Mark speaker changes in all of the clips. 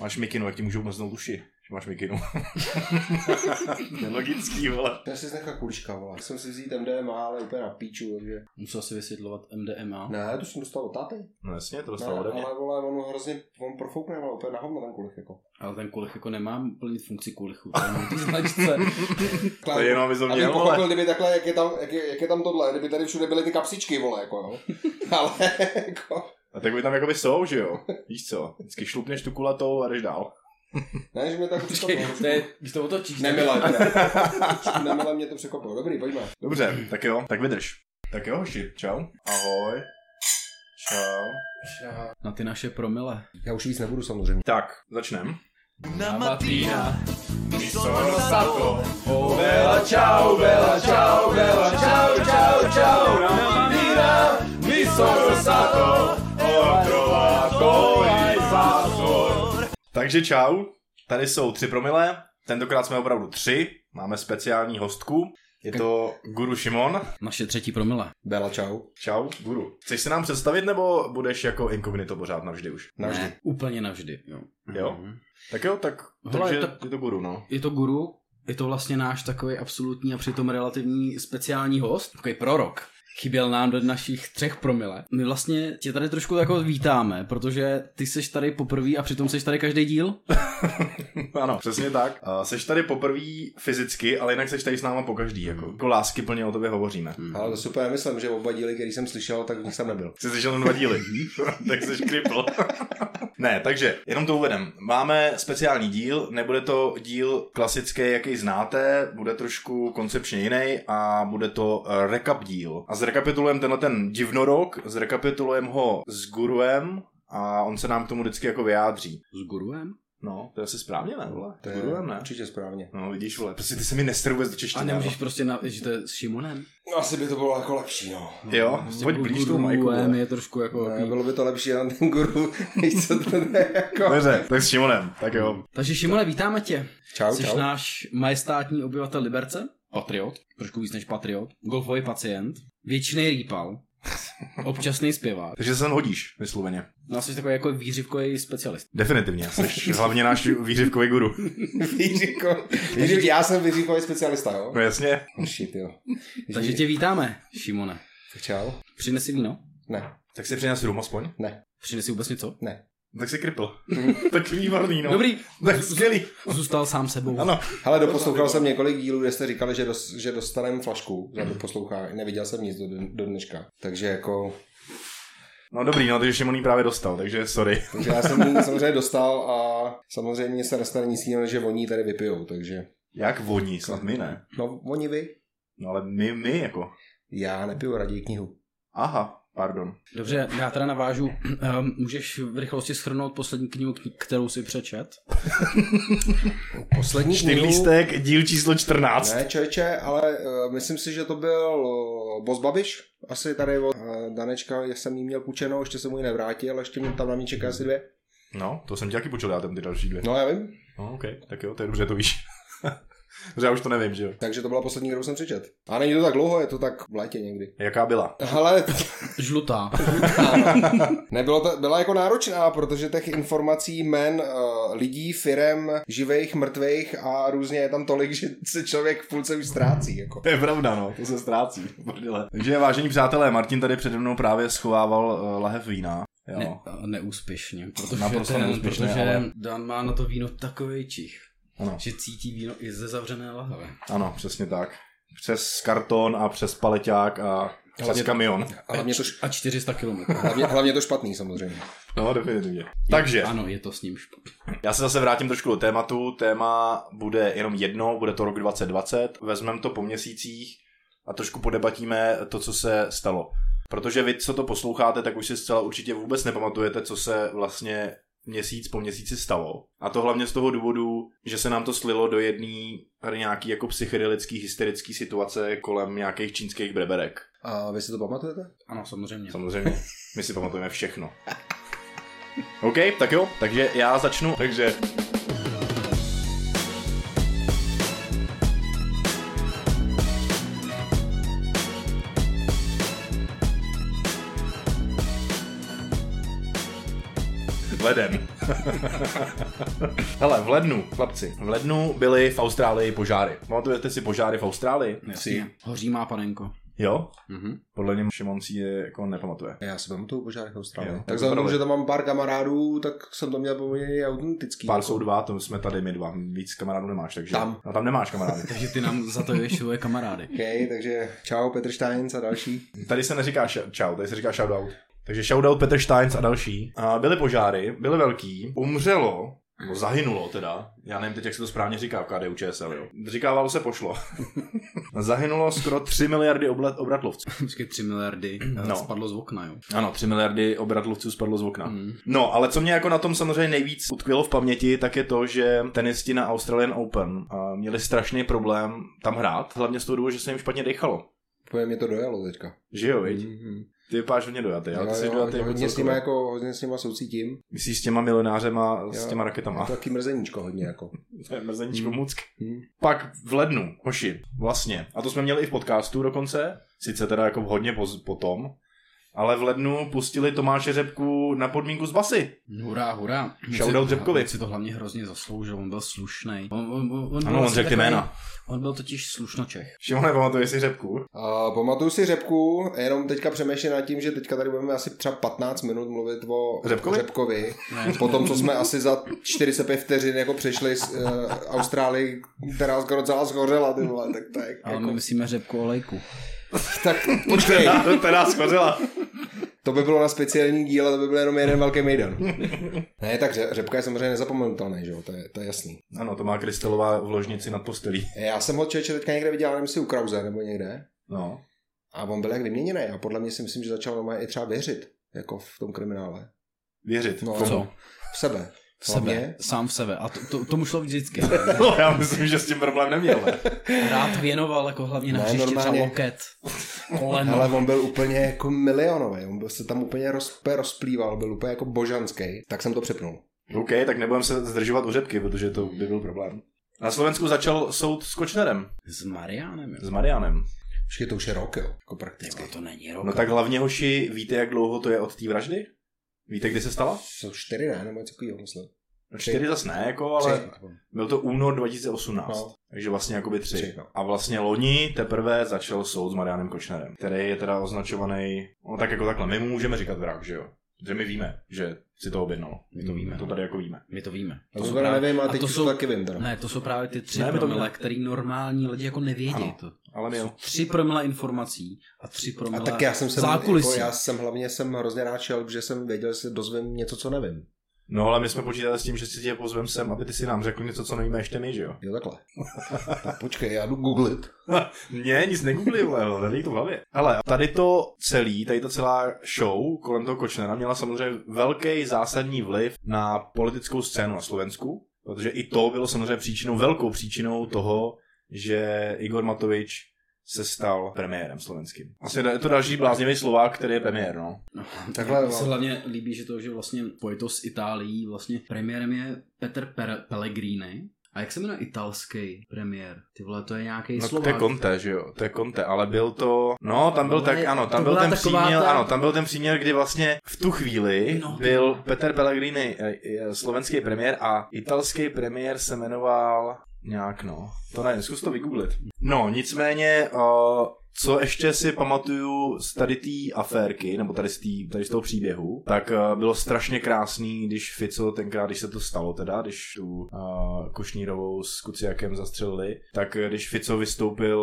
Speaker 1: Máš mikinu, jak ti můžou mrznout uši, že máš mikinu. Nelogický, vole.
Speaker 2: To si nechá kulička, vole. Jsem si vzít MDMA, ale úplně na píču, takže...
Speaker 3: Musel si vysvětlovat MDMA.
Speaker 2: Ne, to jsem dostal od táty.
Speaker 1: No jasně, to
Speaker 2: Ne,
Speaker 1: dostalo ode mě.
Speaker 2: ale vole, on hrozně, on profoukne, ale úplně na hovno ten kulich, jako.
Speaker 3: Ale ten kulich jako nemá plnit funkci kulichu. To je jenom ty značce.
Speaker 1: To je jenom, aby to
Speaker 2: Aby
Speaker 1: měl, vole.
Speaker 2: pochopil, kdyby takhle, jak je, tam, jak, je, jak je tam tohle, kdyby tady všude byly ty kapsičky, vole, jako jo. Ale jako,
Speaker 1: A tak by tam jakoby jsou, že jo? Víš co? Vždycky šlupneš tu kulatou a jdeš dál.
Speaker 2: ne, že mě tak
Speaker 3: Počkej,
Speaker 2: překvapilo. prostě-
Speaker 3: to je, když to otočíš. tak-
Speaker 2: Nemile, ne. Nemile mě to překvapilo. Dobrý, pojďme.
Speaker 1: Dobře, tak jo, tak vydrž. Tak jo, hoši, čau. Ahoj. Čau.
Speaker 3: Na ty naše promile.
Speaker 2: Já už víc nebudu samozřejmě.
Speaker 1: Tak, začnem.
Speaker 4: Na mattina mi sono
Speaker 1: stato.
Speaker 4: Oh bella ciao, bella ciao, bella ciao, ciao, ciao Una mattina mi sono stato Ho trovato il pastor
Speaker 1: Takže čau. Tady jsou tři promile. Tentokrát jsme opravdu tři. Máme speciální hostku. Je to Guru Šimon.
Speaker 3: Naše třetí promile.
Speaker 2: Bela, čau.
Speaker 1: Čau, Guru. Chceš se nám představit, nebo budeš jako inkognito pořád navždy už?
Speaker 2: Navždy.
Speaker 3: Ne, úplně navždy. Jo.
Speaker 1: Jo.
Speaker 3: Mhm.
Speaker 1: Tak jo, tak,
Speaker 3: Hele,
Speaker 1: takže
Speaker 3: tak-
Speaker 1: je to Guru, no.
Speaker 3: Je to guru, je to vlastně náš takový absolutní a přitom relativní speciální host, takový prorok. Chyběl nám do našich třech promile. My vlastně tě tady trošku jako vítáme, protože ty seš tady poprvé a přitom seš tady každý díl.
Speaker 1: ano, přesně tak. Uh, seš tady poprvé fyzicky, ale jinak seš tady s náma po každý, jako, jako lásky plně o tobě hovoříme.
Speaker 2: Ale to super, myslím, že oba díly, který jsem slyšel, tak v nich jsem nebyl.
Speaker 1: Jsi slyšel jenom dva díly, tak jsi kripl. Mhm. ne, takže jenom to uvedem. Máme speciální díl, nebude to díl klasický, jaký znáte, bude trošku koncepčně jiný a bude to eh, recap díl. A zrekapitulujeme tenhle ten divnorok, zrekapitulujeme ho s guruem a on se nám k tomu vždycky jako vyjádří.
Speaker 3: S guruem?
Speaker 1: No, to je asi správně, ne? Vole?
Speaker 2: To
Speaker 1: To
Speaker 2: je
Speaker 1: guruem, ne?
Speaker 2: určitě správně.
Speaker 1: No vidíš, vole, prostě ty se mi nester vůbec do češtiny.
Speaker 3: A nemůžeš prostě, na, že to je s Šimonem?
Speaker 2: Asi by to bylo jako lepší, no.
Speaker 1: ale- Jo,
Speaker 3: Prostě
Speaker 1: pojď blíž tomu majku.
Speaker 3: Guruem
Speaker 1: vole.
Speaker 3: je trošku jako...
Speaker 2: Ne,
Speaker 3: takový-
Speaker 2: bylo by to lepší na ten guru, než co to je jako.
Speaker 1: Dobře, tak s Šimonem, tak jo.
Speaker 3: Takže Šimone, vítáme tě.
Speaker 2: Čau,
Speaker 3: Jsi
Speaker 2: čau.
Speaker 3: náš majestátní obyvatel Liberce. Patriot. Trošku víc než patriot. Golfový pacient. Věčný rýpal. Občasný zpěvák.
Speaker 1: Takže se sem hodíš, vysloveně.
Speaker 3: No jsi takový jako výřivkový specialist.
Speaker 1: Definitivně, jsi hlavně náš výřivkový guru.
Speaker 2: Výříko. Ježiš, já jsem vyříkový specialista, jo?
Speaker 1: No jasně.
Speaker 2: Oh, shit, jo. Ježiš,
Speaker 3: Takže tě vítáme, Šimone.
Speaker 2: tak Čau.
Speaker 3: Přinesi víno?
Speaker 2: Ne,
Speaker 1: Tak si přines rum aspoň.
Speaker 2: ne,
Speaker 3: Přinesi vůbec něco?
Speaker 2: ne.
Speaker 1: Tak si kripl. tak výborný, no.
Speaker 3: Dobrý,
Speaker 1: Tak skvělý.
Speaker 3: zůstal sám sebou.
Speaker 1: Ano.
Speaker 2: Ale doposlouchal jsem několik dílů, kde jste říkali, že, dos, že dostaneme flašku za doposlouchá. Neviděl jsem nic do, do dneška. Takže jako,
Speaker 1: No dobrý, no, takže Šimon ji právě dostal, takže sorry.
Speaker 2: takže já jsem ji samozřejmě dostal a samozřejmě se nestane nic jiného, než že oni ji tady vypijou, takže.
Speaker 1: Jak voní, snad my ne.
Speaker 2: No, oni vy.
Speaker 1: No ale my, my jako.
Speaker 2: Já nepiju raději knihu.
Speaker 1: Aha, pardon.
Speaker 3: Dobře, já teda navážu. Ehm, Můžeš v rychlosti schrnout poslední knihu, kni- kterou si přečet?
Speaker 2: Poslední knihu...
Speaker 1: Čtyřlístek, díl číslo 14.
Speaker 2: Ne, čeče, ale uh, myslím si, že to byl uh, Boss Babiš. Asi tady od uh, Danečka, já jsem jí měl půjčenou, ještě jsem mu ji nevrátil, ale ještě mě tam na mě čeká asi dvě.
Speaker 1: No, to jsem ti taky počul, já tam ty další dvě.
Speaker 2: No, já vím.
Speaker 1: No, ok, tak jo, to je dobře, to víš. Dobře, já už to nevím, že jo.
Speaker 2: Takže to byla poslední, kterou jsem přečet. A není to tak dlouho, je to tak v létě někdy.
Speaker 1: Jaká byla?
Speaker 2: Hele,
Speaker 3: Žlutá.
Speaker 2: nebylo to, byla jako náročná, protože těch informací, men, lidí, firem, živých, mrtvých a různě je tam tolik, že se člověk v půlce už ztrácí. Jako.
Speaker 1: To je pravda, no, to se ztrácí. Prdele. Takže vážení přátelé, Martin tady přede mnou právě schovával uh, lahev vína. Jo.
Speaker 3: Ne, neúspěšně, protože,
Speaker 1: Naprosto
Speaker 3: ten,
Speaker 1: neúspěšně,
Speaker 3: protože
Speaker 1: ale-
Speaker 3: Dan má na to víno takový čich,
Speaker 1: Ano.
Speaker 3: že cítí víno i ze zavřené lahve.
Speaker 1: Ano, přesně tak. Přes karton a přes paleťák a přes
Speaker 2: Hlavně-
Speaker 1: kamion.
Speaker 2: A hlavně to,
Speaker 3: A 400 km.
Speaker 2: hlavně, hlavně to špatný samozřejmě.
Speaker 1: No, definitivně. Takže,
Speaker 3: Ano, je to s ním špatně.
Speaker 1: já se zase vrátím trošku do tématu. Téma bude jenom jedno, bude to rok 2020. Vezmeme to po měsících a trošku podebatíme to, co se stalo. Protože vy, co to posloucháte, tak už si zcela určitě vůbec nepamatujete, co se vlastně měsíc po měsíci stalo. A to hlavně z toho důvodu, že se nám to slilo do jedné nějaký jako psychedelický, hysterický situace kolem nějakých čínských breberek.
Speaker 2: A vy si to pamatujete?
Speaker 3: Ano, samozřejmě.
Speaker 1: Samozřejmě, my si pamatujeme všechno. OK, tak jo, takže já začnu. Takže leden. Hele, v lednu, chlapci, v lednu byly v Austrálii požáry. Pamatujete si požáry v Austrálii?
Speaker 3: Jasně. Hoří má panenko.
Speaker 1: Jo?
Speaker 3: Mhm.
Speaker 1: Podle mě Šimon si je jako nepamatuje.
Speaker 2: Já si pamatuju požárech Austrálie.
Speaker 1: Jo,
Speaker 2: Tak
Speaker 1: tak
Speaker 2: za to,
Speaker 1: vypadaly.
Speaker 2: že tam mám pár kamarádů, tak jsem to měl poměrně autentický.
Speaker 1: Pár jsou dva, to jsme tady my dva. Víc kamarádů nemáš, takže...
Speaker 2: Tam.
Speaker 1: No, tam nemáš kamarády.
Speaker 3: Takže ty nám zatojuješ svoje kamarády.
Speaker 2: OK, takže čau Petr Steinz a další.
Speaker 1: Tady se neříká ša- čau, tady se říká shoutout. Takže shoutout Petr Steins a další. A byly požáry, byly velký, umřelo, no zahynulo teda, já nevím teď, jak se to správně říká v KDU ČSL, jo. Říkávalo se pošlo. zahynulo skoro 3 miliardy oblet, obratlovců.
Speaker 3: Počkej, 3 miliardy
Speaker 1: No.
Speaker 3: no. spadlo z okna, jo.
Speaker 1: Ano, 3 miliardy obratlovců spadlo z okna.
Speaker 2: Hmm.
Speaker 3: Mm.
Speaker 1: No, ale co mě jako na tom samozřejmě nejvíc utkvělo v paměti, tak je to, že tenisti na Australian Open a měli strašný problém tam hrát, hlavně z toho důvodu, že se jim špatně dechalo.
Speaker 2: Pojem mě to dojalo teďka.
Speaker 1: Že jo, viď?
Speaker 2: Mm-hmm.
Speaker 1: Ty vypadáš hodně dojatý, ale ty jsi dojatý
Speaker 2: Jo,
Speaker 1: jako
Speaker 2: hodně, s nima
Speaker 1: celkově.
Speaker 2: jako, hodně s nima soucítím.
Speaker 1: Myslíš s těma milionářema, jo.
Speaker 2: Jo.
Speaker 1: s těma raketama.
Speaker 2: Je to taky mrzeníčko hodně jako.
Speaker 1: To je mrzeníčko
Speaker 2: Hmm.
Speaker 1: muck.
Speaker 2: Hmm.
Speaker 1: Pak v lednu, hoši, vlastně, a to jsme měli i v podcastu dokonce, sice teda jako hodně poz, potom, ale v lednu pustili Tomáše Řepku na podmínku z basy.
Speaker 3: Hurá, hurá.
Speaker 1: Shoutout
Speaker 3: On si-
Speaker 1: Řepkovi.
Speaker 3: on si to hlavně hrozně zasloužil, on byl slušný. On, on, on, on
Speaker 1: Ano,
Speaker 3: byl
Speaker 1: on
Speaker 3: asi
Speaker 1: řekl ty
Speaker 3: takový-
Speaker 1: jména.
Speaker 3: On byl totiž slušnočech.
Speaker 1: Šimone, pamatuješ si Řepku?
Speaker 2: Uh, pamatuju si řepku, jenom teďka přemýšlím nad tím, že teďka tady budeme asi třeba 15 minut mluvit o
Speaker 1: Řepkovi?
Speaker 2: řepkovi.
Speaker 3: Ne,
Speaker 2: Po tom, co jsme asi za 45 vteřin jako přešli z uh, Austrálii, která skoro celá zhořela, ty vole, tak to je
Speaker 3: ale
Speaker 2: jako...
Speaker 3: my myslíme řepku olejku.
Speaker 2: Tak počkej,
Speaker 1: To teda schořela.
Speaker 2: to by bylo na speciální díl, ale to by byl jenom jeden velký mejdan. Ne, tak ře- řepka je samozřejmě nezapomenutelný, že jo, to je, to je jasný. E,
Speaker 1: Ano, to má krystalová v ložnici nad postelí.
Speaker 2: Já jsem ho člověče teďka někde viděl, ale nevím, jestli u Krause nebo někde.
Speaker 1: No.
Speaker 2: A on byl jak vyměněný a podle mě si myslím, že začal normálně i třeba věřit, jako v tom kriminále.
Speaker 1: Věřit.
Speaker 2: No,
Speaker 1: Komu?
Speaker 3: Co?
Speaker 2: V sebe.
Speaker 3: V sebe.
Speaker 2: Hlavně?
Speaker 3: Sám v sebe. A to, to, tomu šlo vždycky.
Speaker 1: No, já myslím, že s tím problém neměl. ne?
Speaker 3: Rád věnoval jako hlavně na
Speaker 2: Ne,
Speaker 3: hřiště třeba
Speaker 2: normálně.
Speaker 3: loket. Koleno.
Speaker 2: Ale on byl úplně jako milionový, on byl se tam úplně rozpe, rozplýval, byl úplně jako božanský, tak jsem to přepnul.
Speaker 1: OK, tak nebudem se zdržovat u Řepky, protože to by byl problém. Na Slovensku začal soud s Kočnerem,
Speaker 3: S Marianem, jo.
Speaker 1: s Marianem.
Speaker 2: Vždycky to už je rok, jo, jako prakticky.
Speaker 3: Tyvo, to není rok.
Speaker 1: No tak hlavně, hoši, víte, jak dlouho to je od té vraždy? Víte, kdy se stala?
Speaker 2: Jsou čtyři, ne? Nebo něco takového, myslím. No.
Speaker 1: No
Speaker 2: Tři.
Speaker 1: čtyři zas ne, jako, ale byl to únor 2018.
Speaker 2: No.
Speaker 1: No. Takže vlastně jakoby tři.
Speaker 2: Tři, no.
Speaker 1: A vlastně loni teprve začal soud s Marianem Kočnerem, který je teda označovaný, no tak jako takhle, my mu můžeme říkat vrah, že jo? Protože my víme, že si to objednalo. My to víme. To tady jako víme.
Speaker 3: My to víme.
Speaker 2: To, to právě, No nevím, ale teď to,
Speaker 3: to
Speaker 2: už
Speaker 3: jsou,
Speaker 2: to taky vím. Teda.
Speaker 3: Ne, to jsou právě ty tři
Speaker 1: Ne, my to
Speaker 3: promile,
Speaker 1: víme.
Speaker 3: který normální lidi jako nevědí.
Speaker 1: Ano.
Speaker 3: To.
Speaker 1: Ale my jo.
Speaker 3: Tři promile informací a tři
Speaker 2: A
Speaker 3: promile
Speaker 2: tak já jsem se,
Speaker 3: zákulisí.
Speaker 2: jako, já jsem hlavně jsem hrozně rád šel, že jsem věděl, že se dozvím něco, co nevím.
Speaker 1: No ale my jsme počítali s tím, že si tě pozvem sem, aby ty si nám řekl něco, co nevíme ještě my, že jo?
Speaker 2: Jo, takhle. tak počkej, já jdu googlit.
Speaker 1: Ne, nic negoogli, vole, tady to v hlavě. Ale tady to celý, tady ta celá show kolem toho Kočnera měla samozřejmě velký zásadní vliv na politickou scénu na Slovensku, protože i to bylo samozřejmě příčinou, velkou příčinou toho, že Igor Matovič se stal premiérem slovenským. Asi je to další bláznivý Slovák, který je premiér, no.
Speaker 3: No,
Speaker 2: Takhle,
Speaker 3: Takhle
Speaker 2: no.
Speaker 3: se hlavně líbí, že to, že vlastně pojito s Itálií, vlastně premiérem je Petr per- Pellegrini. A jak se jmenuje italský premiér? Ty vole, to je nějaký
Speaker 1: no to je
Speaker 3: Slovák.
Speaker 1: Conte, že jo, to je Conte, ale byl to, no tam byl
Speaker 3: Ale
Speaker 1: tak, ano,
Speaker 3: to
Speaker 1: tam byl
Speaker 3: byla
Speaker 1: ten
Speaker 3: taková
Speaker 1: příměr,
Speaker 3: ta-
Speaker 1: ano, tam byl ten příměr, kdy vlastně v tu chvíli
Speaker 3: No.
Speaker 1: byl Peter Pellegrini eh, eh, slovenský premiér a italský premiér se jmenoval nějak, no, to nevím, zkus to vygooglit. No, nicméně, eh, co ještě si pamatuju z tady té aférky, nebo tady z, tý, tady z toho příběhu, tak eh, bylo strašně krásný, když Fico tenkrát, když se to stalo teda, když tu uh, Košnírovou s Kuciakem zastřelili, tak eh, když Fico vystoupil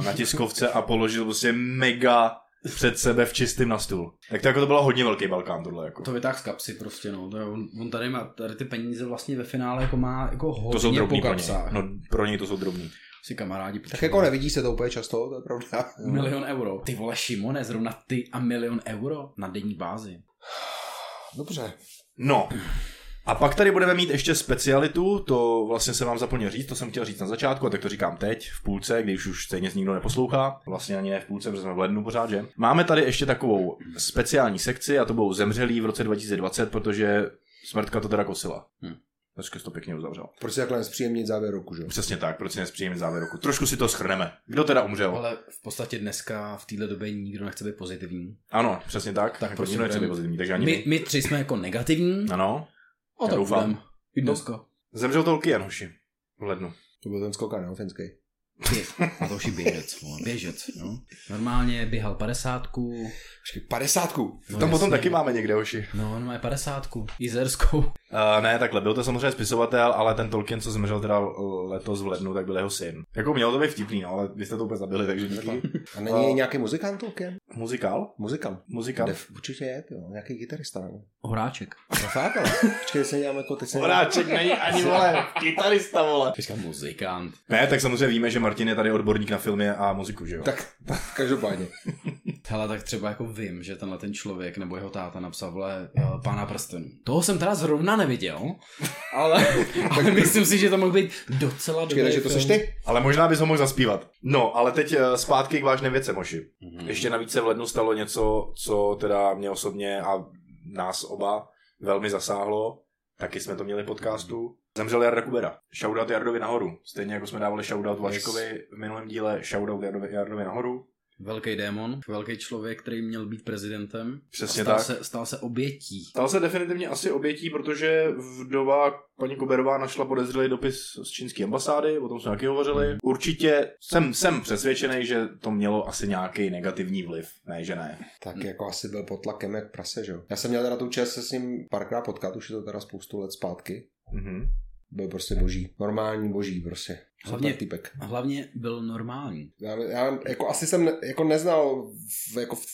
Speaker 1: uh, na tiskovce a položil prostě mega před sebe v čistým na stůl. Tak to jako to bylo hodně velký Balkán tohle jako.
Speaker 3: To vytáh z kapsy prostě, no. To je, on, on, tady má, tady ty peníze vlastně ve finále jako má jako hodně
Speaker 1: to jsou drobní
Speaker 3: po
Speaker 1: pro něj.
Speaker 3: kapsách.
Speaker 1: No, pro něj to jsou drobní.
Speaker 3: Si kamarádi
Speaker 2: Tak jako nevidí se to úplně často, to je pravda.
Speaker 3: Milion euro. Ty vole Šimone, zrovna ty a milion euro na denní bázi.
Speaker 2: Dobře.
Speaker 1: No. A pak tady budeme mít ještě specialitu, to vlastně jsem vám zapomněl říct, to jsem chtěl říct na začátku, a tak to říkám teď, v půlce, když už stejně nikdo neposlouchá, vlastně ani ne v půlce, protože jsme v lednu pořád, že? Máme tady ještě takovou speciální sekci, a to budou zemřelí v roce 2020, protože smrtka to teda kosila.
Speaker 3: Hm.
Speaker 1: Hm. Dneska jsi to pěkně uzavřel.
Speaker 2: Proč si takhle zpříjemnit závěr roku, že? jo?
Speaker 1: Přesně tak, proč si nespříjemný závěr roku. Trošku si to schrneme. Kdo teda umřel?
Speaker 3: Ale v podstatě dneska v téhle době nikdo nechce být pozitivní.
Speaker 1: Ano, přesně tak. Tak
Speaker 3: prosím,
Speaker 1: prosím, nechce
Speaker 3: budem-
Speaker 1: být pozitivní, takže ani
Speaker 3: My,
Speaker 1: my.
Speaker 3: my tři jsme jako negativní,
Speaker 1: Ano,
Speaker 3: O
Speaker 1: Já
Speaker 3: tak
Speaker 1: doufám. No.
Speaker 3: budem. Jednosko.
Speaker 1: Zemřel Tolkien, hoši. V lednu.
Speaker 2: To byl ten skokan, no, finský.
Speaker 3: A to už je běžec, vole, běžec, no. Normálně běhal padesátku,
Speaker 2: Počkej, padesátku.
Speaker 3: No,
Speaker 1: Tam potom
Speaker 3: jasně.
Speaker 1: taky máme někde, hoši.
Speaker 3: no, no, je padesátku, jizerskou.
Speaker 1: Uh, ne, takhle, byl to samozřejmě spisovatel, ale ten Tolkien, co zemřel teda l- letos v lednu, tak byl jeho syn. Jako mělo to být vtipný, no, ale vy jste to úplně zabili, takže díky.
Speaker 2: A není
Speaker 3: No.
Speaker 1: A-
Speaker 2: nějaký muzikant Tolkien?
Speaker 1: Muzikál?
Speaker 2: Muzikant.
Speaker 1: Muzikál.
Speaker 2: Def, určitě je, jo, nějaký gitarista. Nebo?
Speaker 3: Horáček.
Speaker 2: No fakt, ale. Počkej, se děláme jako teď se
Speaker 1: Horáček není ani vole, kytarista vole.
Speaker 3: Říká muzikant.
Speaker 1: Ne, tak samozřejmě víme, že Martin je tady odborník na filmy a muziku, že jo?
Speaker 2: Tak, každopádně.
Speaker 3: Hele, tak třeba jako vím, že tenhle ten člověk nebo jeho táta napsal, vole, eh, pána prstenů. Toho jsem teda zrovna neviděl, ale, ale myslím si, že to mohl být docela dobrý
Speaker 2: Počkej, takže to
Speaker 3: film.
Speaker 2: seš ty?
Speaker 1: Ale možná bys ho mohl zaspívat. No, ale teď eh, zpátky k vážné věci, Moši.
Speaker 3: Mhm.
Speaker 1: Ještě navíc se v lednu stalo něco, co teda mě osobně a nás oba velmi zasáhlo. Taky jsme to měli podcastu. Zemřel Jarda Kubera. Shoutout Jardovi nahoru. Stejně jako jsme dávali shoutout Vaškovi v minulém díle, shoutout Jardovi, Jardovi nahoru.
Speaker 3: Velký démon, velký člověk, který měl být prezidentem.
Speaker 1: Přesně
Speaker 3: stal
Speaker 1: tak.
Speaker 3: Se, stal se obětí.
Speaker 1: Stal se definitivně asi obětí, protože vdova paní Koberová našla podezřelý dopis z čínské ambasády, o tom jsme taky hovořili. Určitě jsem, jsem přesvědčený, že to mělo asi nějaký negativní vliv. Ne, že ne.
Speaker 2: Tak jako asi byl pod tlakem jak prase, že jo. Já jsem měl teda tu čest se s ním párkrát potkat, už je to teda spoustu let zpátky.
Speaker 1: Mhm.
Speaker 2: Byl prostě boží. Normální boží prostě.
Speaker 3: Hlavně-
Speaker 2: Hlavně typek.
Speaker 3: A hlavně byl normální.
Speaker 2: Já, já jako asi jsem ne, jako neznal v, jako v,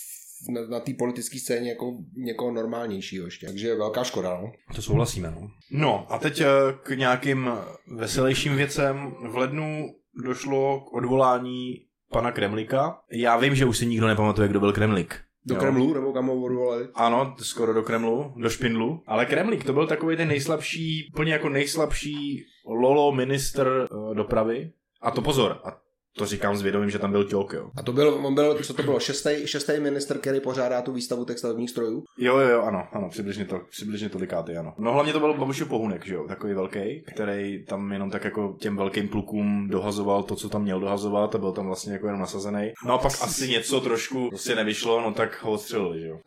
Speaker 2: na, na té politické scéně jako někoho normálnějšího ještě. Takže velká škoda, no.
Speaker 1: To souhlasíme, no. No a teď eh, k nějakým veselějším věcem. V lednu došlo k odvolání pana Kremlika. Já vím, že už si nikdo nepamatuje, kdo byl Kremlik.
Speaker 2: Do
Speaker 1: Jo.
Speaker 2: Kremlu nebo kam ho odvolali.
Speaker 1: Ano, skoro do Kremlu, do Špindlu. Ale Kremlík, to byl takový ten nejslabší, úplně jako nejslabší lolo minister eh, dopravy. A to pozor, a to říkám s vědomím, že tam byl Ťok, jo.
Speaker 2: A to byl, on byl, co to bylo, šestý, šestý minister, který pořádá tu výstavu těch stavebních strojů.
Speaker 1: Jo, jo, jo, ano, ano, přibližně, to, přibližně tolikáty, ano. No hlavně to byl Babišův pohunek, že jo, takový velký, který tam jenom tak jako těm velkým klukům dohazoval to, co tam měl dohazovat a byl tam vlastně jako jenom nasazený. No a pak asi něco trošku si nevyšlo, no tak ho odstřelili, že jo.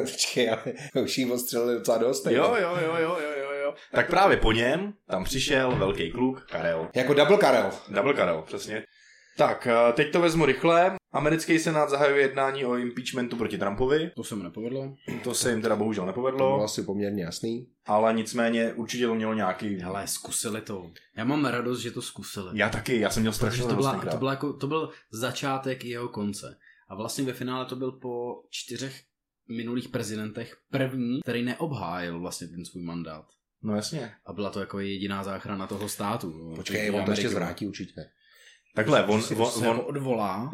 Speaker 2: Počkej, ale už jí odstřelili docela dost.
Speaker 1: Jo, jo, jo, jo, jo, jo, jo. Tak právě po něm tam přišel velký kluk Karel.
Speaker 2: Jako double Karel.
Speaker 1: Double Karel, přesně. Tak, eh, teď to vezmu rychle. Americký senát zahajuje jednání o impeachmentu proti Trumpovi.
Speaker 3: To se mu nepovedlo.
Speaker 1: To se jim teda bohužel
Speaker 2: To bylo
Speaker 3: vlastně-
Speaker 1: nepovedlo,
Speaker 2: asi poměrně jasný.
Speaker 1: ale nicméně určitě to mělo nějaký...
Speaker 3: Hele, zkusili to. Já mám radost, že to zkusili.
Speaker 1: Já taky, já jsem měl strašně
Speaker 3: Protože to,
Speaker 1: radost
Speaker 3: byla, to,
Speaker 1: tenkrát.
Speaker 3: byla jako, to byl začátek jeho konce. A vlastně ve finále to byl po čtyřech minulých prezidentech první, který neobhájil vlastně ten svůj mandát.
Speaker 1: No jasně.
Speaker 3: A byla to jako jediná záchrana toho státu. no.
Speaker 2: Počkej,
Speaker 3: Jediná
Speaker 2: on to ještě
Speaker 3: Amerika.
Speaker 2: zvrátí určitě.
Speaker 1: Takhle, on,
Speaker 3: Si prostě
Speaker 1: on,
Speaker 3: se
Speaker 1: on,
Speaker 3: on odvolá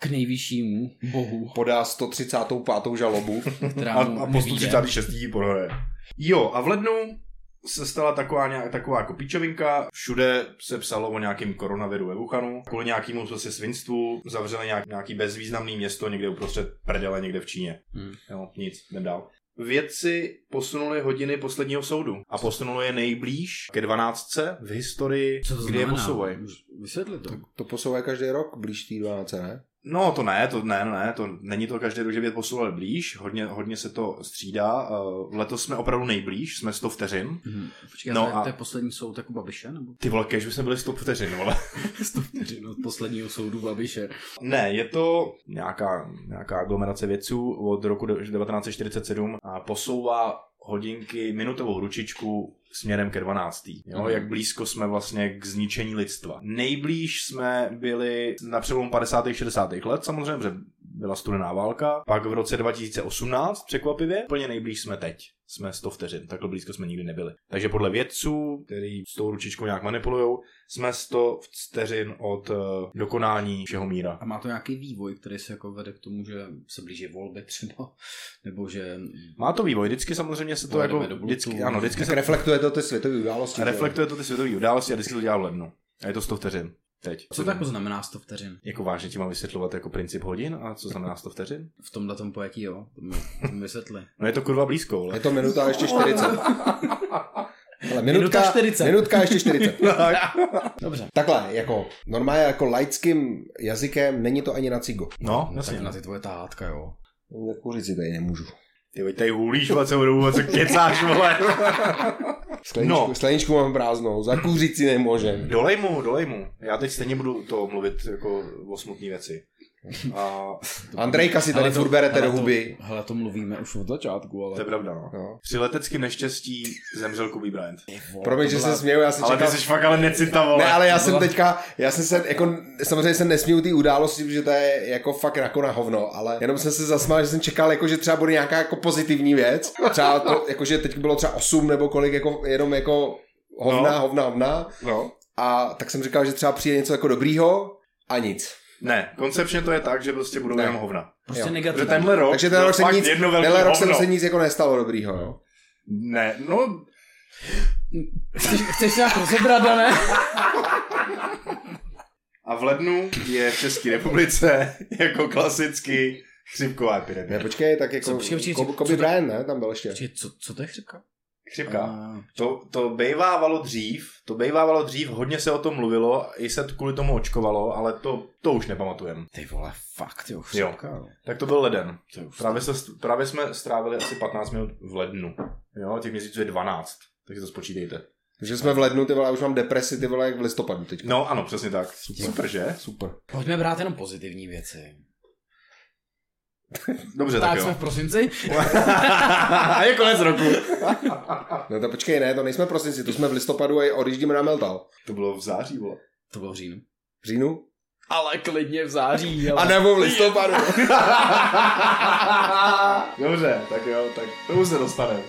Speaker 3: k nejvyššímu bohu,
Speaker 2: Podá 135. žalobu.
Speaker 3: která
Speaker 1: a,
Speaker 3: mu
Speaker 1: a po
Speaker 3: nevíde.
Speaker 1: 136. prohraje. Jo, a v lednu se stala taková, nějak, taková jako pičovinka, všude se psalo o nějakém koronaviru ve Wuhanu, kvůli nějakému prostě svinstvu zavřeli nějak, nějaký bezvýznamný město někde uprostřed prdele někde v Číně.
Speaker 3: Hmm.
Speaker 1: Jo, nic, jdem dál. Vědci posunuli hodiny posledního soudu a posunuli je nejblíž ke 12 v historii,
Speaker 3: Co to
Speaker 1: kdy je
Speaker 3: znamená?
Speaker 1: posouvají.
Speaker 3: Vysvětli to.
Speaker 2: To posouvají každý rok blíž té 12, ne?
Speaker 1: No, to ne, to ne, ne, to není to každý rok, že by je posouvali blíž, hodně, hodně se to střídá. Eh, Letos jsme opravdu nejblíž, jsme 100 vteřin.
Speaker 3: Mhm. Počkej,
Speaker 1: No
Speaker 3: no to,
Speaker 1: a-
Speaker 3: a... to je poslední soud jako Babiše? Nebo?
Speaker 1: Ty vole, kež by jsme byli 100 vteřin, vole.
Speaker 3: Vteřin od posledního soudu Babiše.
Speaker 1: Ne, je to nějaká, nějaká aglomerace vědců od roku de- 1947 a posouvá hodinky minutovou ručičku směrem ke 12. Jo,
Speaker 3: Mhm.
Speaker 1: jak blízko jsme vlastně k zničení lidstva. Nejblíž jsme byli na přelomu 50. 60. let, samozřejmě, protože byla studená válka. Pak v roce 2018, překvapivě, úplně nejblíž jsme teď. Jsme 100 vteřin, takhle blízko jsme nikdy nebyli. Takže podle vědců, který s tou ručičkou nějak manipulují, jsme 100 vteřin od eh, dokonání všeho míra.
Speaker 3: A má to nějaký vývoj, který se jako vede k tomu, že se blíží volby třeba, nebo že...
Speaker 1: Má to vývoj, vždycky samozřejmě se to
Speaker 3: No,
Speaker 1: jako,
Speaker 3: jdeme do Bluetooth.
Speaker 1: vždycky, ano, vždycky
Speaker 2: Tak
Speaker 1: se
Speaker 2: reflektuje to ty světové události.
Speaker 1: reflektuje to ty světové události a vždycky to dělá v lednu. A je to 100 vteřin. Teď.
Speaker 3: Co to jako znamená 100 vteřin?
Speaker 1: Jako vážně ti mám vysvětlovat jako princip hodin a co znamená 100 vteřin?
Speaker 3: V tomhle tom pojetí, jo? To mi to mi vysvětli.
Speaker 1: No je to kurva blízko,
Speaker 2: že?
Speaker 1: ale.
Speaker 2: Je to minuta a ještě 40. Ale minutka,
Speaker 3: Minuta 40.
Speaker 2: Minutka a ještě 40.
Speaker 3: Dobře.
Speaker 2: Takhle, jako normálně jako laickým jazykem není to ani na cigo.
Speaker 1: No, jasně.
Speaker 3: tak na ty tvoje tátka, jo.
Speaker 2: Kuřici tady nemůžu.
Speaker 1: Ty veď tady hulíš, vole, celou dobu, vole, co kecáš, vole.
Speaker 2: Skleničku,
Speaker 1: No.
Speaker 2: no. skleničku mám prázdnou, zakouřit si nemůžem.
Speaker 1: Dolej mu, dolej mu. Já teď stejně budu to mluvit jako o smutné věci. A
Speaker 2: Andrejka si tady
Speaker 3: Ale to-
Speaker 2: furt berete
Speaker 3: hele
Speaker 2: do
Speaker 3: to-
Speaker 2: huby.
Speaker 3: Hele, to mluvíme už od začátku, ale...
Speaker 1: to je pravda, no.
Speaker 2: No.
Speaker 1: Při leteckém neštěstí zemřel Kobe Bryant.
Speaker 2: Promiň, že se směju, já jsem
Speaker 1: Ale ty
Speaker 2: čekal...
Speaker 1: jsi fakt ale necita, vole.
Speaker 2: Ne, ale já
Speaker 3: to
Speaker 2: jsem
Speaker 3: byla-
Speaker 2: teďka, já jsem se, jako, samozřejmě se nesmiju té události, protože to je jako fakt jako na hovno, ale jenom jsem se zasmál, že jsem čekal, jako, že třeba bude nějaká jako pozitivní věc, třeba to, jako, že teď bylo třeba 8 nebo kolik, jako, jenom jako hovna,
Speaker 1: No.
Speaker 2: no. hovna, hovna,
Speaker 1: No.
Speaker 2: a tak jsem říkal, že třeba přijde něco jako dobrýho a nic.
Speaker 1: Ne, koncepčně to je tak, že prostě budou
Speaker 2: Ne.
Speaker 1: jenom hovna.
Speaker 3: Prostě
Speaker 2: Jo.
Speaker 1: Protože
Speaker 3: negativní.
Speaker 1: tenhle rok
Speaker 2: Takže ten
Speaker 1: byl
Speaker 2: rok, se
Speaker 1: No, fakt
Speaker 2: nic,
Speaker 1: jedno velký
Speaker 2: tenhle rok jsem
Speaker 1: hovno.
Speaker 2: se nic jako nestalo dobrýho. Jo.
Speaker 1: Ne, no,
Speaker 3: Chceš, chceš nějak rozebrat, ne?
Speaker 1: a v lednu je v České republice jako klasicky chřipková
Speaker 2: Ne,
Speaker 1: epidemie.
Speaker 2: počkej, tak jako
Speaker 3: Co, počkej, počkej,
Speaker 2: Kobe,
Speaker 3: co-
Speaker 2: Kobe
Speaker 3: co-
Speaker 2: Bryant, ne, tam byl ještě.
Speaker 3: Počkej, co, co to je chřipka?
Speaker 1: Chřipka.
Speaker 3: A,
Speaker 1: To, to bejvávalo dřív, to bejvávalo dřív, hodně se o tom mluvilo, i se kvůli tomu očkovalo, ale to, to už nepamatujem.
Speaker 3: ty vole, fakt, jo, chřipka. Jo.
Speaker 1: Tak to byl leden.
Speaker 3: To je už
Speaker 1: Právě, se, právě jsme strávili asi 15 minut v lednu. Jo, těch měsíců je 12, takže to spočítejte.
Speaker 2: Že jsme v lednu, ty vole, já už mám depresi, ty vole, jak v listopadu teď.
Speaker 1: No ano, přesně tak. Super, Super že?
Speaker 2: Super.
Speaker 3: Pojďme brát jenom pozitivní věci.
Speaker 1: Dobře, tak,
Speaker 3: Tak
Speaker 1: tak
Speaker 3: jsme v
Speaker 1: jo.
Speaker 3: prosinci.
Speaker 1: A je konec roku.
Speaker 2: No to počkej, ne, to nejsme v prosinci, to jsme v listopadu a odjíždíme na Meltal.
Speaker 1: To bylo v září, vole.
Speaker 3: To bylo v říjnu.
Speaker 2: V říjnu?
Speaker 3: Ale klidně v září.
Speaker 2: A
Speaker 3: Ale...
Speaker 2: nebo v listopadu.
Speaker 1: Dobře, tak jo, tak to už se dostaneme.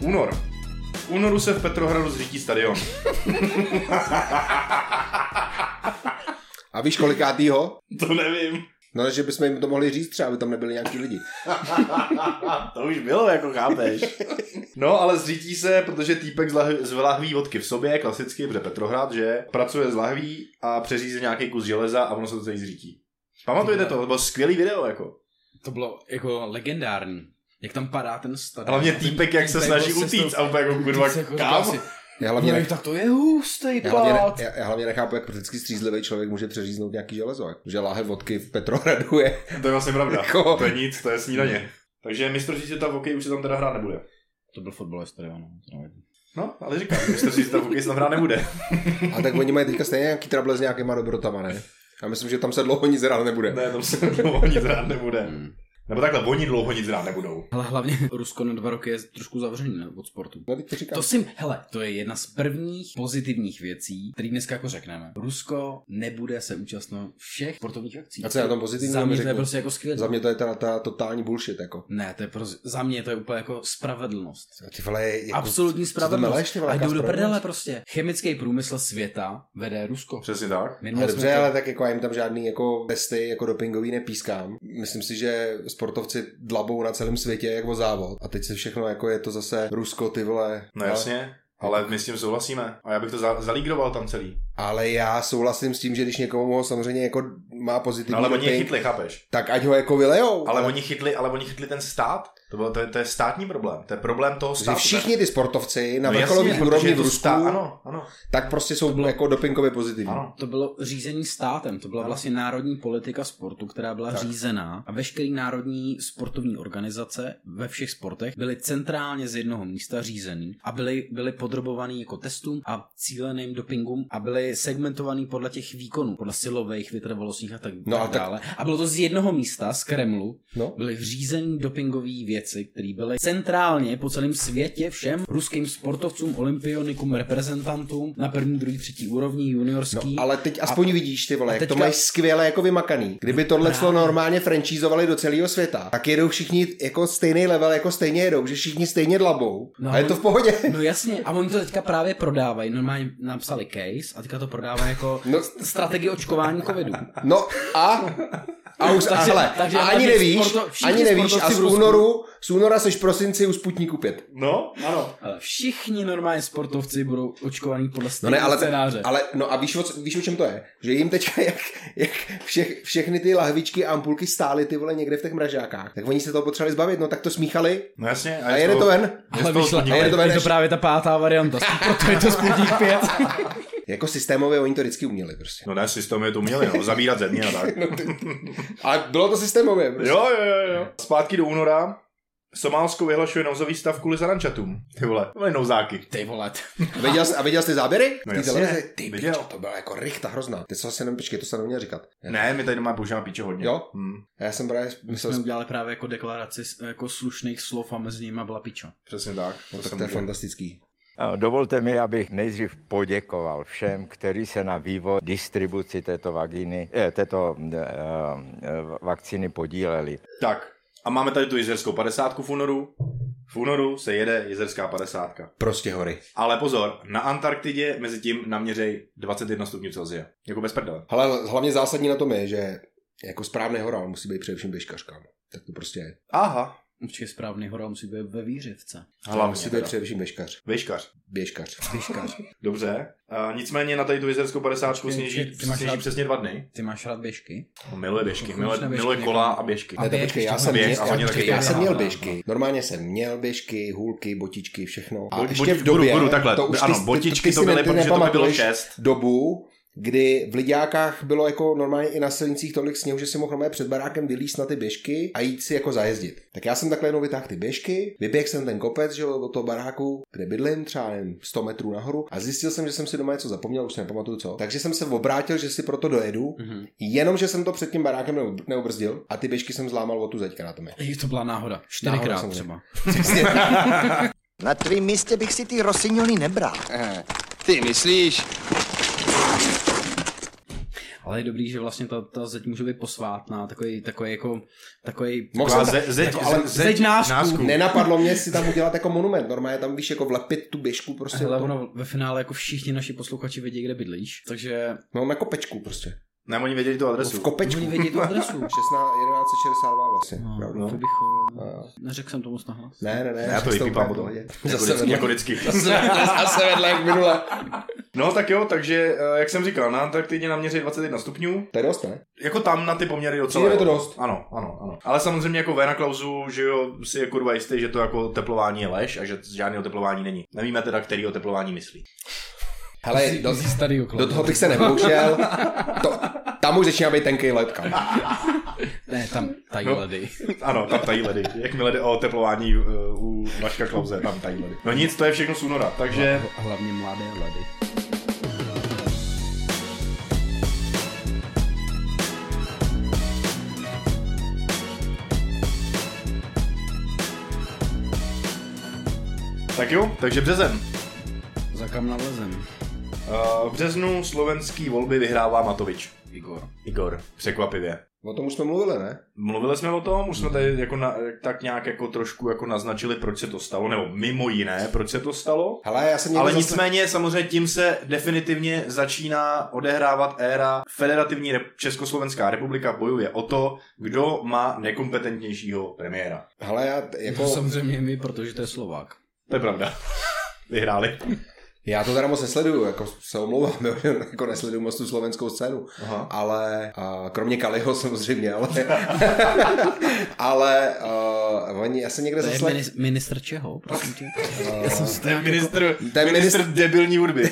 Speaker 1: Únor. V únoru se v Petrohradu zřítí stadion.
Speaker 2: A víš kolikátýho?
Speaker 1: To nevím.
Speaker 2: No, že bychom jim to mohli říct třeba, aby tam nebyli nějaký lidi.
Speaker 1: to už bylo, jako chápeš. No, ale zřítí se, protože týpek z, lah- z lahví vodky v sobě, klasicky, protože Petrohrad, že pracuje z lahví a přeříze nějaký kus železa a ono se to celý zřítí. Pamatujete to? To bylo skvělý video, jako.
Speaker 3: To bylo jako legendární. Jak tam padá ten stadion.
Speaker 1: Hlavně
Speaker 3: A ten
Speaker 1: týpek, jak se
Speaker 3: týpek
Speaker 1: snaží
Speaker 3: prostě
Speaker 1: utíct
Speaker 3: s tou-
Speaker 1: a úplně jako kurva,
Speaker 3: Ty se jako
Speaker 1: kam?
Speaker 3: říkal si,
Speaker 2: Já hlavně,
Speaker 3: "Jej,
Speaker 2: ne,
Speaker 3: tak to je hustý
Speaker 2: já, hlavně
Speaker 3: pát.
Speaker 2: ne, já, já hlavně nechápu, jak vždycky střízlivý člověk může přeříznout nějaký železo. jak- Že láhev vodky v Petrohradu je
Speaker 1: To je vlastně pravda.
Speaker 2: jako...
Speaker 1: To je nic, to je snídaně. Takže mistrovství světa v hokeji už se tam teda hrát nebude.
Speaker 3: To byl fotbalista, jo, no. to nevadí.
Speaker 1: No, ale říkám, mistrovství světa v hokeji se tam hrát nebude.
Speaker 2: A tak oni mají teďka stejně nějaký trable s nějakýma dobrotama, ne? Já myslím, že tam se dlouho nic hrát nebude.
Speaker 1: Ne, tam se dlouho nic hrát nebude.
Speaker 3: Hmm.
Speaker 1: Nebo takhle, oni dlouho nic hrát nebudou.
Speaker 3: Ale hlavně Rusko na dva roky je trošku zavřený ne, od sportu.
Speaker 2: No, teď to říkám.
Speaker 3: To si, hele, to je jedna z prvních pozitivních věcí, který dneska jako řekneme. Rusko nebude se účastno všech sportovních akcí.
Speaker 2: A co je na tom pozitivního,
Speaker 3: Za mě to je
Speaker 2: řekni?
Speaker 3: prostě jako skvělé.
Speaker 2: Za mě to je teda ta totální bullshit, jako.
Speaker 3: Ne, to je prostě, za mě to je úplně jako spravedlnost.
Speaker 2: Ty vole, jako...
Speaker 3: Absolutní
Speaker 2: co to meleš,
Speaker 3: spravedlnost.
Speaker 2: ty vole,
Speaker 3: A
Speaker 2: jaká
Speaker 3: jdou do
Speaker 2: spravedlnost?
Speaker 3: prdele prostě. Chemický průmysl světa vede Rusko.
Speaker 1: Přesně tak.
Speaker 2: Ale
Speaker 3: Minule
Speaker 2: dobře,
Speaker 3: jsme to-
Speaker 2: ale tak jako já jim tam žádný jako testy jako dopingový nepískám. Myslím si, že sportovci dlabou na celém světě jako o závod. A teď se všechno jako je to zase Rusko, ty vole.
Speaker 1: No jasně, ale my s tím souhlasíme. A já bych to za- zalígroval tam celý.
Speaker 2: Ale, ale já souhlasím s tím, že když někomu ho samozřejmě jako má pozitivní
Speaker 1: No, ale oni je
Speaker 2: doping,
Speaker 1: chytli, chápeš?
Speaker 2: tak ať ho jako vylejou.
Speaker 1: Ale oni chytli, ale oni chytli ten stát. To, bylo, to, je, to je státní problém. To je problém toho
Speaker 2: že
Speaker 1: státu.
Speaker 2: všichni ty sportovci na
Speaker 1: No
Speaker 2: no
Speaker 1: jasně,
Speaker 2: vrcholový
Speaker 1: protože
Speaker 2: úrovni
Speaker 1: je
Speaker 2: v
Speaker 1: to
Speaker 2: Rusku,
Speaker 1: stá- Ano, ano,
Speaker 2: tak prostě jsou jako dopingově pozitivní.
Speaker 1: ano.
Speaker 3: To bylo řízení státem, to byla
Speaker 2: No.
Speaker 1: Ano.
Speaker 3: vlastně národní politika sportu, která byla
Speaker 1: Tak.
Speaker 3: tak. řízená a veškeré národní sportovní organizace ve všech sportech byly centrálně z jednoho místa řízený a byly, byly podrobovaný jako testům a cíleným dopingům a byly segmentovaný podle těch výkonů, podle silových, vytrvalostních a tak,
Speaker 2: No
Speaker 3: no
Speaker 2: a
Speaker 3: tak
Speaker 2: tak-
Speaker 3: dále. A bylo to z jednoho místa, z Kremlu,
Speaker 2: No.
Speaker 3: byly řízený dopingové věci, které byly centrálně po celém světě všem ruským sportovcům, olympionikům, reprezentantům na první, druhý, třetí úrovni, juniorský.
Speaker 2: No, ale teď aspoň vidíš, ty vole,
Speaker 3: a
Speaker 2: jak to
Speaker 3: teďka-
Speaker 2: mají skvěle jako vymakaný. Kdyby tohle clo normálně franchízovali do celého světa, tak jedou všichni jako stejný level, jako stejně jedou, že všichni stejně dlabou.
Speaker 3: No.
Speaker 2: a je to v pohodě.
Speaker 3: No jasně, a oni to teďka právě prodávají, normálně napsali case a teďka to prodávají jako
Speaker 2: No.
Speaker 3: no. strategii očkování covidu.
Speaker 2: No a... A už, takže, a,
Speaker 3: Takže-
Speaker 2: hele,
Speaker 3: takže
Speaker 2: a
Speaker 3: ale
Speaker 2: ani
Speaker 3: ty
Speaker 2: nevíš,
Speaker 3: sporto- všichni
Speaker 2: ani nevíš, a
Speaker 3: sportovci
Speaker 2: z
Speaker 3: v Rusku.
Speaker 2: únoru, z února seš v prosinci u Sputníku 5.
Speaker 1: No, ano.
Speaker 3: Ale všichni normálně sportovci budou očkovaní podle
Speaker 2: No ne,
Speaker 3: stejného
Speaker 2: ale,
Speaker 3: scénáře.
Speaker 2: ale no a víš o, co- víš, o čem to je? Že jim teďka, jak, jak všech, všechny ty lahvičky a ampulky stály ty vole někde v těch mražákách, tak oni se toho potřebovali zbavit, no tak to smíchali
Speaker 1: No jasně.
Speaker 2: a
Speaker 1: je
Speaker 2: jede
Speaker 1: toho-
Speaker 2: to ven.
Speaker 1: je z
Speaker 3: ale
Speaker 1: toho
Speaker 3: vyšla,
Speaker 1: podnik-
Speaker 2: a
Speaker 3: ale
Speaker 2: je
Speaker 3: je
Speaker 2: to
Speaker 3: to, je
Speaker 2: vedeš.
Speaker 3: to právě ta pátá varianta, proto je to sputník pět.
Speaker 2: Jako systémově oni to vždycky uměli prostě.
Speaker 1: No ne, systém je to uměli, no, zabírat ze dní a tak.
Speaker 2: No, ty... Ale bylo to systémově. Prostě.
Speaker 1: Jo, jo, jo, jo. Zpátky do února. Somálsko vyhlašuje nouzový stav kvůli zarančatům. Ty vole, to byly nouzáky.
Speaker 3: Ty vole. t-
Speaker 2: A viděl, jsi- a viděl jsi ty záběry?
Speaker 1: No
Speaker 2: Ty
Speaker 1: jasně,
Speaker 2: televize? ty
Speaker 1: viděl.
Speaker 2: viděl. to byla jako rychta hrozná. Ty co asi nevím, počkej, to jsem neměl říkat.
Speaker 1: Ne, my tady doma používáme píče hodně.
Speaker 2: Jo?
Speaker 1: Hm.
Speaker 2: Já jsem právě myslel,
Speaker 3: Jsme
Speaker 2: no,
Speaker 3: udělali právě jako deklaraci s- jako slušných slov a mezi nimi byla pičo.
Speaker 1: Přesně tak. To
Speaker 2: No tak
Speaker 1: jsem
Speaker 2: to je
Speaker 1: viděl.
Speaker 2: fantastický.
Speaker 5: Dovolte mi, abych nejdřív poděkoval všem, kteří se na vývoj distribuci této, vagíny, eh, této eh, eh, vakcíny podíleli.
Speaker 1: Tak, a máme tady tu jezerskou padesátku v únoru. V únoru se jede jezerská padesátka.
Speaker 2: Prostě hory.
Speaker 1: Ale pozor, na Antarktidě mezi tím naměřej 21 stupňů Celsia. Jako bez prdele.
Speaker 2: Ale hlavně zásadní na tom je, že jako správný horál musí být především běžkařka. no. Tak to prostě je.
Speaker 1: Aha,
Speaker 3: Určitě správný hora musí být ve výřivce.
Speaker 1: hlavně
Speaker 2: Musí být
Speaker 1: teda.
Speaker 2: především běžkař.
Speaker 1: Vejškař.
Speaker 2: Běžkař. Běžkař.
Speaker 1: Dobře. A nicméně na tady tu jezerskou padesátku
Speaker 3: Ty-
Speaker 1: sněží,
Speaker 3: ty- ty máš
Speaker 1: sněží
Speaker 3: rád-
Speaker 1: přesně dva dny.
Speaker 3: Ty máš rád běžky?
Speaker 1: On miluje běžky,
Speaker 3: Chodíš
Speaker 1: miluje,
Speaker 3: na běžky
Speaker 1: miluje
Speaker 3: někam?
Speaker 1: kola a běžky.
Speaker 3: A
Speaker 2: Ne, to
Speaker 3: běh
Speaker 2: počkej,
Speaker 3: ještě
Speaker 2: já
Speaker 3: na
Speaker 2: jsem,
Speaker 1: běh,
Speaker 2: měl,
Speaker 1: a oni
Speaker 2: já,
Speaker 1: taky
Speaker 2: počkej, já
Speaker 1: běhají.
Speaker 2: jsem měl
Speaker 3: Aha.
Speaker 2: běžky. Normálně jsem měl běžky, hůlky, botičky, všechno. A
Speaker 1: Bo-
Speaker 2: ještě
Speaker 1: boti-
Speaker 2: v době,
Speaker 1: budu, budu takhle,
Speaker 2: to už
Speaker 1: ano,
Speaker 2: ty,
Speaker 1: botičky
Speaker 2: ty, ty
Speaker 1: to
Speaker 2: si ne-
Speaker 1: byly,
Speaker 2: ty
Speaker 1: protože to by bylo
Speaker 2: nepamatuješ
Speaker 1: šest.
Speaker 2: dobu, kdy v Lidiákách bylo jako normálně i na silnicích tolik sněhu, že si mohl normálně před barákem vylíst na ty běžky a jít si jako zajezdit. Tak já jsem takhle jednou vytáhl ty běžky, vyběhl jsem ten kopec, že jo, do toho baráku, kde bydlím, třeba nevím, 100 metrů nahoru a zjistil jsem, že jsem si doma něco zapomněl, už si nepamatuju co. Takže jsem se obrátil, že si proto dojedu,
Speaker 3: Mhm.
Speaker 2: jenom že jsem to před tím barákem neub- neubrzdil a ty běžky jsem zlámal o tu zeďka na tom je.
Speaker 3: Ej, to byla náhoda.
Speaker 2: Náhoda
Speaker 3: Čtyřikrát
Speaker 2: samozřejmě.
Speaker 3: třeba.
Speaker 6: Na tvém místě bych si ty rosignoli nebral.
Speaker 7: Ty myslíš?
Speaker 3: Ale je dobrý, že vlastně ta, ta zeď může být posvátná, takový, takový jako, takový...
Speaker 2: Mohl
Speaker 1: Taková
Speaker 2: jsem-
Speaker 1: ze- zeď-
Speaker 2: jako, ale
Speaker 1: ze- zeď
Speaker 3: zeď nářků.
Speaker 1: nářků.
Speaker 2: Nenapadlo mě si tam udělat jako monument, normálně tam víš, jako vlepit tu běžku prostě.
Speaker 3: Ale
Speaker 2: do toho.
Speaker 3: ono ve finále jako všichni naši posluchači vědí, kde bydlíš, takže
Speaker 2: No, na kopečku prostě.
Speaker 1: Ne, oni věděli tu
Speaker 2: No, V
Speaker 1: adresu.
Speaker 2: kopečku.
Speaker 3: oni vědí tu adresu.
Speaker 2: 16, 1162 vlastně.
Speaker 3: No,
Speaker 2: pravda.
Speaker 3: to bych...
Speaker 2: No.
Speaker 3: Neřekl jsem to moc nahlas.
Speaker 2: Ne, ne, ne.
Speaker 1: Já to
Speaker 2: jste
Speaker 1: vypípám
Speaker 2: úplně v
Speaker 1: potom.
Speaker 2: pohodě.
Speaker 1: Jako
Speaker 2: Zase
Speaker 1: vždycky,
Speaker 2: vedle.
Speaker 1: jako vždycky.
Speaker 2: Zase vedle jak minule.
Speaker 1: No tak jo, takže eh, jak jsem říkal, na Antarktidě naměří 21 stupňů,
Speaker 2: To je dost, ne?
Speaker 1: jako tam na ty poměry docela.
Speaker 2: Přijde mi to
Speaker 1: jo.
Speaker 2: dost.
Speaker 1: Ano, ano, ano. Ale samozřejmě jako Vena Klausu, že jo, si je kurva jistý, že to jako teplování je lež a že žádný oteplování není. Nevíme teda, který oteplování myslí.
Speaker 2: Hele, do,
Speaker 3: starý
Speaker 2: do toho bych se neboušel. To, tam už začíná být tenkej led, kam.
Speaker 3: Ne, tam, tady
Speaker 1: No.
Speaker 3: ledy.
Speaker 1: Ano, tam tají ledy. Jakmile jde o oteplování eh, u Vaška Klauze, tam tají ledy. No nic, to je všechno z února, takže...
Speaker 3: Hlavně mladé ledy.
Speaker 1: Tak jo, takže březen.
Speaker 2: No.
Speaker 3: Za kam nalezem?
Speaker 1: Eh, V březnu slovenský volby vyhrává Matovič.
Speaker 3: Igor.
Speaker 1: Igor, překvapivě.
Speaker 2: O tom už jsme mluvili, ne?
Speaker 1: Mluvili jsme o tom, už jsme tady jako na, tak nějak jako trošku jako naznačili, proč se to stalo, nebo mimo jiné, proč se to stalo.
Speaker 2: Hele, já jsem někde
Speaker 1: Ale
Speaker 2: zase-
Speaker 1: nicméně samozřejmě tím se definitivně začíná odehrávat éra Federativní rep- Československá republika bojuje o to, kdo má nekompetentnějšího premiéra.
Speaker 2: Hele, já, t-
Speaker 3: Jako... To
Speaker 2: jako,
Speaker 3: samozřejmě my, protože to je Slovák.
Speaker 1: To je pravda. Vyhráli.
Speaker 2: já to teda moc nesleduju, jako se omlouvám, jo, že jako nesleduju moc tu slovenskou scénu.
Speaker 1: Aha.
Speaker 2: ale a, kromě Kaliho samozřejmě, ale ale uh, oni, já jsem někde
Speaker 3: To je
Speaker 2: zaslech,
Speaker 3: minis- ministr čeho, prosím tě?
Speaker 2: Eh,
Speaker 3: Já jsem si to nějak jako...
Speaker 1: Ministr,
Speaker 2: to je ministr,
Speaker 1: debilní hudby.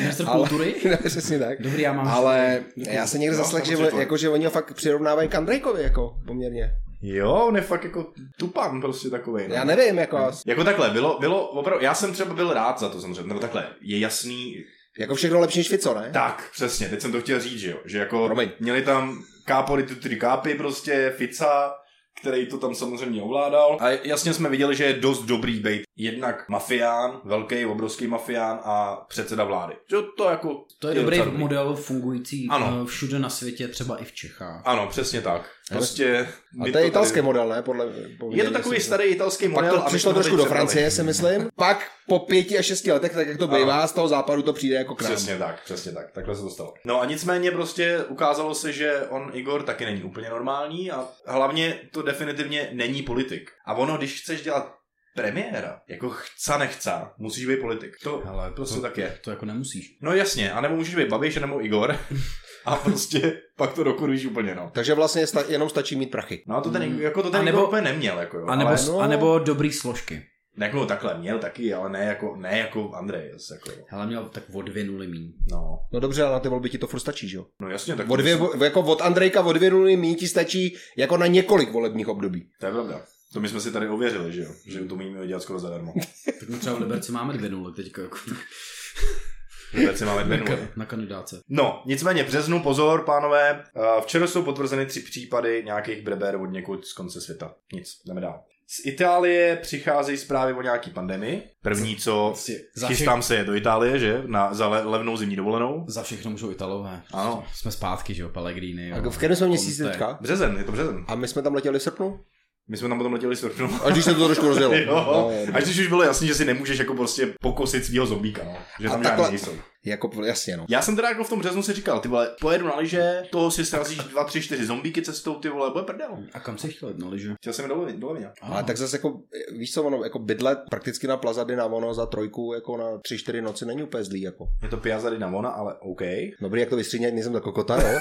Speaker 3: Ministr
Speaker 2: ale,
Speaker 3: kultury?
Speaker 2: ne, přesně tak.
Speaker 3: Dobrý, já mám...
Speaker 2: Ale já jsem někde
Speaker 1: No,
Speaker 2: zaslech, že,
Speaker 1: samozřejmě.
Speaker 2: jako, že oni ho fakt přirovnávají k Andrejkovi, jako poměrně.
Speaker 1: Jo, on je fakt jako tupan prostě takovej. no.
Speaker 2: Já nevím, jako,
Speaker 1: Jako takhle, bylo, bylo opravdu, já jsem třeba byl rád za to samozřejmě, nebo takhle, je jasný,
Speaker 2: jako všechno lepší než Fico, ne?
Speaker 1: Tak, přesně, teď jsem to chtěl říct, že jo, že jako
Speaker 2: Promiň.
Speaker 1: měli tam kápory, ty tři kápy prostě, Fica, který to tam samozřejmě ovládal. A jasně jsme viděli, že je dost dobrý být jednak mafián, velký, obrovský mafián a předseda vlády. Že to jako...
Speaker 3: To je dobrý
Speaker 1: docela
Speaker 3: model fungující
Speaker 1: Ano.
Speaker 3: ano. všude na světě, třeba i v Čechách.
Speaker 1: Ano, přesně tak. Prostě... my
Speaker 2: A to
Speaker 1: tady-
Speaker 2: je italský model, ne? Podle,
Speaker 1: Je to takový starý italský model.
Speaker 2: Pak
Speaker 1: a my
Speaker 2: to přišlo
Speaker 1: jsme ho
Speaker 2: trošku
Speaker 1: tady
Speaker 2: do
Speaker 1: přebrali.
Speaker 2: Francie, si myslím. Pak po pěti a šesti letech, tak jak to bývá, z toho západu to přijde jako k nám.
Speaker 1: Přesně tak, přesně tak, takhle se to stalo. No a nicméně prostě ukázalo se, že on Igor taky není úplně normální a hlavně to definitivně není politik. A ono, když chceš dělat premiéra, jako chca nechca, musíš být politik. To hele, prostě tak je.
Speaker 3: To jako nemusíš.
Speaker 1: No jasně, anebo můžeš být Babiš, nebo Igor. A prostě pak to dokuruješ úplně, no.
Speaker 2: Takže vlastně sta- jenom stačí mít prachy.
Speaker 1: No a to ten, jako to ten
Speaker 3: A
Speaker 1: nebo,
Speaker 3: nebo-
Speaker 1: úplně neměl, jako jo.
Speaker 3: A nebo,
Speaker 1: ale,
Speaker 2: no.
Speaker 3: a nebo dobrý složky.
Speaker 1: Jako takhle, měl taky, ale ne jako, ne jako Andrej. Zase jako,
Speaker 3: Hele, měl tak o dvě nuly míň.
Speaker 1: no.
Speaker 2: No dobře, ale na ty volby ti to furt stačí, že jo?
Speaker 1: no jasně, tak
Speaker 2: O dvě,
Speaker 1: to,
Speaker 2: vo- jako od Andrejka o dvě nuly míň ti stačí jako na několik volebních období.
Speaker 1: to je pravda. Hmm. To my jsme si tady ověřili, že jo? Že to umíme dělat skoro zadarmo.
Speaker 3: Tak my třeba v Liberci máme dvě nuly teďka. Jako
Speaker 1: Liberci máme dvě nuly.
Speaker 3: na, na kandidáce.
Speaker 1: No, nicméně v březnu, pozor, pánové, eh, včera jsou potvrzeny tři případy nějakých breber od někud z konce světa. Nic, jdeme dál. Z Itálie přicházejí zprávy o nějaký pandemii. První, co
Speaker 3: Za, vše,
Speaker 1: chystám se je do Itálie, že? Na, za le, levnou zimní dovolenou.
Speaker 3: za všechno můžou Italové.
Speaker 1: Ano.
Speaker 3: Jsme zpátky, že jo, Pellegrini. Jo.
Speaker 2: A v kterém jsme měsíci
Speaker 3: Conte.
Speaker 2: teďka?
Speaker 1: Březen, je to březen.
Speaker 2: A my jsme tam letěli v srpnu?
Speaker 1: My jsme tam potom letěli s Torfnou.
Speaker 2: A když se to trošku rozjelo.
Speaker 1: Jo,
Speaker 2: No,
Speaker 1: až když už bylo jasný, že si nemůžeš jako prostě pokosit svýho zombíka, no. že
Speaker 2: A
Speaker 1: tam
Speaker 2: takhle-
Speaker 1: žádný nejsou.
Speaker 2: jako, jasně, no.
Speaker 1: Já jsem teda jako v tom březnu si říkal, ty vole, pojedu na liže, toho si srazíš dva, tři, čtyři zombíky cestou, ty vole, bude prdel.
Speaker 3: A kam se no, chtěl jet na liže?
Speaker 1: Chtěl jsem jít do Lovin- do Lovině.
Speaker 2: Ale tak zase jako, víš co, ono, jako bydlet prakticky na Plaza Dynamo, ono za trojku, jako na tři, čtyři noci není úplně zlý, jako.
Speaker 1: Je to Piazza di Navona, ale OK.
Speaker 2: Dobrý, jak to vystříňat, nejsem tak kokota, jo?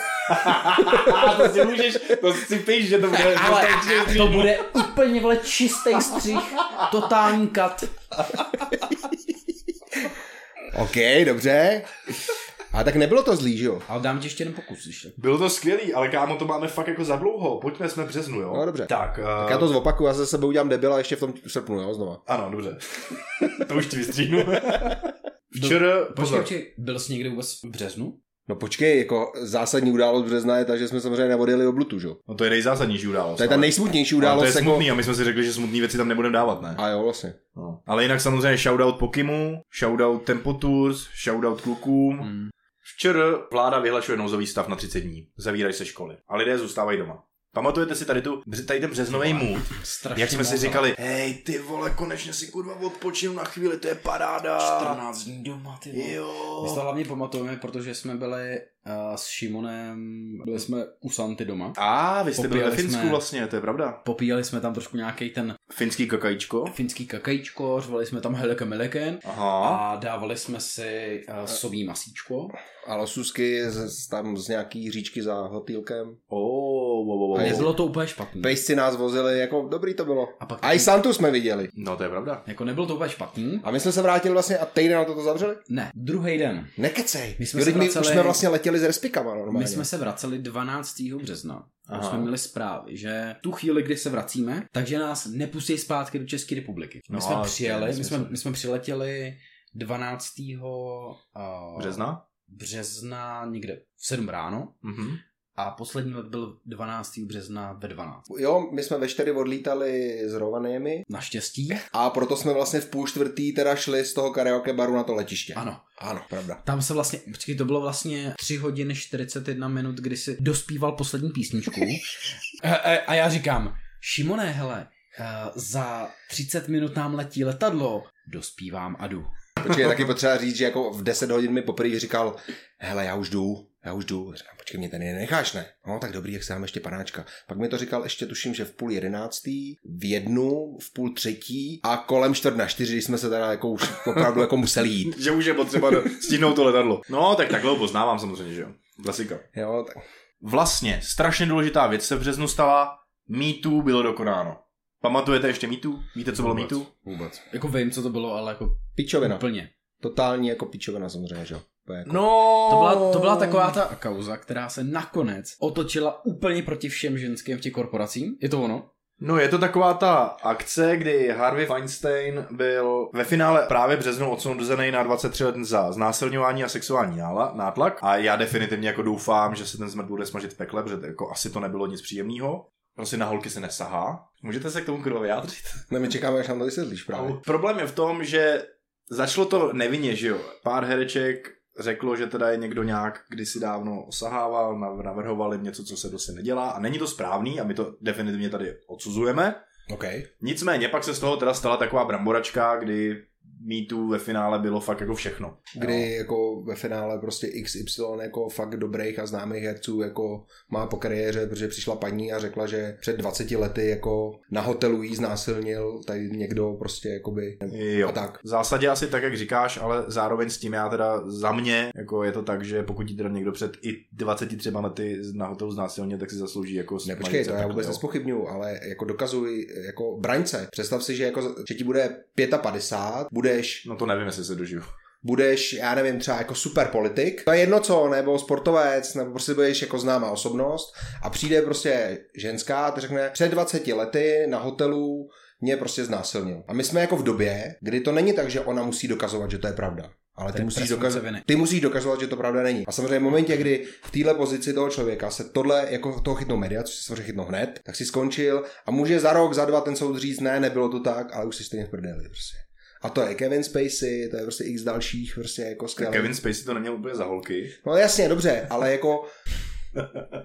Speaker 1: A to si můžeš, to si píš, že to bude.
Speaker 3: Ale No, to bude úplně vole čistý střih, totální kat.
Speaker 2: OK, dobře. A tak nebylo to zlý, že jo?
Speaker 3: Ale dám ti ještě jeden pokus, když tak.
Speaker 1: Bylo to skvělý, ale kámo, to máme fakt jako za dlouho. Pojďme, jsme v březnu, jo?
Speaker 2: No, dobře.
Speaker 1: Tak, uh,
Speaker 2: Tak já to zopakuju, já se sebe udělám debila ještě v tom srpnu, jo, znova.
Speaker 1: ano, dobře. to už ti vystříhnu. Včera,
Speaker 3: Počkej,
Speaker 1: pozor,
Speaker 3: počkej, byl jsi někdy vůbec v březnu?
Speaker 2: No počkej, jako zásadní událost března je ta, že jsme samozřejmě neodjeli oblutu, že jo?
Speaker 1: no to je nejzásadnější událost.
Speaker 2: To je ta
Speaker 1: ale-
Speaker 2: nejsmutnější
Speaker 1: Ale to je
Speaker 2: událost, jako...
Speaker 1: smutný a my jsme si řekli, že smutný věci tam nebudeme dávat, ne?
Speaker 2: A jo, vlastně.
Speaker 1: No. Ale jinak samozřejmě shoutout Pokimu, shoutout Tempo Tours, shoutout klukům.
Speaker 3: Mm.
Speaker 1: Včera vláda vyhlašuje nouzový stav na 30 dní. Zavírají se školy. A lidé zůstávají doma. Pamatujete si tady, tu, tady ten březnový mood?
Speaker 3: Strašně
Speaker 1: Jak jsme si
Speaker 3: moc,
Speaker 1: říkali, hej ty vole, konečně si kurva odpočinu na chvíli, to je paráda.
Speaker 3: ale 14 dní doma, ty vole. My si to
Speaker 1: Jo.
Speaker 3: hlavně pamatujeme, protože jsme byli uh, s Šimonem, byli jsme u Santy doma.
Speaker 1: A vy jste byli ve
Speaker 3: Popíjeli
Speaker 1: Finsku
Speaker 3: jsme.
Speaker 1: vlastně, to je pravda.
Speaker 3: Popíjeli jsme tam trošku nějaký ten
Speaker 1: Finský kakajíčko.
Speaker 3: finský kakejčko, řvali jsme tam heleke meleken
Speaker 1: Aha.
Speaker 3: a dávali jsme si uh, sobí masíčko.
Speaker 2: A losusky z, z- tam z nějaký říčky za hotýlkem.
Speaker 1: Oh, wow, wow,
Speaker 2: A
Speaker 1: wow.
Speaker 2: je zlo-
Speaker 3: Nebylo to úplně špatný.
Speaker 2: Pejsci nás vozili, jako dobrý to bylo.
Speaker 3: A pak
Speaker 2: A i Santu jsme viděli.
Speaker 1: No to je pravda.
Speaker 3: jako nebylo to úplně špatný.
Speaker 2: A my jsme se vrátili vlastně a týden na to to zavřeli?
Speaker 3: Ne, druhý den.
Speaker 2: Nekecej.
Speaker 3: My jsme
Speaker 2: Jo,
Speaker 3: se
Speaker 2: teď my
Speaker 3: vraceli-
Speaker 2: už jsme vlastně letěli s respikama normálně.
Speaker 3: My jsme se vraceli 12. března. Už
Speaker 1: Aha.
Speaker 3: jsme měli zprávy, že tu chvíli, kdy se vracíme, takže nás nepustí zpátky do České republiky. My
Speaker 1: No,
Speaker 3: no, jsme
Speaker 1: ale to je
Speaker 3: přijeli, my
Speaker 1: nesmysl.
Speaker 3: jsme, my jsme přiletěli 12. Uh,
Speaker 1: Března?
Speaker 3: března někde v 7 ráno
Speaker 1: Mhm.
Speaker 3: a poslední let byl 12. března ve 12.
Speaker 2: Jo, my jsme ve čtyři odlítali s Rovanými
Speaker 3: Naštěstí,
Speaker 1: Eh,
Speaker 2: a proto jsme vlastně v půl čtvrtý teda šli z toho karaoke baru na to letiště.
Speaker 3: ano.
Speaker 2: ano, pravda.
Speaker 3: Tam se vlastně, počkej, to bylo vlastně 3 hodiny 41 minut, kdy si dospíval poslední písničku. a, a, a já říkám, Šimone, hele, eh, za 30 minut nám letí letadlo, dospívám a jdu.
Speaker 2: Počkej, taky potřeba říct, že jako v 10 hodin mi poprvé říkal, hele, já už jdu, já už jdu. Říkám, počkej, mě tady nenecháš, ne? No, tak dobrý, jak se dám ještě panáčka. Pak mi to říkal ještě, tuším, že v půl jedenáctý, v jednu, v půl třetí a kolem čtvrt na čtyři, když jsme se teda jako už opravdu jako museli jít.
Speaker 1: Že už je potřeba do- stihnout to letadlo. No, tak takhle ho poznávám samozřejmě, že jo. Klasika.
Speaker 2: Jo, tak.
Speaker 1: Vlastně strašně důležitá věc se v březnu stala. MeToo bylo dokonáno. Pamatujete ještě MeToo? Víte, co bylo
Speaker 2: Vůbec.
Speaker 1: MeToo?
Speaker 2: Vůbec.
Speaker 3: Jako vím, co to bylo, ale jako
Speaker 2: Pičovina.
Speaker 3: úplně.
Speaker 2: Totální jako pičovina samozřejmě, že jo. To je Jako...
Speaker 1: No,
Speaker 3: To byla, to byla taková ta kauza, která se nakonec otočila úplně proti všem ženským v těch korporacím. Je to ono?
Speaker 1: No, je to taková ta akce, kdy Harvey Weinstein byl ve finále právě v březnu odsouzený na 23 let za znásilňování a sexuální nála- nátlak. A já definitivně jako doufám, že se ten smrt bude smažit v pekle, protože to jako asi to nebylo nic příjemného. Prostě na holky se nesahá. Můžete se k tomu kurva vyjádřit?
Speaker 2: Ne, No, my čekáme, až nám to vysvětlíš právě.
Speaker 1: Právě. Problém je v tom, že začalo to nevinně, že jo. Pár hereček řeklo, že teda je někdo nějak kdysi dávno osahával, nav- navrhoval jim něco, co se dosy nedělá a není to správný a my to definitivně tady odsuzujeme.
Speaker 2: OK.
Speaker 1: Nicméně pak se z toho teda stala taková bramboračka, kdy mítů ve finále bylo fakt jako všechno.
Speaker 2: kdy jako ve finále prostě XY jako fakt dobrých a známých herců jako má po kariéře, protože přišla paní a řekla, že před 20 lety jako na hotelu jí znásilnil tady někdo prostě jakoby
Speaker 1: Jo.
Speaker 2: a tak.
Speaker 1: V zásadě asi tak, jak říkáš, ale zároveň s tím já teda za mě, jako je to tak, že pokud ti teda někdo před i 23 lety na hotelu znásilně, tak si zaslouží jako
Speaker 2: Ne,
Speaker 1: smajce,
Speaker 2: počkej, to já
Speaker 1: takhle,
Speaker 2: vůbec
Speaker 1: jo.
Speaker 2: nespochybnuju, ale jako dokazuji jako braňce. Představ si, že, jako, že ti bude 55, budeš
Speaker 1: No to nevím, jestli se dožiju.
Speaker 2: budeš, já nevím, třeba jako super politik, to je jedno co, nebo sportovec, nebo prostě budeš jako známá osobnost a přijde prostě ženská a ta řekne, před 20 lety na hotelu mě prostě znásilnil. A my jsme jako v době, kdy to není tak, že ona musí dokazovat, že to je pravda. Ale ty
Speaker 3: je
Speaker 2: musíš,
Speaker 3: presumpce
Speaker 2: dokazovat,
Speaker 3: viny.
Speaker 2: ty musíš dokazovat, že to pravda není. A samozřejmě v momentě, kdy v téhle pozici toho člověka se tohle, jako toho chytnou média, což se samozřejmě chytnou hned, tak si skončil a může za rok, za dva ten soud říct, ne, nebylo to tak, ale už si stejně v prdeli. Prostě. A to je Kevin Spacey, to je prostě x dalších prostě jako skvělých.
Speaker 1: Kevin Spacey to neměl úplně za holky.
Speaker 2: No jasně, dobře, ale jako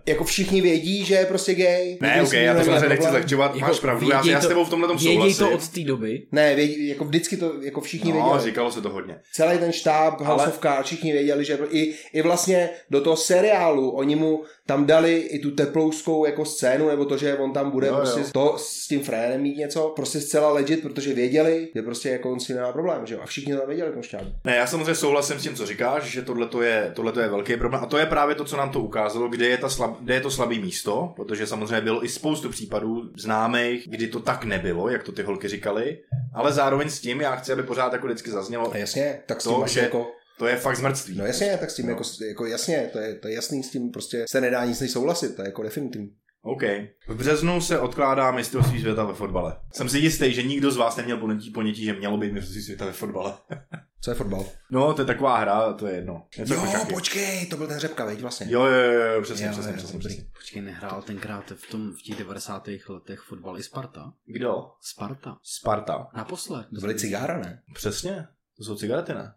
Speaker 2: jako všichni vědí, že je prostě gay.
Speaker 1: Ne,
Speaker 2: Nikdy
Speaker 1: ok,
Speaker 2: s ním
Speaker 1: já to
Speaker 2: neměl
Speaker 1: samozřejmě nechci
Speaker 2: problém.
Speaker 1: zlehčovat, máš pravdu, já,
Speaker 3: Jako věděj
Speaker 1: já s
Speaker 3: to-
Speaker 1: tebou v tomhle tom
Speaker 3: Věděj
Speaker 1: souhlasím.
Speaker 3: to od té doby.
Speaker 2: Ne, vědí, jako vždycky to, jako všichni no,
Speaker 1: No,
Speaker 2: věděli.
Speaker 1: říkalo se to hodně.
Speaker 2: Celý ten štáb, Housovka, všichni věděli, že i, i vlastně do toho seriálu oni mu tam dali i tu teplouskou jako scénu, nebo to, že on tam bude
Speaker 1: Jo,
Speaker 2: jo, prostě
Speaker 1: jo.
Speaker 2: jo. to s tím frérem mít něco, prostě zcela legit, protože věděli, že prostě jako on si nemá problém, že jo, a všichni to tam věděli v tom štábu.
Speaker 1: Ne, já samozřejmě souhlasím s tím, co říkáš, že tohle je, tohleto je velký problém. A to je právě to, co nám to ukázalo, kde je, ta slab, kde je to slabý místo, protože samozřejmě bylo i spoustu případů známých, kdy to tak nebylo, jak to ty holky říkali. Ale zároveň s tím já chci, aby pořád jako vždycky zaznělo,
Speaker 2: A jasně, tak s
Speaker 1: To,
Speaker 2: tím máš
Speaker 1: že-
Speaker 2: jako
Speaker 1: to je fakt zmrtví.
Speaker 2: No jasně, tak s tím
Speaker 1: No.
Speaker 2: no. jako, jako, jasně, to je, to je jasný, s tím prostě se nedá nic než souhlasit, to je jako definitivní.
Speaker 1: OK. V březnu se odkládá mistrovství světa ve fotbale. Jsem si jistý, že nikdo z vás neměl ponětí, ponětí že mělo být mistrovství světa ve fotbale.
Speaker 2: Co je fotbal?
Speaker 1: No, to je taková hra, to je jedno. Něco jako šaky.
Speaker 2: počkej, to byl ten řepka, veď vlastně.
Speaker 1: Jo, jo, jo, jo, přesně,
Speaker 2: Jo,
Speaker 1: přesně,
Speaker 2: jo,
Speaker 1: přesně,
Speaker 2: dobrý.
Speaker 1: přesně.
Speaker 3: Počkej, nehrál tenkrát v tom v těch 90. letech fotbal i Sparta?
Speaker 1: Kdo?
Speaker 3: Sparta.
Speaker 1: Sparta.
Speaker 3: Naposled.
Speaker 2: To byly cigára, ne?
Speaker 1: Přesně, to jsou cigarety, ne?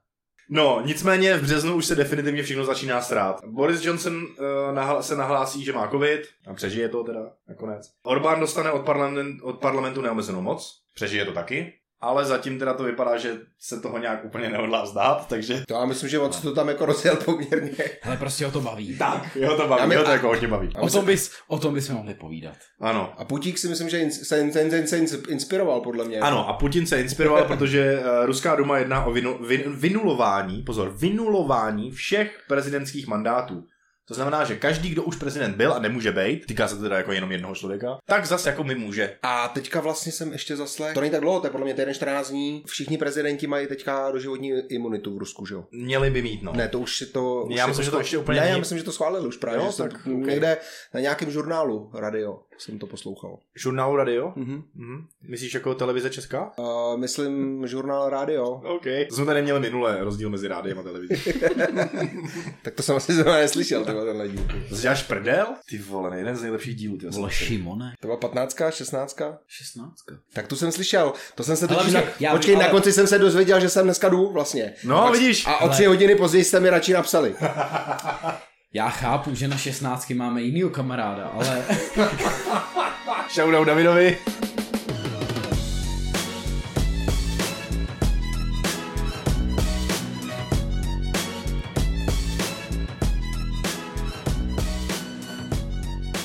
Speaker 1: No, nicméně v březnu už se definitivně všechno začíná strát. Boris Johnson uh, nahl- se nahlásí, že má covid a přežije to teda nakonec. Orbán dostane od, parlament- od parlamentu neomezenou moc, přežije to taky, ale zatím teda to vypadá, že se toho nějak úplně nehodlá vzdát, takže
Speaker 2: To já myslím, že on se to tam jako rozjel poměrně.
Speaker 3: Ale prostě ho to baví.
Speaker 1: tak, jo to
Speaker 2: A
Speaker 1: baví,
Speaker 2: my-
Speaker 1: jo to jako hodně baví.
Speaker 2: A,
Speaker 3: O tom,
Speaker 2: myslím,
Speaker 3: bys, o tom bychom mohli povídat.
Speaker 1: Ano.
Speaker 2: a Putík si myslím, že ins- se, in- se, se, se ins- inspiroval podle mě.
Speaker 1: Ano, a Putin se inspiroval, protože eh, Ruská duma jedná o vinu, vin, vynulování, pozor, vynulování všech prezidentských mandátů. To znamená, že každý, kdo už prezident byl a nemůže být, týká se to teda jako jenom jednoho člověka, tak zase jako my může.
Speaker 2: A teďka vlastně jsem ještě zaslech, to není tak dlouho, to je podle mě týden 14 dní, všichni prezidenti mají teďka doživotní imunitu v Rusku, že jo?
Speaker 1: Měli by mít, no.
Speaker 2: Ne, to už si to... Už
Speaker 1: Já
Speaker 2: si
Speaker 1: myslím, že to ještě úplně
Speaker 2: Ne,
Speaker 1: není.
Speaker 2: já myslím, že to schválili už právě,
Speaker 1: Jo,
Speaker 2: že jsem
Speaker 1: tak,
Speaker 2: to,
Speaker 1: ok.
Speaker 2: někde na nějakém žurnálu radio jsem to poslouchal.
Speaker 1: Žurnálu Radio?
Speaker 2: Mhm.
Speaker 1: Mhm. Myslíš jako televize Česká?
Speaker 2: Uh, myslím žurnál rádio.
Speaker 1: OK. To jsme tady měli minule, rozdíl mezi rádiem a televizí.
Speaker 2: Tak to jsem asi zrovna neslyšel, to byl tenhle díl.
Speaker 1: To si děláš prdel? Ty vole, jeden z nejlepších dílů. Ty já jsem-
Speaker 3: Vole, Šimone.
Speaker 2: To byla 15, 16.
Speaker 3: 16.
Speaker 2: Tak tu jsem slyšel. To jsem se
Speaker 3: Ale
Speaker 2: totiž... Na,
Speaker 3: počkej, já
Speaker 2: počkej,
Speaker 3: vím,
Speaker 2: na
Speaker 3: ale-
Speaker 2: konci jsem se dozvěděl, že jsem dneska jdu vlastně.
Speaker 1: No,
Speaker 2: Pak-
Speaker 1: vidíš.
Speaker 2: A o tři hodiny později jste mi radši napsali.
Speaker 3: Já chápu, že na 16 máme jinýho kamaráda, ale...
Speaker 1: Shoutout Davidovi.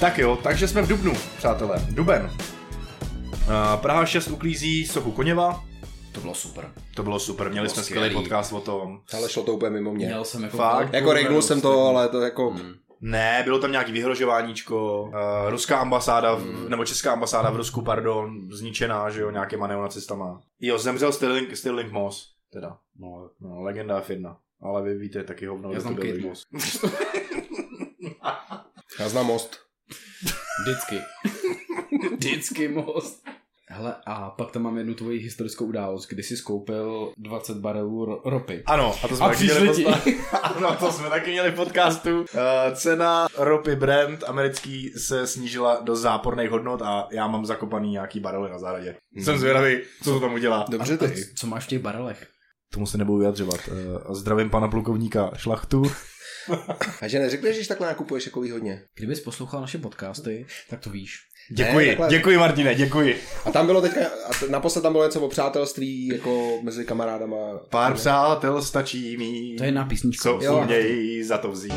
Speaker 1: Tak jo, takže jsme v Dubnu, přátelé. Duben. Eh, Praha 6 uklízí sochu Koněva.
Speaker 3: to bylo super.
Speaker 1: To bylo super, měli
Speaker 3: Bylo
Speaker 1: jsme skvělý
Speaker 3: skvělý.
Speaker 1: podcast o tom.
Speaker 2: Ale šlo to úplně mimo mě.
Speaker 3: Měl jsem jako...
Speaker 1: Fakt?
Speaker 3: velkou
Speaker 2: Jako regnul
Speaker 3: radost,
Speaker 2: jsem
Speaker 3: jako-
Speaker 2: to, ale to jako...
Speaker 3: Hmm.
Speaker 1: Ne, bylo tam nějaký vyhrožováníčko, uh, ruská ambasáda, v, nebo česká ambasáda v Rusku, pardon, zničená, že jo, nějakýma neonacistama. Jo, zemřel Stirling, Stirling Moss, teda. No, no legenda F1. Ale vy víte, taky hovno.
Speaker 3: Já
Speaker 1: že
Speaker 3: znám
Speaker 1: to byl
Speaker 3: Kate
Speaker 1: Lee.
Speaker 3: Moss.
Speaker 2: Já znám most.
Speaker 3: Vždycky. Vždycky most. Hele, a pak tam mám jednu tvoji historickou událost, kdy jsi skoupil 20 barelů ro- ropy.
Speaker 1: Ano, a to jsme
Speaker 3: A
Speaker 1: taky
Speaker 3: přišli
Speaker 1: měli
Speaker 3: ti.
Speaker 1: podca- Ano, to jsme taky měli v podcastu. Uh, cena ropy Brent americký se snížila do záporných hodnot a já mám zakopaný nějaký barely na zahradě. Jsem zvědavý, co to tam udělá.
Speaker 2: Dobře
Speaker 3: A
Speaker 2: ty.
Speaker 3: co máš v těch barelech?
Speaker 1: Tomu se nebudu vyjadřovat. Uh, zdravím pana plukovníka Šlachtu.
Speaker 2: A že neřekneš, že takhle nakupuješ jako výhodně.
Speaker 3: Kdybys poslouchal naše podcasty, tak to víš.
Speaker 1: Děkuji,
Speaker 2: takhle.
Speaker 1: děkuji Martine, děkuji.
Speaker 2: A tam bylo teďka, a t- naposled tam bylo něco o přátelství, jako mezi kamarádama.
Speaker 1: Pár přátel stačí mít,
Speaker 3: To je na písničku.
Speaker 1: co
Speaker 2: Jo.
Speaker 1: umějí za to vzít.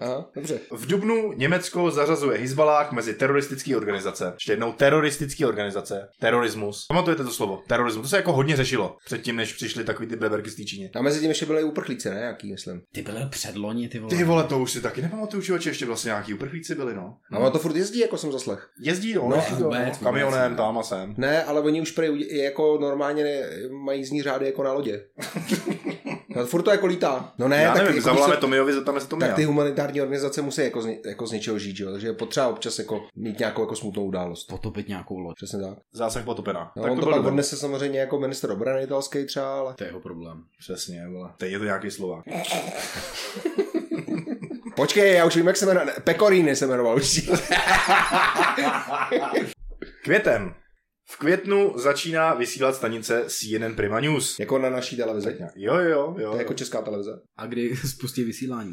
Speaker 2: Aha, dobře.
Speaker 1: V Dubnu Německo zařazuje Hizbalách mezi teroristické organizace. Ještě jednou teroristické organizace. Terorismus. Pamatujete to slovo? Terorismus. To se jako hodně řešilo předtím, než přišly takový ty bleberky z Týčině.
Speaker 2: A mezi tím ještě byly uprchlíci, ne? Jaký, myslím.
Speaker 3: Ty byly předloni, ty vole.
Speaker 1: Ty vole, to už si taky nepamatuju, čověče, ještě vlastně nějaký uprchlíci byli, no.
Speaker 2: A ono to furt jezdí, jako jsem zaslech.
Speaker 1: Jezdí, no,
Speaker 2: No,
Speaker 1: jezdí to,
Speaker 3: vůbec,
Speaker 1: no,
Speaker 3: vůbec,
Speaker 1: kamionem,
Speaker 3: ne.
Speaker 1: tam a sem.
Speaker 2: Ne, ale oni už prej udě- i jako normálně ne, mají jízdní řády jako na lodě. No, furt to jako lítá. No ne,
Speaker 1: Já
Speaker 2: tak,
Speaker 1: nevím,
Speaker 2: jako,
Speaker 1: zavoláme
Speaker 2: když se-
Speaker 1: Tomiovi, zeptáme se Tomia.
Speaker 2: tak ty humanitární organizace musí jako z, ně- jako z něčeho žít, že jo? Takže je potřeba občas jako mít nějakou jako smutnou událost.
Speaker 3: Potopit nějakou loď.
Speaker 2: Přesně tak.
Speaker 1: Zásah potopená.
Speaker 2: No,
Speaker 1: tak
Speaker 2: on to,
Speaker 1: byl
Speaker 2: pak
Speaker 1: Duben.
Speaker 2: odnese samozřejmě jako minister obrany italský třeba, ale
Speaker 3: To je jeho problém.
Speaker 1: Přesně, vole. Teď je to nějaký slova.
Speaker 2: Počkej, já už vím, jak se jmenuje. Pekoríny se jmenoval už.
Speaker 1: Květem. V květnu začíná vysílat stanice CNN Prima News.
Speaker 2: jako na naší televizi.
Speaker 1: Jo, jo, jo.
Speaker 2: To
Speaker 1: jo.
Speaker 2: je jako česká televize.
Speaker 3: A kdy spustí vysílání?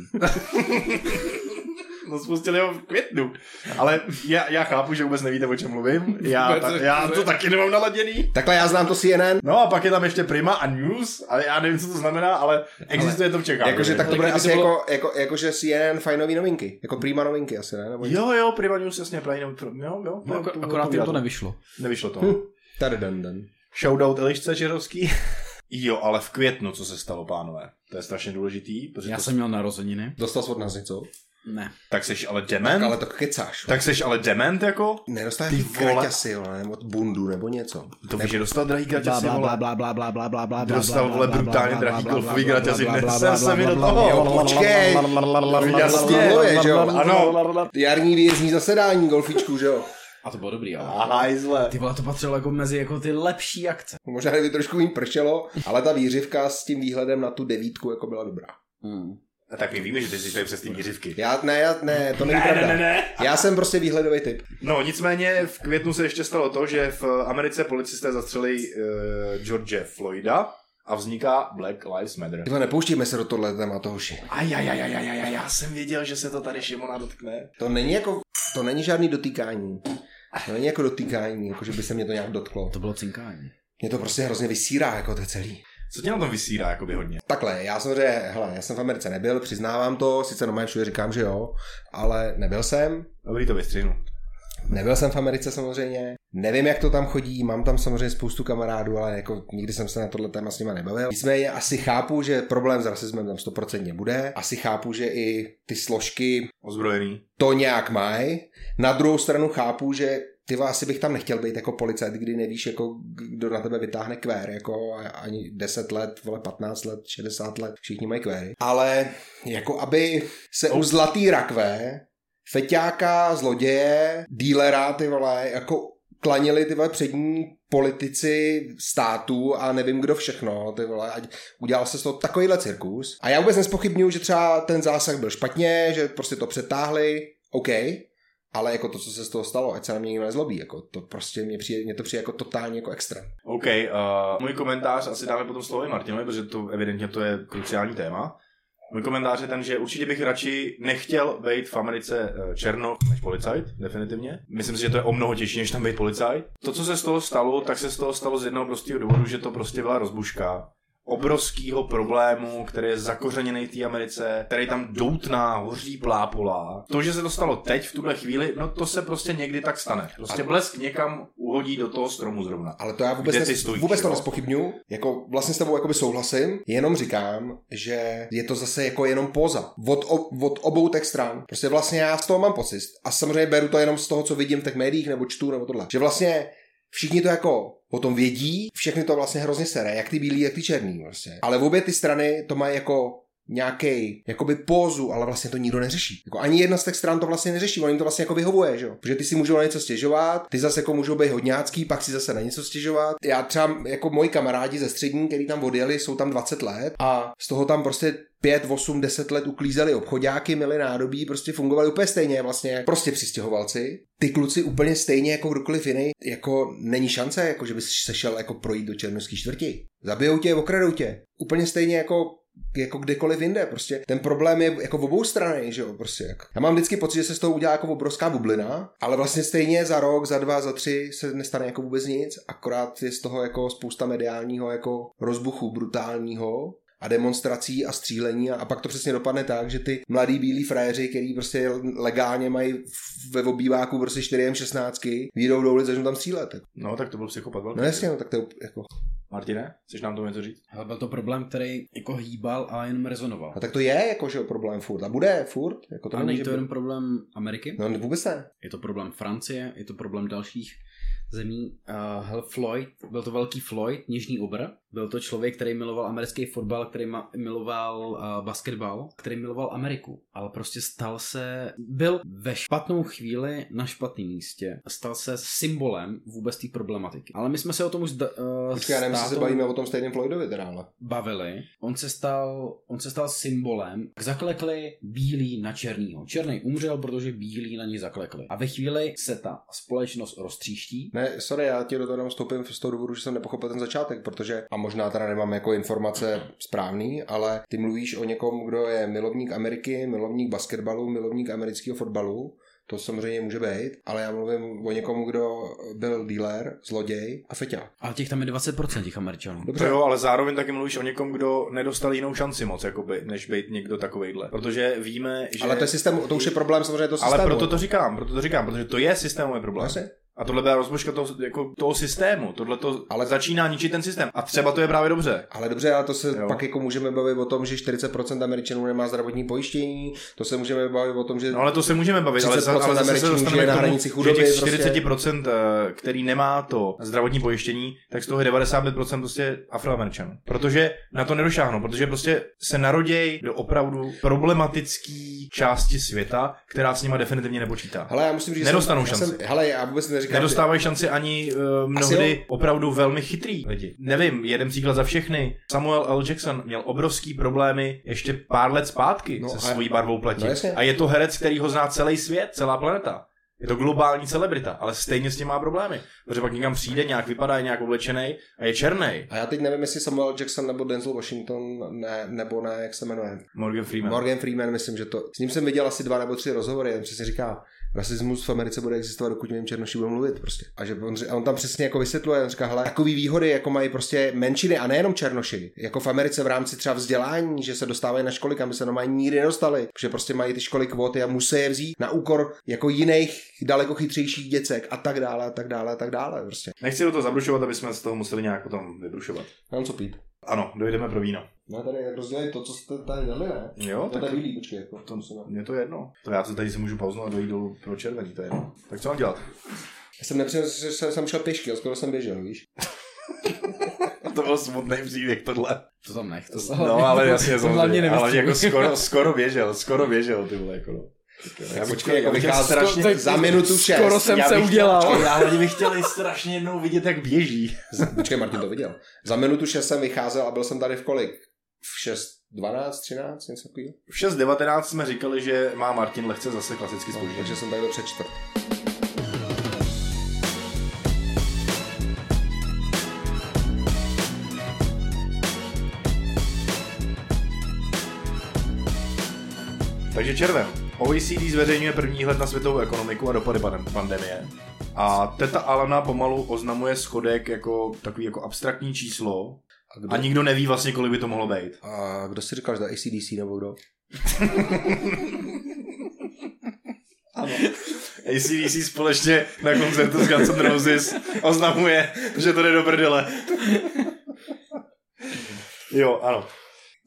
Speaker 1: No spustili ho v květnu. Ale já, já chápu, že vůbec nevíte, o čem mluvím. Já, ta, já to taky nemám naladěný.
Speaker 2: Takhle já znám to CNN.
Speaker 1: No a pak je tam ještě Prima a News, ale já nevím, co to znamená, ale existuje to v Čechách.
Speaker 2: Jakože tak to bude
Speaker 3: kdyby
Speaker 2: asi
Speaker 3: to bylo-
Speaker 2: jako, jako, jako, že CNN fajnový novinky. Jako prima novinky asi, ne? Nebo
Speaker 1: Jo, jo, Prima News, jasně, Prima News, jo, jo.
Speaker 3: No,
Speaker 1: jo,
Speaker 3: ak- akorát jim to nevyšlo.
Speaker 1: Nevyšlo to.
Speaker 2: Hm. Tady den, den.
Speaker 1: Shoutout Elišce Žirovský. Jo, ale v květnu, co se stalo, pánové? To je strašně důležitý, protože
Speaker 3: Já
Speaker 1: to...
Speaker 3: jsem měl narozeniny.
Speaker 2: Dostal jsi od nás něco?
Speaker 3: Ne.
Speaker 1: tak seš ale
Speaker 2: Tak
Speaker 1: dement?
Speaker 2: ale to kecáš. Tak
Speaker 1: Tak seš ale dement, jako?
Speaker 2: nedostal
Speaker 1: Ty
Speaker 2: ty
Speaker 1: vole.
Speaker 2: kraťasy, jo, nebo bundu, nebo něco.
Speaker 1: To víš, že dostal drahý graťasy,
Speaker 3: Bla,
Speaker 1: vole.
Speaker 3: bla, bla, bla, bla, bla, bla, bla,
Speaker 1: Dostal,
Speaker 3: bla,
Speaker 1: vole,
Speaker 3: bla, bla,
Speaker 1: brutálně
Speaker 3: bla,
Speaker 1: drahý
Speaker 3: bla, bla,
Speaker 1: golfový
Speaker 3: bla, bla,
Speaker 1: graťasy.
Speaker 3: bla, bla,
Speaker 1: Nesem
Speaker 3: bla,
Speaker 1: se
Speaker 3: bla,
Speaker 1: mi do
Speaker 3: bla,
Speaker 1: toho.
Speaker 3: bla,
Speaker 2: Jo,
Speaker 3: bla, bla,
Speaker 2: počkej.
Speaker 3: bla, bla, bla, bla, bla, bla,
Speaker 1: Jasně.
Speaker 3: bla, bla, bla,
Speaker 2: Mluvě, že jo?
Speaker 3: bla, bla,
Speaker 1: Ano.
Speaker 3: bla, bla, bla.
Speaker 2: Jarní výjezdní zasedání golfičku, že jo?
Speaker 3: A to bylo dobrý, ale.
Speaker 1: A hajzle.
Speaker 3: Ty vole, to patřilo jako mezi jako ty lepší akce.
Speaker 2: Možná kdyby trošku jim pršelo, ale ta výřivka s tím výhledem na tu devítku jako byla dobrá.
Speaker 1: A tak my víme, že ty jsi tady přes ty měřivky.
Speaker 2: Já, ne, já, ne, to není
Speaker 1: Ne,
Speaker 2: pravda.
Speaker 1: ne, ne, ne.
Speaker 2: Já jsem prostě výhledový typ.
Speaker 1: No nicméně v květnu se ještě stalo to, že v Americe policisté zastřelili uh, George Floyda a vzniká Black Lives Matter.
Speaker 2: Tyhle, nepouštíme se do tohle tématu, hoši.
Speaker 1: Ajajajajajaj, já jsem věděl, že se to tady Šimona dotkne.
Speaker 2: To není jako, to není žádný dotýkání. To není jako dotýkání, jako že by se mě to nějak dotklo.
Speaker 3: To bylo cinkání.
Speaker 2: Mě to prostě hrozně vysírá, jako to celý.
Speaker 1: Co tě na tom vysírá jakoby hodně?
Speaker 2: Takhle, já samozřejmě, hele, já jsem v Americe nebyl, přiznávám to, sice normálně všude říkám, že jo, ale nebyl jsem,
Speaker 1: Dobrý to vystřihnu.
Speaker 2: nebyl jsem v Americe samozřejmě, nevím, jak to tam chodí, mám tam samozřejmě spoustu kamarádů, ale jako nikdy jsem se na tohle téma s nima nebavil. Nicméně asi chápu, že problém s rasismem tam stoprocentně bude, asi chápu, že i ty složky
Speaker 1: Ozbrojený.
Speaker 2: to nějak mají. Na druhou stranu chápu, že ty vole, asi bych tam nechtěl být jako policajt, kdy nevíš, jako kdo na tebe vytáhne kvér, jako a- ani 10 let, vole 15 let, 60 let, všichni mají kvéry. Ale jako aby se u zlatý rakve, feťáka, zloděje, dílera, ty vole, jako klanili ty vole přední politici státu a nevím kdo všechno, ty vole, ať udělal se z toho takovýhle cirkus. A já vůbec nespochybnuju, že třeba ten zásah byl špatně, že prostě to přetáhli, OK, ale jako to, co se z toho stalo, ať se na mě nikdo nezlobí, jako to prostě mě, přijde, mě to přijde jako totálně jako extrém.
Speaker 1: OK, uh, můj komentář asi dáme potom slovo i Martinovi, protože to evidentně to je kruciální téma. Můj komentář je ten, že určitě bych radši nechtěl být v Americe eh, černo než policajt, definitivně. Myslím si, že to je o mnoho těžší, než tam být policajt. To, co se z toho stalo, tak se z toho stalo z jednoho prostého důvodu, že to prostě byla rozbuška obrovského problému, který je zakořeněný v té Americe, který tam doutná, hoří plápolá. To, že se to stalo teď, v tuhle chvíli, no to se prostě někdy tak stane. Prostě blesk někam uhodí do toho stromu zrovna.
Speaker 2: Ale to já vůbec,
Speaker 1: Kde
Speaker 2: nes,
Speaker 1: ty stojíš,
Speaker 2: vůbec to
Speaker 1: jo?
Speaker 2: nespochybnuju. Jako vlastně s tebou jakoby souhlasím, jenom říkám, že je to zase jako jenom poza. Od, o, od obou těch stran. Prostě vlastně já z toho mám pocit. A samozřejmě beru to jenom z toho, co vidím v těch médiích nebo čtu nebo tohle. Že vlastně všichni to jako o tom vědí, všechny to vlastně hrozně sere, jak ty bílí, jak ty černý vlastně. Ale obě ty strany to mají jako nějaký jakoby pózu, ale vlastně to nikdo neřeší. Jako ani jedna z těch stran to vlastně neřeší, oni to vlastně jako vyhovuje, že jo? Protože ty si můžou na něco stěžovat, ty zase jako můžou být hodňácký, pak si zase na něco stěžovat. Já třeba jako moji kamarádi ze střední, který tam odjeli, jsou tam 20 let a z toho tam prostě 5, 8, 10 let uklízeli obchodáky, měli nádobí, prostě fungovali úplně stejně vlastně, prostě přistěhovalci. Ty kluci úplně stejně jako kdokoliv jiný, jako není šance, jako že bys se šel jako projít do černovský čtvrti. Zabijou tě, okradou tě. Úplně stejně jako jako kdekoliv jinde. Prostě ten problém je jako v obou strany, že jo, prostě. Jak. Já mám vždycky pocit, že se z toho udělá jako obrovská bublina, ale vlastně stejně za rok, za dva, za tři se nestane jako vůbec nic, akorát je z toho jako spousta mediálního jako rozbuchu brutálního, a demonstrací a střílení a, a pak to přesně dopadne tak, že ty mladí bílí frajeři, který prostě legálně mají v- ve obýváku prostě 4 16 výjdou do ulic, začnou tam střílet. jako.
Speaker 1: No, tak to byl psychopat velký.
Speaker 2: No jasně, no, tak to je jako...
Speaker 1: Martine, chceš nám to něco říct?
Speaker 3: Ale byl to problém, který jako hýbal a jenom rezonoval.
Speaker 2: A tak to je jako, že jo, problém furt. A bude furt. Jako to
Speaker 3: Ale není
Speaker 2: nemůže
Speaker 3: to
Speaker 2: být.
Speaker 3: jenom problém Ameriky,
Speaker 2: No vůbec ne.
Speaker 3: je to problém Francie, je to problém dalších zemí. Uh, hele, Floyd, byl to velký Floyd, nižní obr. Byl to člověk, který miloval americký fotbal, který ma- miloval uh, basketbal, který miloval Ameriku. Ale prostě stal se, byl ve špatnou chvíli na špatném místě. Stal se symbolem vůbec té problematiky. Ale my jsme se o tom už da, uh,
Speaker 2: Počkej, já nevím, jestli se
Speaker 3: státou-
Speaker 2: bavíme o tom stejném Floydovi teda, ale.
Speaker 3: bavili, on se stal, on se stal symbolem, zaklekli bílí na černýho. Černý umřel, protože bílí na něj zaklekli. A ve chvíli se ta společnost roztříští,
Speaker 2: Ne, sorry, já ti do toho jenom vstoupím z toho důvodu, že jsem nepochopil ten začátek, protože, a možná teda nemám jako informace správný, ale ty mluvíš o někom, kdo je milovník Ameriky, milovník basketbalu, milovník amerického fotbalu, to samozřejmě může být, ale já mluvím o někom, kdo byl dealer, zloděj a feťák.
Speaker 3: ale těch tam je 20% těch američanů.
Speaker 1: Dobře. Jo, ale zároveň taky mluvíš o někom, kdo nedostal jinou šanci moc, jakoby, než být někdo takovejhle. Protože víme, že...
Speaker 2: Ale to je systém, to už je problém samozřejmě to systému. No,
Speaker 1: Ale proto to říkám, proto to říkám, protože to je systémový problém.
Speaker 2: Asi.
Speaker 1: A tohle byla rozbočka toho, jako, toho systému. Tohle to ale
Speaker 2: Ale-
Speaker 1: začíná ničit ten systém. A třeba to je právě dobře.
Speaker 2: Ale dobře, ale to se
Speaker 1: Jo.
Speaker 2: jo. pak jako můžeme bavit o tom, že 40% Američanů nemá zdravotní pojištění, to se můžeme bavit o tom, že...
Speaker 1: No ale to se můžeme bavit, ale, za,
Speaker 2: 30%
Speaker 1: ale zase se
Speaker 2: Američanů
Speaker 1: dostaneme
Speaker 2: žije na
Speaker 1: k tomu,
Speaker 2: hranici
Speaker 1: že
Speaker 2: chudoby
Speaker 1: těch
Speaker 2: prostě.
Speaker 1: 40%, eh, který nemá to zdravotní pojištění, tak z toho je 95% prostě afroameričanů. Protože na to nedošáhnou, protože prostě se naroděj do opravdu problematický části světa, která s nima definitivně nepočítá.
Speaker 2: Hele, já musím říct, že
Speaker 1: Nedostanou
Speaker 2: jsem, Já
Speaker 1: šanci.
Speaker 2: jsem, hele, já vůbec neříkám,
Speaker 1: Nedostávají šanci ani uh, mnohdy
Speaker 2: Asi
Speaker 1: jo. opravdu velmi chytrý lidi. Nevím, jeden příklad za všechny. Samuel L. Jackson měl obrovský problémy ještě pár let zpátky no,
Speaker 2: No
Speaker 1: se
Speaker 2: a-
Speaker 1: svojí barvou pleti.
Speaker 2: no jasně.
Speaker 1: a je to herec, který ho zná celý svět, celá planeta. Je to globální celebrita, ale stejně s tím má problémy. Protože pak někam přijde, nějak vypadá, je nějak oblečený a je černý.
Speaker 2: A já teď nevím, jestli Samuel Jackson nebo Denzel Washington, ne, nebo ne, jak se jmenuje.
Speaker 1: Morgan Freeman.
Speaker 2: Morgan Freeman, myslím, že to. S ním jsem viděl asi dva nebo tři rozhovory, on přesně říká, rasismus v Americe bude existovat, dokud mým černoši budou mluvit prostě. A že on, ři- a on tam přesně jako vysvětluje, on říká, hele, takový výhody, jako mají prostě menšiny a nejenom černoši, jako v Americe v rámci třeba vzdělání, že se dostávají na školy, kam by se normálně nikdy nedostali, že prostě mají ty školy kvóty a musí je vzít na úkor jako jiných daleko chytřejších děcek a tak dále, a tak dále, a tak dále prostě.
Speaker 1: Nechci do toho zabrušovat, aby jsme z toho museli nějak potom vybrušovat.
Speaker 2: Mám co pít.
Speaker 1: Ano, dojdeme pro víno.
Speaker 2: No tady rozdělej to, co jste tady dali, ne?
Speaker 3: No,
Speaker 1: Jo,
Speaker 2: To
Speaker 1: tak
Speaker 2: je bílý, počkej, jako v tom
Speaker 1: mně to je jedno. To já se tady si můžu pauznout a dojít dolů pro červený, to je jedno. Tak co mám dělat?
Speaker 2: Já jsem nepřinesl, že jsem- jsem šel pěšky, ale skoro jsem běžel, víš?
Speaker 1: To byl smutný příběh tohle.
Speaker 3: To tam nech. To
Speaker 1: No, ale jasně,
Speaker 3: to hlavně
Speaker 1: samozřejmě, ale
Speaker 3: nevystřihuj.
Speaker 1: jako skoro, skoro běžel, skoro běžel, ty vole, jako no. Já bych chtěl, já bych chtěl,
Speaker 2: vychází strašně za minutu šest.
Speaker 3: Skoro jsem
Speaker 1: já
Speaker 3: se
Speaker 1: bych
Speaker 3: udělal.
Speaker 1: já hlavně bych chtěl i strašně jednou vidět, jak běží.
Speaker 2: Počkej, Martin to viděl. Za minutu 6 jsem vycházel a byl jsem tady v kolik? V 6, 12, 13, něco
Speaker 1: V
Speaker 2: takového.
Speaker 1: 6.19 jsme říkali, že má Martin lehce zase klasicky
Speaker 2: No,
Speaker 1: spoždění.
Speaker 2: takže jsem tady byl před čtvrt.
Speaker 1: Takže červen. OECD zveřejňuje první hled na světovou ekonomiku a dopady pan- pandemie. A teta Alana pomalu oznamuje schodek jako takový jako abstraktní číslo
Speaker 2: A kdo,
Speaker 1: a nikdo neví vlastně, kolik by to mohlo být.
Speaker 2: a kdo si říkal, že to je ACDC nebo kdo?
Speaker 1: ACDC společně na koncertu s Guns N' Roses oznamuje, že to jde do prdele. Jo, ano.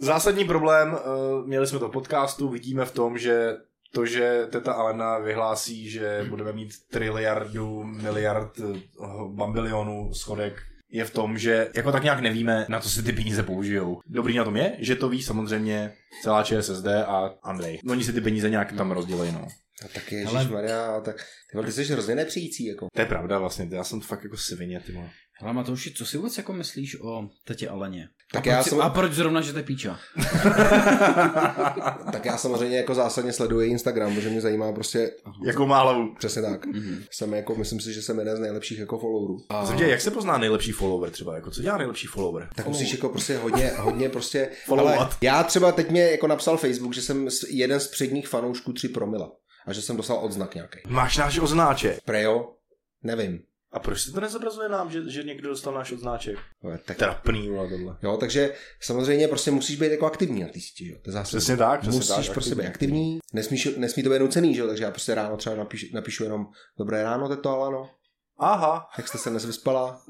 Speaker 1: Zásadní problém, eh, měli jsme to v podcastu, vidíme v tom, že to, že teta Alena vyhlásí, že budeme mít triliardu, miliard, eh, bambilionů schodek, je v tom, že jako tak nějak nevíme, na co se ty peníze použijou. Dobrý na tom je, že to ví samozřejmě celá ČSSD a Andrej. Oni si ty peníze nějak tam rozdělejí, no.
Speaker 2: A tak ježiš, Maria, tak ty, vole, ty jsi hrozně nepřijící, jako.
Speaker 1: To je pravda vlastně, já jsem fakt jako svině, ty vole.
Speaker 3: Hele Matouši, co si vůbec jako myslíš o tetě Aleně?
Speaker 2: Tak
Speaker 3: Já
Speaker 2: já,
Speaker 3: jsem... A
Speaker 2: sam,
Speaker 3: proč zrovna, že to je píča?
Speaker 2: tak já samozřejmě jako zásadně sleduji Instagram, protože mě zajímá prostě
Speaker 1: Jakou má hlavu?
Speaker 2: přesně tak.
Speaker 3: Mhm.
Speaker 2: Jsem jako, myslím si, že jsem jeden z nejlepších jako followerů. A
Speaker 1: Jsem tě, jak se pozná nejlepší follower třeba? Jako, co dělá nejlepší follower?
Speaker 2: tak musíš jako prostě hodně, hodně prostě...
Speaker 1: Followovat.
Speaker 2: já třeba teď mě jako napsal Facebook, že jsem s- jeden z předních fanoušků 3 promila a že jsem dostal odznak nějaký.
Speaker 1: Máš náš odznáček.
Speaker 2: Prejo? Nevím.
Speaker 1: A proč se to nezobrazuje nám, že, že někdo dostal náš odznáček?
Speaker 2: Ale Tak
Speaker 1: Trapný, vole, tohle.
Speaker 2: Jo, takže samozřejmě prostě musíš být jako aktivní na té síti, jo. To je zásadní.
Speaker 1: Přesně tak, přesně
Speaker 2: musíš
Speaker 1: tak,
Speaker 2: prostě
Speaker 1: aktivní.
Speaker 2: být aktivní, nesmíš, nesmí to být nucený, že jo, takže já prostě ráno třeba napíš, napíšu jenom dobré ráno, teto Alano,
Speaker 1: Aha.
Speaker 2: jak jste se dnes vyspala,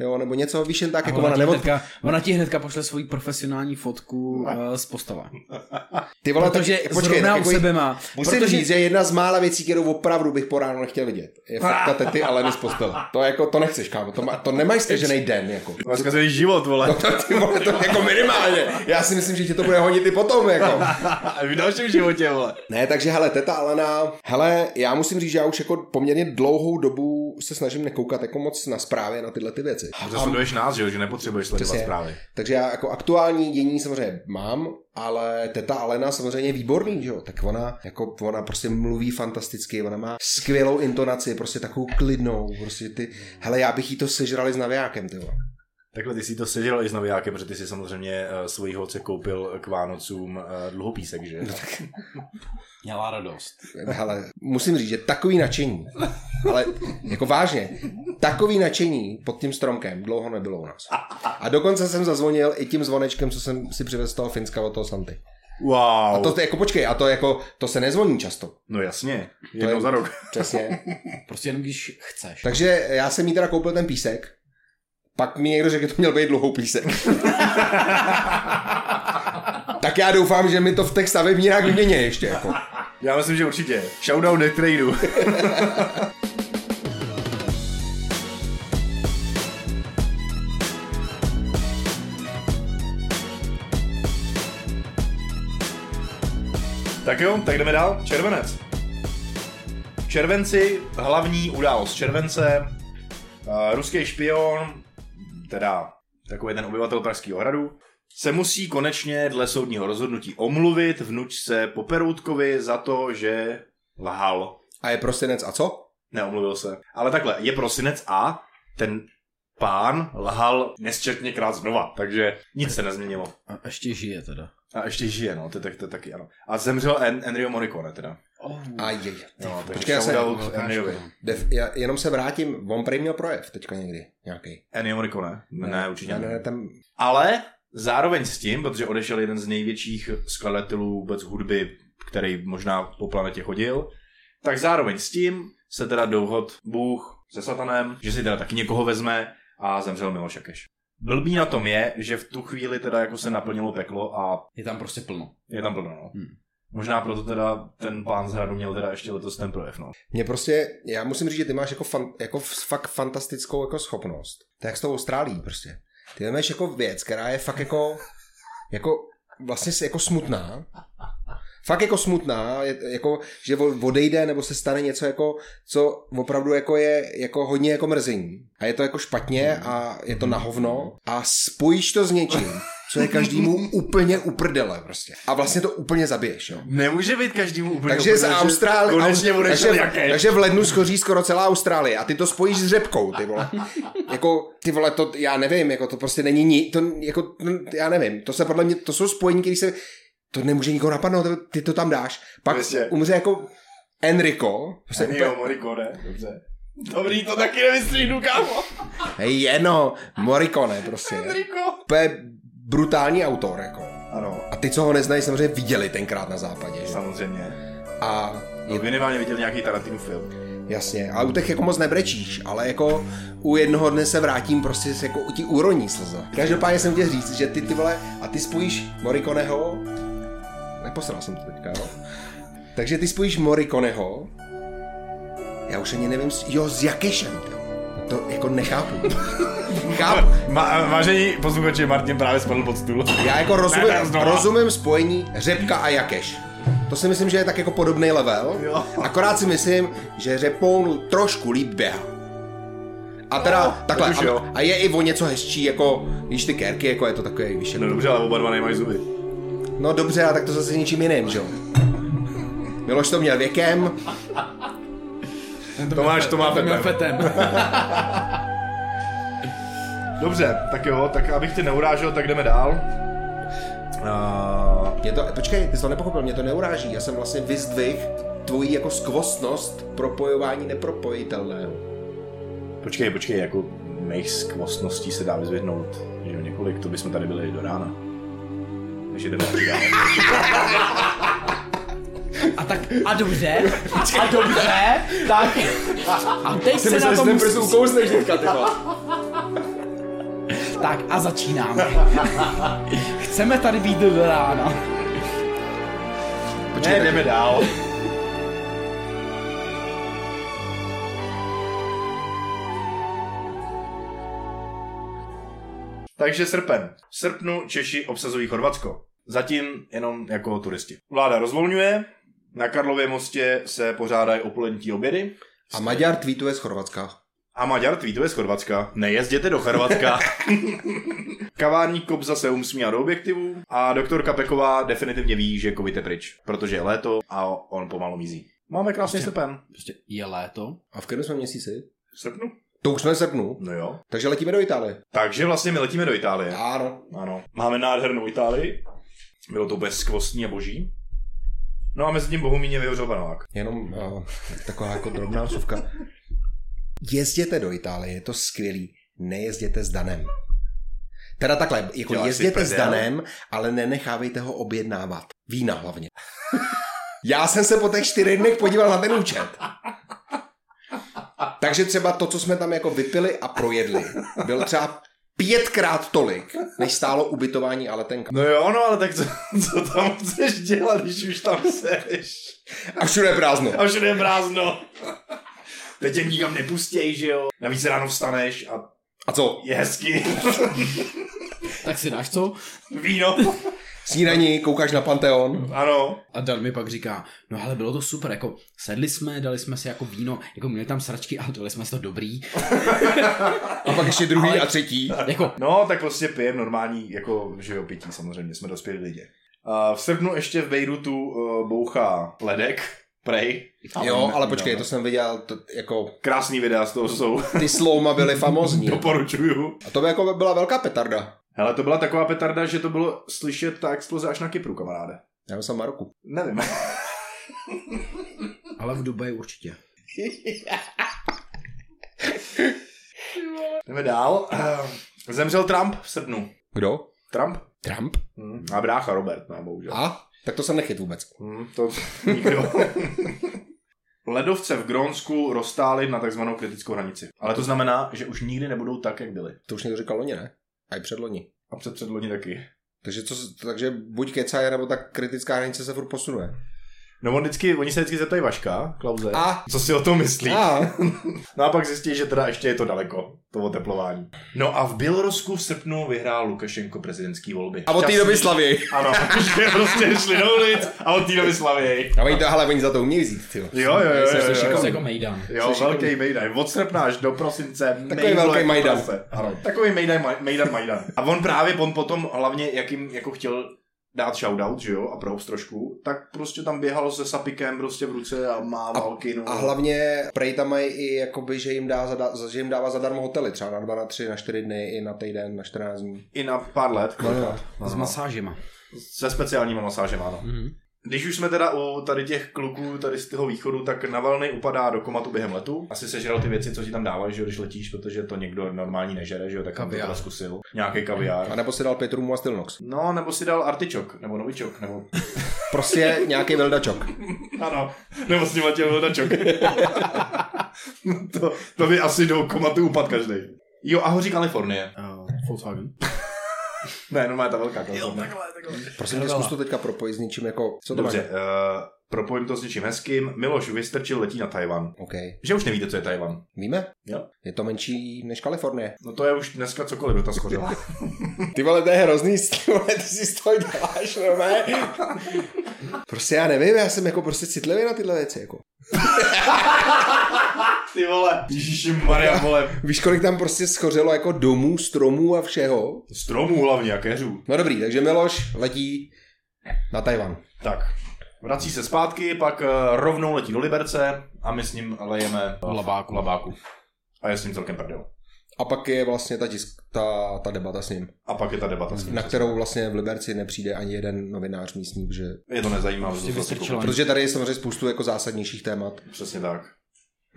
Speaker 2: jo, nebo něco, víš jen tak,
Speaker 3: A
Speaker 2: jako
Speaker 3: ona,
Speaker 2: ona
Speaker 3: ti
Speaker 2: nebo...
Speaker 3: hnedka, ona ti hnedka pošle svoji profesionální fotku eh, z postava.
Speaker 2: Ty vole,
Speaker 3: Protože
Speaker 2: tak-
Speaker 3: zrovna
Speaker 2: tak
Speaker 3: u
Speaker 2: jako-
Speaker 3: sebe má.
Speaker 2: Musím
Speaker 3: protože,
Speaker 2: říct, že jedna z mála věcí, kterou opravdu bych po ráno nechtěl vidět, je fotka tety Aleny z postele. To jako, to nechceš, kámo, to, má, to nemají stežený den, jako.
Speaker 1: Máš zkazený život, vole.
Speaker 2: To, ty vole, to jako minimálně. Já si myslím, že tě to bude honit i potom, jako.
Speaker 1: A v dalším životě, vole.
Speaker 2: Ne, takže hele, teta Alena, hele, já musím říct, že já už jako poměrně dlouhou dobu se snažím nekoukat jako moc na zprávy, na tyhle ty věci.
Speaker 1: Protože sleduješ nás, že jo, že nepotřebuješ sledovat
Speaker 2: Přesně.
Speaker 1: zprávy.
Speaker 2: Takže já jako aktuální dění samozřejmě mám, ale teta Alena samozřejmě je výborný, že jo, tak ona jako ona prostě mluví fantasticky, ona má skvělou intonaci, prostě takovou klidnou, prostě ty, hele, já bych jí to sežrali s navijákem, ty vole.
Speaker 1: Takhle ty jsi to sežral i s navijákem, protože ty jsi samozřejmě uh, svojí holce koupil k Vánocům uh, dluhopísek, že? No, tak...
Speaker 3: Měla radost.
Speaker 2: Hele, musím říct, že takový nadšení, ale jako vážně, takový nadšení pod tím stromkem dlouho nebylo u nás. A dokonce jsem zazvonil i tím zvonečkem, co jsem si přivez z toho Finska od toho Santy.
Speaker 1: Wow.
Speaker 2: A to je jako počkej, a to jako, to se nezvoní často.
Speaker 1: No jasně,
Speaker 2: To
Speaker 1: jednou
Speaker 2: je-
Speaker 1: za rok.
Speaker 2: Přesně.
Speaker 3: Prostě jenom když chceš.
Speaker 2: Takže já jsem jí teda koupil ten písek, pak mi někdo řekl, že to měl být dlouhou písek. tak já doufám, že mi to v těch stavebnírách vymění ještě. Jako.
Speaker 1: Já myslím, že určitě. Shoutout Death Tradu. tak jo, tak jdeme dál. Červenec. V červenci hlavní událost července. Eh, ruský špion, teda takový ten obyvatel Pražského hradu, se musí konečně dle soudního rozhodnutí omluvit vnučce Poperoutkovi za to, že lhal.
Speaker 2: A je prosinec a co?
Speaker 1: Neomluvil se. Ale takhle, je prosinec a ten pán lhal nesčetněkrát znova, takže nic se nezměnilo.
Speaker 3: A ještě žije teda.
Speaker 1: A ještě žije, no, to, je tak, to je taky ano. A zemřel en- Enrio Morricone teda.
Speaker 3: Oh.
Speaker 2: A je, je.
Speaker 1: No, takže
Speaker 2: Počkej, já se-
Speaker 1: shoutout
Speaker 2: velká
Speaker 1: Enriovi.
Speaker 2: Def, já jenom se vrátím, on prý měl projev teďka někdy, nějaký.
Speaker 1: Ennio Morricone? Ne, ne určitě
Speaker 2: ne.
Speaker 1: ne.
Speaker 2: ne tam,
Speaker 1: Ale zároveň s tím, protože odešel jeden z největších skladatelů vůbec hudby, který možná po planetě chodil, tak zároveň s tím se teda dohod Bůh se satanem, že si teda taky někoho vezme a zemřel Miloš Jakeš. Blbý na tom je, že v tu chvíli teda jako se naplnilo peklo a
Speaker 3: Je tam prostě plno.
Speaker 1: je tam plno, no.
Speaker 3: Hmm.
Speaker 1: Možná proto teda ten pán z hradu měl teda ještě letos ten projev, no.
Speaker 2: mě prostě, já musím říct, že ty máš jako, fan, jako f- fakt fantastickou jako schopnost. To je jak s tou Austrálií prostě. Ty vemeš jako věc, která je fakt jako, jako vlastně s- jako smutná. Fakt jako smutná, je, jako, že vo- odejde nebo se stane něco jako, co opravdu jako je jako hodně jako mrzení. A je to jako špatně a je to na hovno a spojíš to s něčím, co je každému úplně uprdele prostě. A vlastně to úplně zabiješ, jo.
Speaker 1: Nemůže být každému úplně
Speaker 2: Takže z Austrálie.
Speaker 1: Konečně
Speaker 2: takže,
Speaker 1: odešel Jakeš.
Speaker 2: takže v lednu schoří skoro celá Austrálie a ty to spojíš s řepkou, ty vole. jako, ty vole, to já nevím, jako to prostě není ni, to jako, no, já nevím, to se podle mě, to jsou spojení, které se, to nemůže nikoho napadnout, to- ty to tam dáš. Pak
Speaker 1: Prostě.
Speaker 2: umře jako Enrico. Prostě
Speaker 1: Ennio Morricone, dobře. Dobrý, to taky nevystříhnu, kámo.
Speaker 2: Hej, jeno, Morricone prostě.
Speaker 1: Enrico.
Speaker 2: Úplně brutální autor, jako.
Speaker 1: Ano,
Speaker 2: A ty, co ho neznají, samozřejmě viděli tenkrát na západě.
Speaker 1: No.
Speaker 2: Že?
Speaker 1: samozřejmě.
Speaker 2: A
Speaker 1: No, minimálně viděl nějaký Tarantino film.
Speaker 2: Jasně, ale u těch jako moc nebrečíš, ale jako u jednoho dne se vrátím prostě se jako ti úroní slza. Každopádně jsem chtěl říct, že ty ty vole, a ty spojíš Morikoneho, neposral jsem to teďka, jo. Takže ty spojíš Morikoneho, já už ani nevím, s- jo, s Jakešem, ty jo. To jako nechápu. Chápu.
Speaker 1: Ma, vážení posluchači, Martin právě spadl pod stůl.
Speaker 2: Já jako rozumím,
Speaker 1: Ne, ne, znova.
Speaker 2: rozumím spojení Řepka a Jakeš. To si myslím, že je tak jako podobný level.
Speaker 1: Jo.
Speaker 2: Akorát si myslím, že Řepoun trošku líp běhá. A teda takhle,
Speaker 1: teď už jo.
Speaker 2: a, a, je i o něco hezčí, jako víš ty kérky, jako je to takový vyšší.
Speaker 1: No dobře, ale oba dva nemají zuby.
Speaker 2: No dobře, a tak to zase ničím jiným, že jo? Miloš to měl věkem,
Speaker 1: Tomáš to má
Speaker 3: To měl
Speaker 1: Pepe.
Speaker 3: fetem.
Speaker 1: Dobře, tak jo, tak abych tě neurážel, tak jdeme dál. Uh,
Speaker 2: Mě to, počkej, ty jsi to nepochopil, mě to neuráží. Já jsem vlastně vyzdvih tvojí jako skvostnost propojování nepropojitelného.
Speaker 1: počkej, počkej, jako mých skvostností se dá vyzvěhnout že jo, několik, to bychom tady byli do rána. Takže jdeme taky dál.
Speaker 8: A tak, a dobře, a dobře, tak, a teď se na to musí,
Speaker 2: ukouzne vždycka, ty vole.
Speaker 8: tak a začínáme. Chceme tady být do rána.
Speaker 1: Ne, jdeme dál. Takže srpen. V srpnu Češi obsazují Chorvatsko. Zatím jenom jako turisti. Vláda rozvolňuje, na Karlově mostě se pořádají opolední obědy
Speaker 2: A Maďar tweetuje z Chorvatska.
Speaker 1: a Maďar tweetuje z Chorvatska. Nejezděte do Chorvatska. Kavárník Kobza se umsmívá do objektivů a doktorka Peková definitivně ví, že covid je pryč, protože je léto a on pomalu mizí. Máme krásný srpen.
Speaker 3: Prostě je léto.
Speaker 2: A v kterém jsme měsíci?
Speaker 1: V srpnu?
Speaker 2: To už jsme v srpnu.
Speaker 1: No jo.
Speaker 2: Takže letíme do Itálie. no.
Speaker 1: Takže vlastně my letíme do Itálie.
Speaker 2: Ano.
Speaker 1: Ano. Máme nádhernou Itálii. Bylo to bez skvostní a boží. No a mezi tím Bohumíně vyhořel panelák.
Speaker 2: Jenom uh, taková jako drobná vsuvka. Jezděte do Itálie, je to skvělý. Nejezděte s Danem. Teda takhle, jako
Speaker 1: Děláš si
Speaker 2: jezděte s
Speaker 1: prdel.
Speaker 2: Danem, ale nenechávejte ho objednávat. Vína hlavně. Já jsem se po těch čtyřech dnech podíval na ten účet. Takže třeba to, co jsme tam jako vypili a projedli, byl třeba pětkrát tolik, než stálo ubytování a letenka.
Speaker 1: No jo, no ale tak co, co tam chceš dělat, když už tam seš?
Speaker 2: A všude je prázdno.
Speaker 1: A všude je prázdno. Teď tě nikam nepustěj, že jo? Navíc ráno vstaneš a
Speaker 2: A co?
Speaker 1: je hezky.
Speaker 3: Tak si dáš co?
Speaker 1: Víno.
Speaker 2: Snídaní, koukáš na Panteon.
Speaker 1: Ano.
Speaker 3: A Dan mi pak říká, no ale bylo to super, jako sedli jsme, dali jsme si jako víno, jako měli tam sračky, ale dali jsme si to dobrý.
Speaker 2: A pak ještě druhý a třetí.
Speaker 3: Jako,
Speaker 1: No, tak prostě pijem normální, jako, že jo, pití samozřejmě, jsme dospělí lidi. A v srpnu ještě v Bejrutu uh, bouchá ledek, prej.
Speaker 2: Jo, ale počkej, to jsem viděl, to, jako
Speaker 1: Krásný videa z toho jsou,
Speaker 2: ty slouma byly famozní.
Speaker 1: doporučuju.
Speaker 2: A to by jako byla velká petarda.
Speaker 1: Hele, to byla taková petarda, že to bylo slyšet ta exploze až na Kypru, kamaráde.
Speaker 2: Já jsem v Maroku.
Speaker 1: Nevím.
Speaker 3: ale v Dubaji určitě.
Speaker 1: Jdeme dál. Ehm, Zemřel Trump v srpnu.
Speaker 2: Kdo?
Speaker 1: Trump?
Speaker 2: Trump?
Speaker 1: Hmm. A brácha Robert, no bohužel.
Speaker 2: A? Tak to jsem nechyt vůbec.
Speaker 1: Hmm, to nikdo. Ledovce v Grónsku roztály na takzvanou kritickou hranici. Ale to znamená, že už nikdy nebudou tak, jak byly.
Speaker 2: To už někdo říkal loni, ne? A i předloni.
Speaker 1: A před předloni taky.
Speaker 2: Takže, co, s- takže buď kecaje, nebo ta kritická hranice se furt posunuje.
Speaker 1: No on vždycky, oni se vždycky zeptají Vaška, Klauze,
Speaker 2: A?
Speaker 1: co si o tom myslí.
Speaker 2: A?
Speaker 1: No a pak zjistí, že teda ještě je to daleko, to oteplování. No a v Bělorusku v srpnu vyhrál Lukašenko prezidentský volby.
Speaker 2: A od té doby
Speaker 1: Šťastný.
Speaker 2: slaví.
Speaker 1: Ano, že prostě šli do ulic a od té doby slavěj.
Speaker 2: A oni to, hele, oni za to umějí vzít, ty.
Speaker 1: Jo, jo, jo, jo,
Speaker 3: Jsi
Speaker 1: jo,
Speaker 3: jako
Speaker 1: jo.
Speaker 3: Mejdan.
Speaker 1: Jo, velký Mejdan. Od srpna až do prosince. mejdlo
Speaker 2: velký
Speaker 1: jak
Speaker 2: Majdan.
Speaker 1: prase. Ano, takový Mejdan, Maj- Mejdan, Majdan. A on právě, on potom hlavně, jak jim jako chtěl dát shoutout, že jo, a props trošku, tak prostě tam běhal se sapikem prostě v ruce a mával kinu.
Speaker 2: A hlavně prej tam mají i jakoby, že jim, dá zada, že jim dává zadarmo hotely, třeba na dva, na tři, na čtyři dny, i na týden, na 14 dní.
Speaker 1: I na pár let.
Speaker 2: No
Speaker 1: kolikrát.
Speaker 3: S masážema.
Speaker 1: Se speciálníma masážema, ano.
Speaker 3: Mhm.
Speaker 1: Když už jsme teda u tady těch kluků tady z toho východu, tak Navalny upadá do komatu během letu. Asi sežral ty věci, co ti tam dávají, že jo, když letíš, protože to někdo normální nežere, že jo, tak tam to
Speaker 3: Kaviár.
Speaker 1: teda zkusil. Nějaký kaviár.
Speaker 2: A nebo si dal pět rumů a Stilnox.
Speaker 1: No, nebo si dal artičok, nebo novičok, nebo...
Speaker 2: Prostě nějaký veldačok.
Speaker 1: Ano, nebo s nima tě vlodačok. No to, to by asi do komatu upad každý. Jo, ahoří Kalifornie.
Speaker 3: Uh, Volkswagen.
Speaker 1: Ne, no má ta velká Kalifornie.
Speaker 2: Prosím tě, zkus to teďka propojit s něčím jako... Co to
Speaker 1: Dobře,
Speaker 2: máš?
Speaker 1: uh, propojím to s něčím hezkým. Miloš Vystrčil letí na Tajvan.
Speaker 2: OK.
Speaker 1: Že už nevíte, co je Tajvan.
Speaker 2: Víme?
Speaker 1: Jo.
Speaker 2: Je to menší než Kalifornie.
Speaker 1: No to je už dneska cokoliv, kdo ta schořila.
Speaker 2: Ty vole, to je hrozný, ty vole, ty si z toho děláš, no ne? Prostě já nevím, já jsem jako prostě citlivý na tyhle věci, jako.
Speaker 1: Ty ty vole. Ježišmarja, vole.
Speaker 2: Víš, kolik tam prostě schořelo jako domů, stromů a všeho?
Speaker 1: Stromů hlavně a keřů.
Speaker 2: No dobrý, takže Miloš letí na Tajvan.
Speaker 1: Tak, vrací se zpátky, pak eh, rovnou letí do Liberce a my s ním lejeme eh,
Speaker 3: Labáku.
Speaker 1: labáku. A je s ním celkem prdel.
Speaker 2: A pak je vlastně ta, tisk, ta, ta debata s ním,
Speaker 1: A pak je ta debata s ním.
Speaker 2: na kterou vlastně v Liberci nepřijde ani jeden novinář místní, že...
Speaker 1: Je to nezajímavé. to
Speaker 3: Prostě
Speaker 1: se
Speaker 3: vystrčila.
Speaker 1: kouká.
Speaker 2: protože tady je samozřejmě spoustu jako zásadnějších témat,
Speaker 1: Přesně tak. No.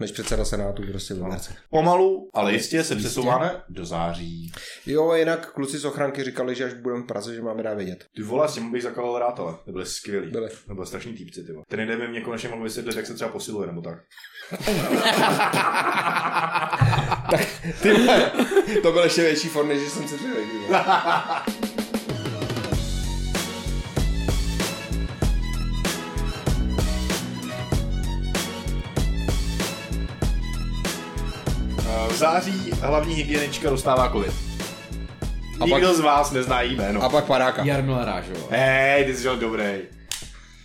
Speaker 2: než předseda Senátu prostě v Liberci.
Speaker 1: Pomalu, ale jistě se přesouváme do září.
Speaker 2: Jo, jinak kluci z ochranky říkali, že až budeme v Praze, že máme dát vědět.
Speaker 1: Ty vole, s těmi bych zakalil rád, ale to byly skvělý.
Speaker 2: Byli.
Speaker 1: To byly strašný týpci, ty vole. Ten jeden by mě konečně mohl vysvětlit, jak se třeba posiluje, nebo tak.
Speaker 2: Ty vole, to byl ještě větší fond, než jsem si řekl.
Speaker 1: Eh, V září hlavní hygienička dostává covid.
Speaker 2: A
Speaker 1: Nikdo
Speaker 2: pak-
Speaker 1: z vás nezná jí jméno.
Speaker 2: A pak paráka.
Speaker 3: Jarmila Rážová.
Speaker 1: Hej, ty jsi žil dobrý.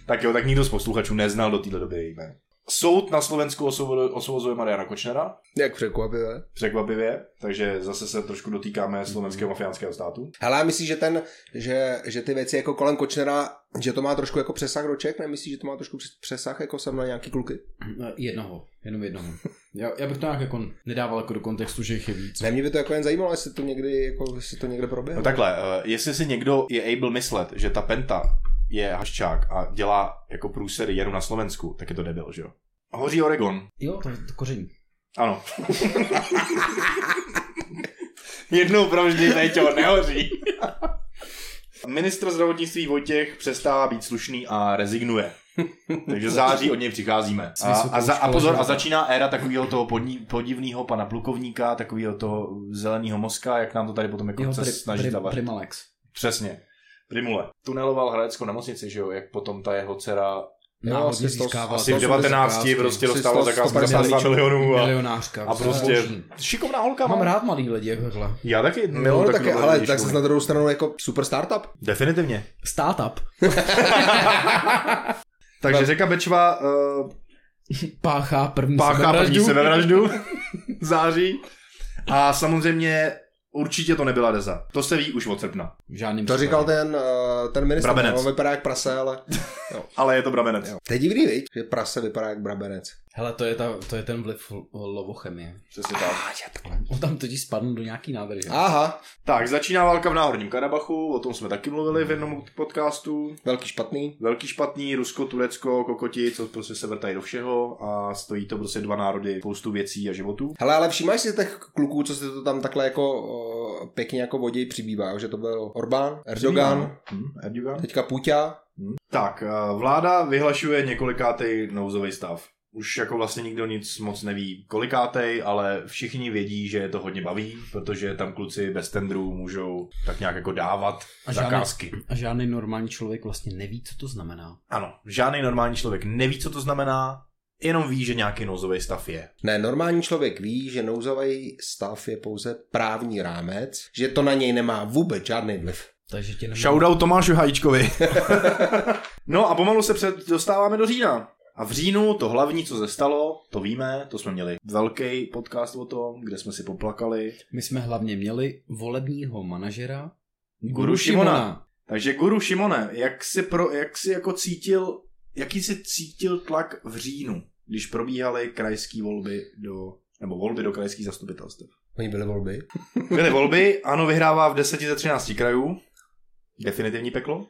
Speaker 1: Tak jo, tak nikdo z posluchačů neznal do téhle doby její jméno. Soud na Slovensku osvobo- osvobozuje Mariana Kočnera,
Speaker 2: Jak překvapivé.
Speaker 1: překvapivě, takže zase se trošku dotýkáme slovenského mafiánského státu.
Speaker 2: Hele, a myslíš, že, ten, že, že ty věci jako kolem Kočnera, že to má trošku jako přesah do Čech? Nemyslíš, že to má trošku přes- přesah jako sem na nějaký kluky?
Speaker 3: Eh, Jednoho, jenom jednoho. Já, já bych to nějak jako nedával jako do kontextu, že jich je víc.
Speaker 2: Ne, mě by to jako jen zajímalo, jestli to někdy, jako, jestli to někde proběhlo.
Speaker 1: No takhle, eh, jestli si někdo je able myslet, že ta Penta je haščák a dělá jako průsery jenom na Slovensku, tak je to debil, že jo? Hoří Oregon.
Speaker 3: Jo, to je to koření.
Speaker 1: Ano. Jednou provždy Peťo, nehoří. Ministr zdravotnictví Vojtěch přestává být slušný a rezignuje. Takže září od něj přicházíme. A, a, za, a pozor, a začíná éra takového toho podní, podivného pana plukovníka, takového toho zeleného mozka, jak nám to tady potom jako
Speaker 3: Jo,
Speaker 1: chce
Speaker 3: pri,
Speaker 1: snažit
Speaker 3: pri,
Speaker 1: zavařit.
Speaker 3: Primalex.
Speaker 1: Přesně. Primule. Tuneloval Hradeckou nemocnici, že jo, jak potom ta jeho dcera
Speaker 2: asi
Speaker 3: Náhodně
Speaker 2: sto-
Speaker 3: No, získává.
Speaker 1: asi v
Speaker 3: to-
Speaker 1: 19 prostě dostala
Speaker 2: 300,
Speaker 1: zakázku za
Speaker 2: 150
Speaker 1: 50 milionů a,
Speaker 3: Milionářka.
Speaker 1: a prostě šikovná holka.
Speaker 3: Mám
Speaker 1: no.
Speaker 3: rád mladý lidi, jako takhle.
Speaker 1: Já taky miluji
Speaker 2: Jo, No, tak,
Speaker 1: takovýhle
Speaker 2: ale
Speaker 1: lidi,
Speaker 2: tak
Speaker 1: školy.
Speaker 2: se na druhou stranu jako super startup.
Speaker 1: Definitivně.
Speaker 3: Startup.
Speaker 1: Takže řeka Bečva uh,
Speaker 3: Páchá první
Speaker 1: páchá první
Speaker 3: sebevraždu.
Speaker 1: sebevraždu září. A samozřejmě určitě to nebyla Deza. To se ví už od srpna.
Speaker 3: V žádným
Speaker 2: To
Speaker 3: případě.
Speaker 2: říkal ten, eh, ten ministr,
Speaker 1: Brabenec.
Speaker 2: no, on vypadá jak prase, ale
Speaker 1: Ale je to brabenec.
Speaker 2: jo. To je divný, viď? že prase vypadá jak brabenec.
Speaker 3: Hele, to je, ta, to je ten vliv lo- lovochemie.
Speaker 1: Přesně tak.
Speaker 3: On tam totiž spadl do nějaký nádrže.
Speaker 2: Aha,
Speaker 1: Tak, začíná válka v Náhorním Karabachu, o tom jsme taky mluvili v jednom podcastu.
Speaker 2: velký špatný.
Speaker 1: velký špatný, Rusko, Turecko, kokoti, co prostě se vrtají do všeho a stojí to prostě dva národy, spoustu věcí a životů.
Speaker 2: Hele, ale všimáš si těch kluků, co se to tam takhle jako eh, pěkně jako voděj přibývá, jo? že to byl Orbán, Erdogan,
Speaker 1: Hm, Erdogan.
Speaker 2: teďka Puťa.
Speaker 1: Hm. Tak, eh, vláda vyhlašuje několikátej nouzový stav. Už jako vlastně nikdo nic moc neví kolikátej, ale všichni vědí, že je to hodně baví, protože tam kluci bez tendrů můžou tak nějak jako dávat
Speaker 3: A žádný-
Speaker 1: zakázky.
Speaker 3: A žádný normální člověk vlastně neví, co to znamená.
Speaker 1: Ano, žádný normální člověk neví, co to znamená, jenom ví, že nějaký nouzový stav je.
Speaker 2: Ne, normální člověk ví, že nouzový stav je pouze právní rámec, že to na něj nemá vůbec žádný vliv.
Speaker 3: Takže ti nemůžu...
Speaker 1: Shoutout Tomášu Hajíčkovi. no a pomalu se před, dostáváme do října. A v říjnu to hlavní, co se stalo, to víme, to jsme měli velký podcast o tom, kde jsme si poplakali.
Speaker 3: My jsme hlavně měli volebního manažera
Speaker 1: Guru Šimona. Takže Guru Šimone, jak si, pro, jak si jako cítil, jaký si cítil tlak v říjnu, když probíhaly krajské volby do, nebo volby do krajských zastupitelstv?
Speaker 2: Oni byly volby.
Speaker 1: Byly volby, ano, vyhrává v 10 ze 13 krajů. Definitivní peklo.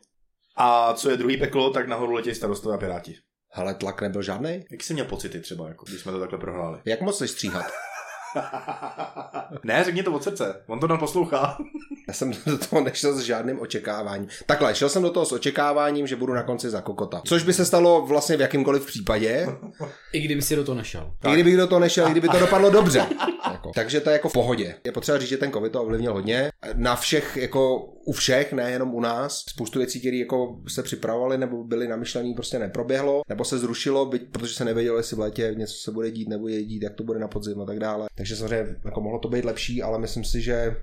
Speaker 1: A co je druhý peklo, tak nahoru letějí starostové a piráti.
Speaker 2: Hele, tlak nebyl žádný.
Speaker 1: Jak jsi měl pocity třeba, jako, když jsme to takhle prohráli?
Speaker 2: Jak moc jsi stříhat?
Speaker 1: ne, řekni to od srdce, on to nám poslouchá.
Speaker 2: Já jsem do toho nešel s žádným očekáváním. Takhle, šel jsem do toho s očekáváním, že budu na konci za kokota. Což by se stalo vlastně v jakýmkoliv případě,
Speaker 3: I kdyby si do toho nešel.
Speaker 2: i kdybych do toho nešel, i kdyby to dopadlo dobře. Jako. Takže to je jako v pohodě. Je potřeba říct, že ten covid to ovlivnil hodně. Na všech, jako u všech, nejenom u nás. Spoustu věcí, které jako se připravovaly nebo byly namyšlené, prostě neproběhlo, nebo se zrušilo, byť, protože se nevědělo, jestli v létě něco se bude dít, nebo je dít, jak to bude na podzim a tak dále. Takže samozřejmě jako mohlo to být lepší, ale myslím si, že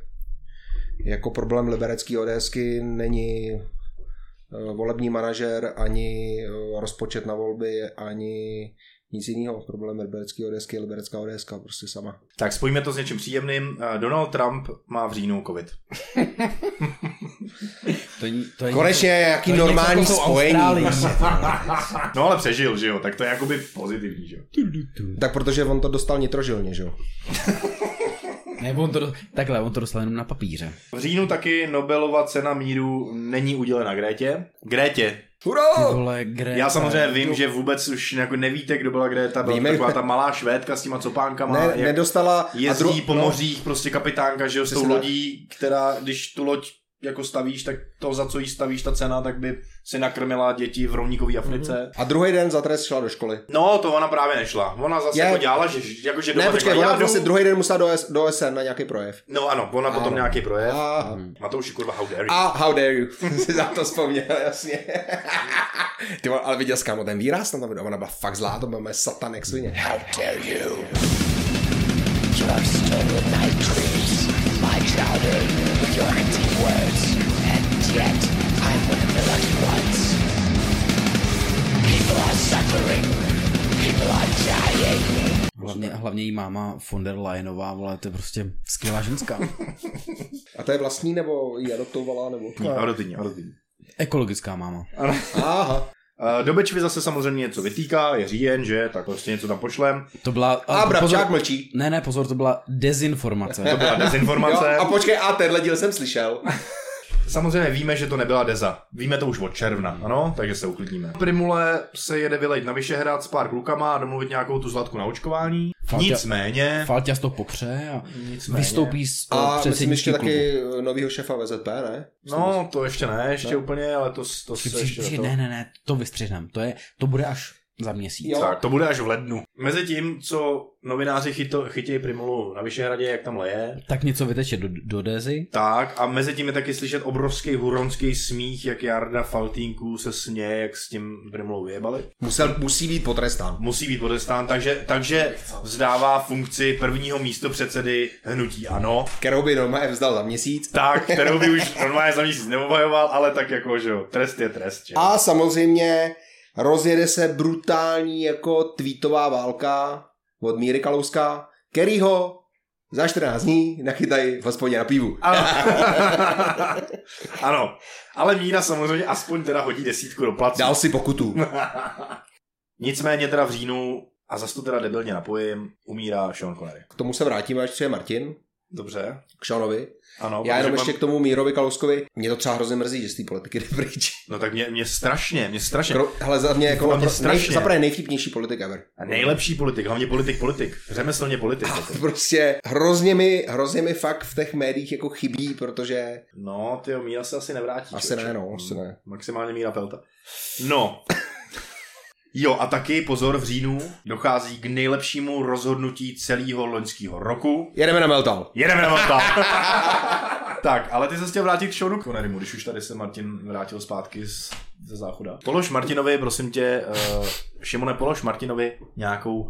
Speaker 2: jako problém liberecký ODSky není eh, volební manažer, ani eh, rozpočet na volby, ani Nic jiného. Problém libereckého ODS je liberecká ODS prostě sama.
Speaker 1: Tak spojíme to s něčím příjemným. Eh, Donald Trump má v říjnu covid.
Speaker 3: To, je- to je jako
Speaker 2: Konečně nějaký normální spojení. prostě.
Speaker 1: No ale přežil, že jo, tak to je jakoby pozitivní, že jo.
Speaker 2: Tak protože on to dostal nitrožilně, že jo?
Speaker 3: Nebo on to, do- takhle, on to dostal jenom na papíře.
Speaker 1: V říjnu taky Nobelova cena míru není udělena Grétě. Grétě.
Speaker 2: Hurá!
Speaker 3: Vole, Greta.
Speaker 1: Oh! Já samozřejmě vím, že vůbec už jako nevíte, kdo byla Gréta, byla
Speaker 2: no. Víme.
Speaker 1: Víme. taková ta malá švédka s těma copánkama.
Speaker 2: Ne,
Speaker 1: jak
Speaker 2: nedostala... a
Speaker 1: jezdí
Speaker 2: dru-
Speaker 1: po
Speaker 2: no,
Speaker 1: mořích, prostě kapitánka, že jo, s tou
Speaker 2: Přesně tak.
Speaker 1: lodí, která, když tu loď jako stavíš, tak to, za co jí stavíš, ta cena, tak by si nakrmila děti v rovníkové Africe.
Speaker 2: A druhý den za trest šla do školy.
Speaker 1: No, to ona právě nešla. Ona zase
Speaker 2: Je.
Speaker 1: jako dělala, že jakože
Speaker 2: Ne,
Speaker 1: doma
Speaker 2: počkej,
Speaker 1: řekla,
Speaker 2: ona
Speaker 1: jako "Já jdu."
Speaker 2: vlastně druhý den musela do, S, do SN na nějaký projev.
Speaker 1: No ano, ona potom
Speaker 2: Ano.
Speaker 1: nějaký projev.
Speaker 2: A,
Speaker 1: Na to už je kurva how dare you.
Speaker 2: a how dare you, si za to vzpomněl, jasně. Ty vole, ale viděl jsi kámo ten výraz na tom videu, ona byla fakt zlá, to byla moje satanek svině. How dare you.
Speaker 3: Hlavně, hlavně jí máma von der Leyenová, vole, to je prostě skvělá ženská.
Speaker 2: A to je vlastní, nebo ji adoptovala, nebo?
Speaker 1: Rodiny, rodiny.
Speaker 3: Ekologická máma.
Speaker 2: Aha.
Speaker 1: Eh, Do Bečvy zase samozřejmě něco vytýká, je říjen, že, tak prostě něco tam pošlem.
Speaker 3: To byla...
Speaker 2: A bravčák
Speaker 3: pozor,
Speaker 2: mlčí.
Speaker 3: ne, ne, pozor, to byla dezinformace.
Speaker 1: To byla
Speaker 2: Jo,
Speaker 1: dezinformace.
Speaker 2: a počkej, a tenhle díl jsem slyšel.
Speaker 1: Samozřejmě víme, že to nebyla Deza. Víme to už od června, ano, takže se uklidníme. Primule se jede vylejt na Vyšehrad s pár klukama a domluvit nějakou tu zlatku na očkování.
Speaker 3: Fakt,
Speaker 1: Nicméně,
Speaker 3: Falťas to popře a
Speaker 1: Nicméně.
Speaker 3: vystoupí z
Speaker 2: A myslím
Speaker 3: předsedničky
Speaker 2: ještě
Speaker 3: klubu.
Speaker 2: taky novýho šefa VZP, ne?
Speaker 1: no to ještě ne, ještě úplně, ale to, to se
Speaker 3: Při- při-
Speaker 1: ještě
Speaker 3: při-
Speaker 1: do toho-
Speaker 3: Ne, ne, ne, to vystřihneme. To, je, to bude až za měsíc.
Speaker 2: Jo.
Speaker 1: Tak, to bude až v lednu. Mezi tím, co novináři chyto, chytějí Primulu na Vyšehradě, jak tam leje,
Speaker 3: Tak něco vyteče do, do Dezy.
Speaker 1: tak a mezi tím je taky slyšet obrovský huronský smích, jak Jarda Faltínků se směje, jak s tím Primulou vyjebali.
Speaker 2: Musel, musí být potrestán.
Speaker 1: Musí být podestán, takže, takže vzdává funkci prvního místo předsedy hnutí Ano,
Speaker 2: Kterou by normálně vzdal za měsíc.
Speaker 1: tak, kterou by už normálně za měsíc neobhajoval, ale tak jako, že jo, trest je trest, že jo.
Speaker 2: A samozřejmě rozjede se brutální jako tweetová válka od Míry Kalouska, kterýho za 14 dní nachytají v hospodě na pivu.
Speaker 1: Ano. ano. Ale Míra samozřejmě aspoň teda hodí desítku do placu.
Speaker 2: Dal si pokutu.
Speaker 1: Nicméně teda v říjnu, a zas to teda debilně napojím, umírá Sean Connery.
Speaker 2: K tomu se vrátíme, až přijde Martin,
Speaker 1: Dobře.
Speaker 2: k Seanovi.
Speaker 1: Ano,
Speaker 2: Já
Speaker 1: No, protože
Speaker 2: jenom
Speaker 1: mám-
Speaker 2: ještě k tomu Mírovi Kalouskovi. Mě to třeba hrozně mrzí, že z té politiky jde pryč.
Speaker 1: No tak mě, mě strašně, mě strašně.
Speaker 2: Kro, hele, za mě jako
Speaker 1: Podle mě
Speaker 2: napro- nej,
Speaker 1: strašně.
Speaker 2: zaprvé nejvtipnější politik ever.
Speaker 1: A nejlepší politik, hlavně politik politik. Řemeslně politik. Jako.
Speaker 2: Prostě hrozně mi, hrozně mi fakt v těch médiích jako chybí, protože
Speaker 1: No, ty Míra se asi nevrátí.
Speaker 2: asi
Speaker 1: člověče.
Speaker 2: ne, no, asi ne.
Speaker 1: Maximálně Míra Pelta. No. Jo, a taky pozor, v říjnu dochází k nejlepšímu rozhodnutí celého loňského roku.
Speaker 2: Jedeme na Meltal.
Speaker 1: Jedeme na Malta. tak, ale ty se chtěl vrátit k Seanu Connerymu, když už tady se Martin vrátil zpátky z, ze záchoda. Polož Martinovi, prosím tě, uh, Šimone, polož Martinovi nějakou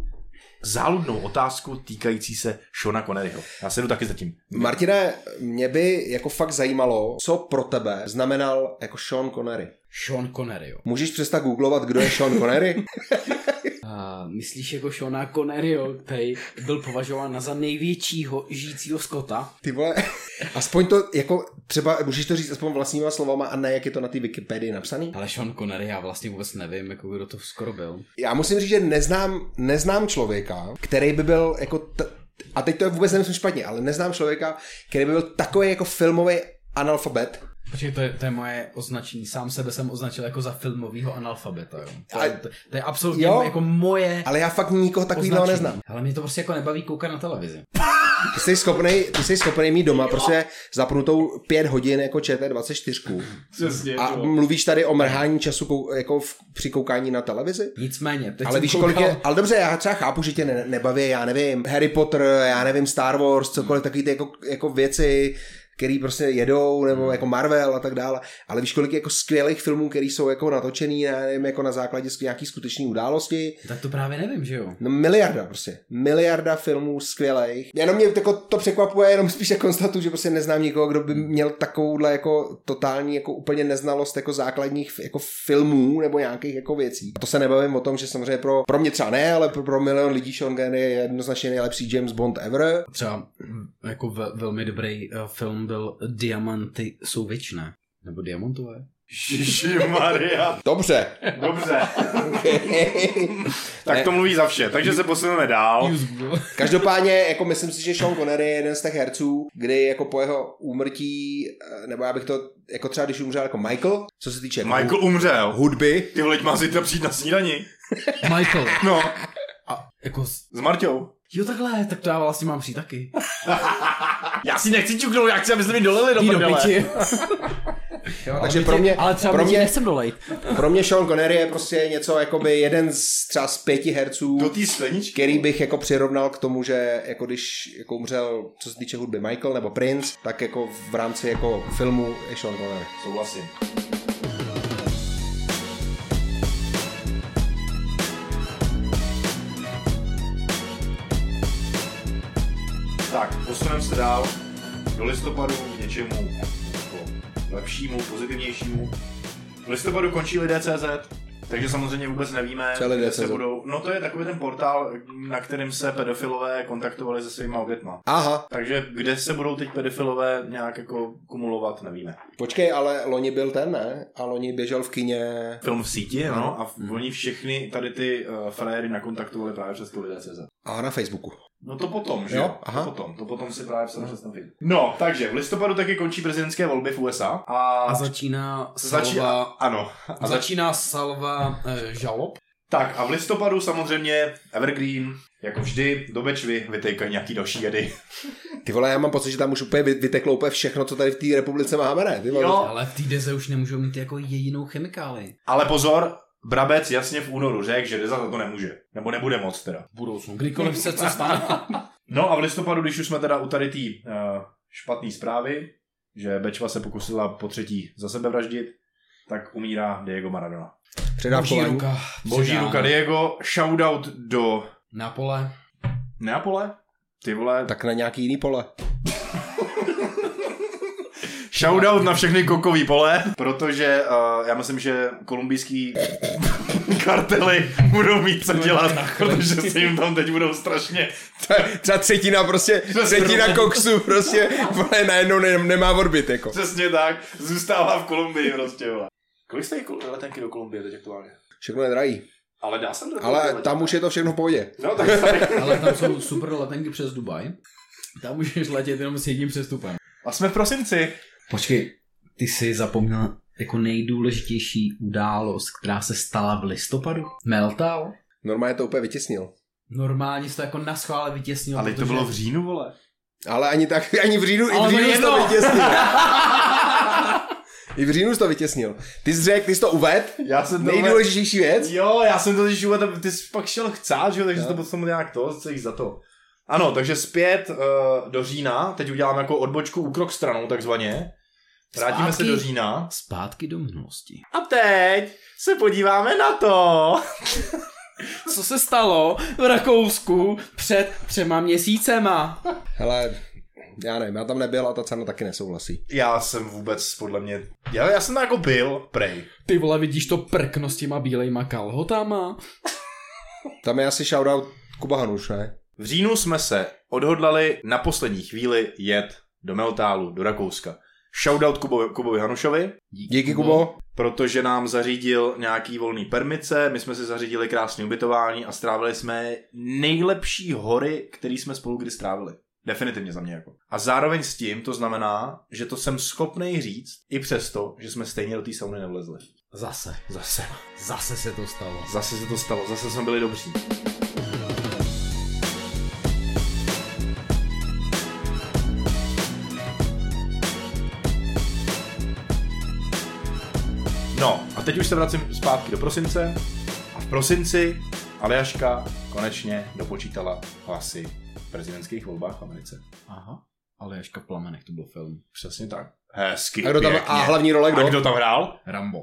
Speaker 1: záludnou otázku týkající se Šona Conneryho. Já se jdu taky zatím.
Speaker 2: Martine, mě by jako fakt zajímalo, co pro tebe znamenal jako Sean Connery.
Speaker 3: Sean Connery, jo.
Speaker 2: Můžeš přestat googlovat, kdo je Sean Connery?
Speaker 3: A myslíš jako Seana Conneryho, který byl považován za největšího žijícího skota?
Speaker 2: Ty vole, aspoň to jako třeba, můžeš to říct aspoň vlastníma slovama a ne, jak je to na té Wikipedii napsaný?
Speaker 3: Ale Sean Connery já vlastně vůbec nevím, jako kdo to skoro byl.
Speaker 2: Já musím říct, že neznám, neznám člověka, který by byl jako, t- a teď to vůbec nemyslím špatně, ale neznám člověka, který by byl takový jako filmový analfabet.
Speaker 3: Protože to je, to je moje označení. Sám sebe jsem označil jako za filmovýho analfabeta, jo. To,
Speaker 2: Ale-
Speaker 3: je, to, to je absolutně
Speaker 2: Jo.
Speaker 3: jako moje
Speaker 2: Ale já fakt nikoho takového
Speaker 3: označení.
Speaker 2: neznám.
Speaker 3: Ale mě to prostě jako nebaví koukat na televizi.
Speaker 2: Ty jsi schopný, ty jsi schopný mít doma prostě zapnutou pět hodin jako ČT24.
Speaker 1: Přesně.
Speaker 2: A mluvíš tady o mrhání času kou, jako v, při koukání na televizi?
Speaker 3: Nicméně, teď
Speaker 2: Ale
Speaker 3: jsem
Speaker 2: víš,
Speaker 3: koukal...
Speaker 2: kolik je, ale dobře, já třeba chápu, že tě ne, Hmm. nebaví, já nevím, Harry Potter, já nevím, Star Wars, cokoliv, takový ty jako, jako věci, který prostě jedou, nebo jako Marvel a tak dále, ale víš, kolik je jako skvělých filmů, který jsou jako natočený, já nevím, jako na základě sk- nějaký skutečné události,
Speaker 3: Tak to právě nevím, že jo?
Speaker 2: No miliarda prostě. Miliarda filmů skvělých. Jenom mě jako to překvapuje, jenom spíš jako konstatuju, že prostě neznám nikoho, kdo by měl takovouhle jako totální jako úplně neznalost jako základních jako filmů nebo nějakých jako věcí. A to se nebavím o tom, že samozřejmě pro, pro mě třeba ne, ale pro, pro milion lidí Sean Gunn je jednoznačně nejlepší James Bond ever.
Speaker 3: Třeba mm, jako ve, velmi dobrý eh, film byl Diamanty jsou věčné. Nebo diamantové.
Speaker 1: Maria.
Speaker 2: Dobře.
Speaker 1: Dobře. tak to mluví za vše, takže se posuneme dál.
Speaker 2: Každopádně, jako myslím si, že Sean Connery je jeden z těch herců, kdy jako po jeho úmrtí, eh, nebo já bych to, jako třeba když umřel jako Michael, co se týče jako
Speaker 1: Michael umřel.
Speaker 2: hudby,
Speaker 1: Ty vole, teď má zítra přijít na snídani.
Speaker 3: Michael.
Speaker 1: No,
Speaker 3: Jako, s-
Speaker 1: s Marťou.
Speaker 3: jo takhle, tak to já vlastně mám přijít taky.
Speaker 1: Já si nechci čuknout, jak se abyste mi dolili do
Speaker 3: Ty do
Speaker 1: prdele.
Speaker 3: piči.
Speaker 2: Takže pro mě,
Speaker 8: Ale třeba
Speaker 2: pro,
Speaker 8: mě...
Speaker 2: mě,
Speaker 8: nechcem dolejt.
Speaker 2: pro mě Sean Connery je prostě něco, jakoby jeden z třeba z pěti herců,
Speaker 1: Do té skleničky.
Speaker 2: který bych jako přirovnal k tomu, že jako když jako umřel, co se týče hudby Michael nebo Prince, tak jako v rámci jako filmu je Sean Connery.
Speaker 1: Souhlasím. Tak, posuneme se dál do listopadu k něčemu jako lepšímu, pozitivnějšímu. V listopadu končí lidé CZ, takže samozřejmě vůbec nevíme,
Speaker 2: Co je lidé
Speaker 1: kde se
Speaker 2: CZ?
Speaker 1: budou. No to je takový ten portál, na kterým se pedofilové kontaktovali se svýma obětma.
Speaker 2: Aha,
Speaker 1: Takže kde se budou teď pedofilové nějak jako kumulovat, nevíme.
Speaker 2: počkej, ale loni byl ten, ne? A loni běžel v kině.
Speaker 1: film v síti, no, a v- oni všechny tady ty uh, frajery nakontaktovali právě přes tu lidé CZ.
Speaker 2: A na Facebooku.
Speaker 1: No to potom, že
Speaker 2: Jo,
Speaker 1: jo?
Speaker 2: aha.
Speaker 1: To potom, to potom si právě psal přes ten film. No, takže v listopadu taky končí prezidentské volby v USA a,
Speaker 3: A začíná
Speaker 1: začíná,
Speaker 3: salva...
Speaker 1: ano,
Speaker 3: A začíná salva eh, žalob.
Speaker 1: Tak a v listopadu samozřejmě Evergreen, jako vždy, do Bečvy vytejkají nějaký další jedy.
Speaker 2: Ty vole, já mám pocit, že tam už úplně vy- vyteklo úplně všechno, co tady v té republice máme, ne? Ty vole,
Speaker 1: Jo,
Speaker 3: Ale v té deze už nemůžou mít jako jedinou chemikály.
Speaker 1: ale pozor, Brabec jasně v únoru řekl, že Deza za to nemůže. Nebo nebude moc teda.
Speaker 3: V budoucnu. Kdykoliv se co stane.
Speaker 1: No a v listopadu, když už jsme teda u tady té uh, špatné zprávy, že Bečva se pokusila po třetí za sebe vraždit, tak umírá Diego Maradona.
Speaker 3: Boží
Speaker 2: Předávkování.
Speaker 3: ruka.
Speaker 1: Boží
Speaker 3: Předáno.
Speaker 1: ruka Diego, shoutout do
Speaker 3: Na pole.
Speaker 1: Neapole? Ty vole, tak
Speaker 2: Tak na nějaký jiný pole.
Speaker 1: shoutout na všechny kokový pole, protože uh, já myslím, že kolumbijský kartely budou mít co dělat, protože se jim tam teď budou strašně...
Speaker 2: Třeba třetina prostě, třetina koksu prostě, vole, najednou ne, nemá orbit, jako.
Speaker 1: Přesně tak, zůstává v Kolumbii prostě, vole. Kolik stojí kol- letenky do Kolumbie teď aktuálně?
Speaker 2: Všechno je drahý.
Speaker 1: Ale dá se do
Speaker 2: Ale tam už je to všechno v pohodě.
Speaker 1: No tak tady.
Speaker 3: Ale tam jsou super letenky přes Dubaj. Tam můžeš letět jenom s jedním přestupem.
Speaker 1: A jsme v prosinci.
Speaker 3: Počkej, ty jsi zapomněl jako nejdůležitější událost, která se stala v listopadu? Meltal?
Speaker 2: Normálně to úplně vytěsnil.
Speaker 3: Normálně se to jako na schvále vytěsnilo.
Speaker 1: Ale to
Speaker 3: protože-
Speaker 1: bylo v říjnu, vole.
Speaker 2: Ale ani tak, ani v říjnu, i
Speaker 3: Ale
Speaker 2: v
Speaker 3: to
Speaker 2: říjnu
Speaker 3: je
Speaker 2: jsi to
Speaker 3: jedno.
Speaker 2: vytěsnil. I v říjnu jsi to vytěsnil. Ty jsi řekl, ty jsi to uved,
Speaker 1: Já jsem to...
Speaker 2: nejdůležitější věc.
Speaker 1: Jo, já jsem to když uvedl, ty jsi pak šel chcát, že jo, takže no. to potom nějak to, co jich za to. Ano, takže zpět uh, do října, teď uděláme jako odbočku úkrok stranou takzvaně. Vrátíme se
Speaker 3: Zpátky.
Speaker 1: do října.
Speaker 3: Zpátky do minulosti.
Speaker 1: A teď se podíváme na to.
Speaker 3: Co se stalo v Rakousku před třema měsícema?
Speaker 2: Hele, já nevím, já tam nebyl a ta cena taky nesouhlasí.
Speaker 1: Já jsem vůbec, podle mě, já, já jsem to jako byl, prej.
Speaker 3: Ty vole, vidíš to prkno s těma bílejma kalhotama?
Speaker 2: Tam je asi shoutout Kuba Hanuš, ne?
Speaker 1: V říjnu jsme se odhodlali na poslední chvíli jet do Meltálu, do Rakouska. Shoutout Kubo, Kubovi Hanušovi,
Speaker 2: Díky
Speaker 3: no. Mhm.
Speaker 2: Kubo.
Speaker 1: protože nám zařídil nějaký volný permice, my jsme si zařídili krásné ubytování a strávili jsme nejlepší hory, který jsme spolu kdy strávili. Definitivně za mě jako. A zároveň s tím to znamená, že to jsem schopnej říct i přesto, že jsme stejně do té sauny nevlezli.
Speaker 3: Zase.
Speaker 1: Zase.
Speaker 3: Zase se to stalo.
Speaker 1: Zase se to stalo, zase jsme byli dobří. No, a teď už se vracím zpátky do prosince. A v prosinci Aljaška konečně dopočítala hlasy v prezidentských volbách v Americe.
Speaker 3: Aha. Ale Jaška v plamenech, to byl film.
Speaker 1: Přesně tak. Hezky,
Speaker 2: A, kdo tam,
Speaker 1: pěkně.
Speaker 2: a hlavní role kdo?
Speaker 1: a kdo tam hrál?
Speaker 3: Rambo.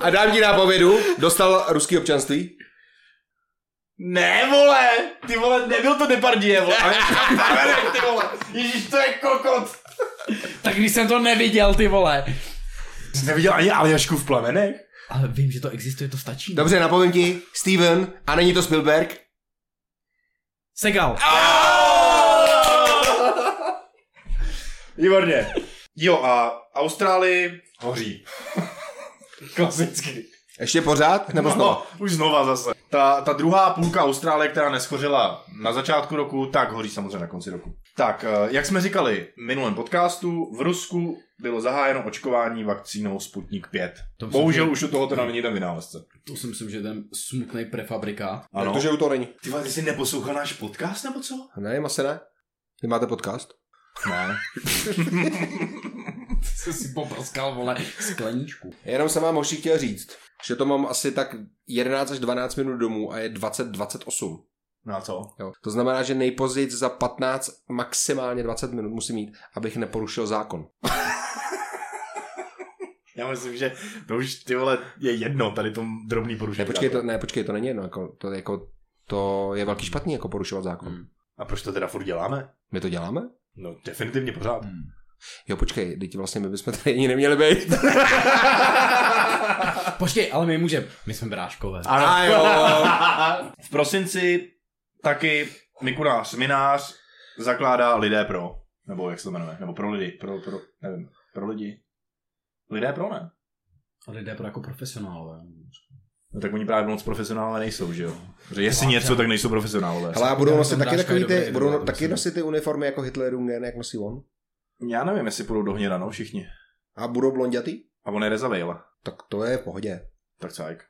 Speaker 2: A dám ti nápovědu, dostal ruský občanství.
Speaker 1: Ne, vole! Ty vole, nebyl to Depardie, vole. Ale ty vole. Ježíš, to je kokot.
Speaker 8: Tak když jsem to neviděl, ty vole.
Speaker 1: Jsi neviděl ani Aljašku v plamenech?
Speaker 8: Ale vím, že to existuje, to
Speaker 3: no.
Speaker 8: stačí.
Speaker 2: Dobře, napovím ti, Steven, a není to Spielberg.
Speaker 8: Segal.
Speaker 1: Výborně. Jo, a Austrálii hoří. Klasicky.
Speaker 2: Ještě pořád? Nebo znovu?
Speaker 1: No, už znova zase. Ta, ta druhá půlka Austrálie, která neschořela na začátku roku, tak hoří samozřejmě na konci roku. Tak, eh, jak jsme říkali v minulém podcastu, v Rusku bylo zahájeno očkování vakcínou Sputnik 5.
Speaker 3: To
Speaker 1: Bohužel už u toho teda není ten vynálezce.
Speaker 3: To si myslím, že je ten smutný prefabrikát.
Speaker 1: Ano.
Speaker 2: Protože u toho není.
Speaker 1: Ty vole, ty jsi neposlouchal náš podcast nebo co?
Speaker 2: Ne, asi ne. Vy máte podcast?
Speaker 1: Ne.
Speaker 3: Jsi si poprskal, vole, skleníčku.
Speaker 2: Jenom jsem vám hoši chtěl říct, že to mám asi tak 11 až 12 minut domů a je 20-28.
Speaker 1: No a co?
Speaker 2: Jo. To znamená, že nejpozději za 15, maximálně 20 minut musím mít, abych neporušil zákon.
Speaker 1: Já myslím, že to už ty vole je jedno, tady to drobný porušení.
Speaker 2: Ne, počkej, to, ne, počkej, to není jedno, jako, to, jako, to je velký špatný, jako porušovat zákon.
Speaker 3: Hmm.
Speaker 2: Hmm.
Speaker 1: A proč to teda furt děláme?
Speaker 2: My to děláme?
Speaker 1: No definitivně pořád.
Speaker 2: Hmm. Jo, počkej, teď vlastně my bychom tady ani neměli být.
Speaker 3: Počkej, ale my můžeme. My jsme bráškové.
Speaker 2: A jo.
Speaker 1: V prosinci taky Mikuláš Minář zakládá Lidé pro, nebo jak se to jmenuje, nebo pro lidi, pro, pro, nevím, pro lidi. Lidé pro ne.
Speaker 3: A lidé pro jako profesionálové.
Speaker 1: No tak oni právě moc profesionálové nejsou, že jo? Že jestli něco, tak nejsou profesionálové.
Speaker 2: Hele, a budou nosit
Speaker 3: Tam
Speaker 2: taky
Speaker 3: dáš
Speaker 2: takový
Speaker 3: dobrý
Speaker 2: ty,
Speaker 3: den,
Speaker 2: budou no,
Speaker 3: myslím.
Speaker 2: taky nosit ty uniformy jako Hitler Jungen, jak nosí on?
Speaker 1: Já nevím, jestli půjdou do hněda, no všichni.
Speaker 2: A budou blondětý?
Speaker 1: A on je rezavejla.
Speaker 2: Tak to je v pohodě.
Speaker 1: Tak cajk.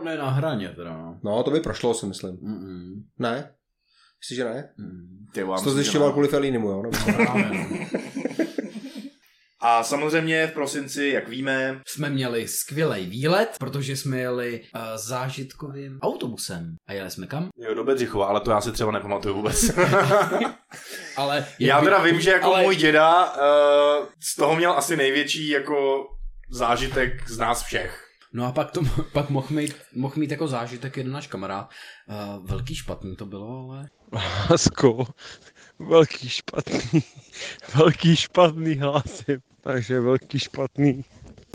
Speaker 3: On je na hraně teda, no.
Speaker 2: No, to by prošlo, si myslím.
Speaker 3: Mm-mm.
Speaker 2: Ne? Myslíš, že ne?
Speaker 3: Mm.
Speaker 1: Ty, vole, já
Speaker 2: Jsi to
Speaker 1: myslím, že
Speaker 2: zjišťoval
Speaker 1: ne.
Speaker 2: kvůli Felinimu, jo? Nebo-
Speaker 1: A samozřejmě v prosinci, jak víme,
Speaker 3: jsme měli skvělý výlet, protože jsme jeli uh, zážitkovým autobusem. A jeli jsme kam?
Speaker 1: jo, do Bedřichova, ale to já si třeba nepamatuju vůbec.
Speaker 3: Ale
Speaker 1: Já teda vím, že jako ale...
Speaker 3: ale
Speaker 1: můj děda uh, z toho měl asi největší jako zážitek z nás všech.
Speaker 3: No a pak, to, pak mohl, mít, mohl mít jako zážitek jeden náš kamarád. Uh, velký špatný to bylo, ale...
Speaker 9: Lásko, velký špatný, velký špatný hlásím. Takže velký špatný.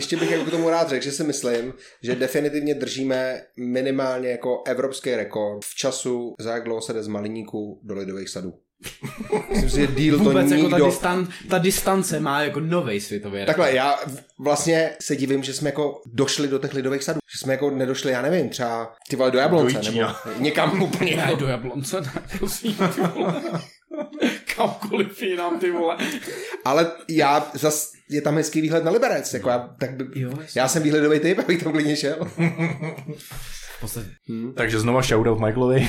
Speaker 2: Ještě bych jako k tomu rád řekl, že si myslím, že definitivně držíme minimálně jako evropský rekord v času, za jak dlouho se jde z maliníků do lidových sadů. Myslím si, že díl to
Speaker 8: Vůbec
Speaker 2: nikdo...
Speaker 8: jako ta, distan, ta distance má jako novej světový rekord.
Speaker 2: Takhle, já v- vlastně se divím, že jsme jako došli do těch lidových sadů. Že jsme jako nedošli, já nevím, třeba ty vole do Jablonce,
Speaker 1: Do
Speaker 2: do
Speaker 1: Jičína.
Speaker 2: nebo někam úplně.
Speaker 8: Ne, do Jablonce, ne, prosím, ty vole. Kamkoliv jinam, ty vole.
Speaker 2: Ale já zas, je tam hezký výhled na Liberec, jako já, tak by,
Speaker 8: Jo,
Speaker 2: já jsem výhledový typ, abych tam klidně šel.
Speaker 3: V podstatě...
Speaker 1: Takže znova shoutout Michaelovi.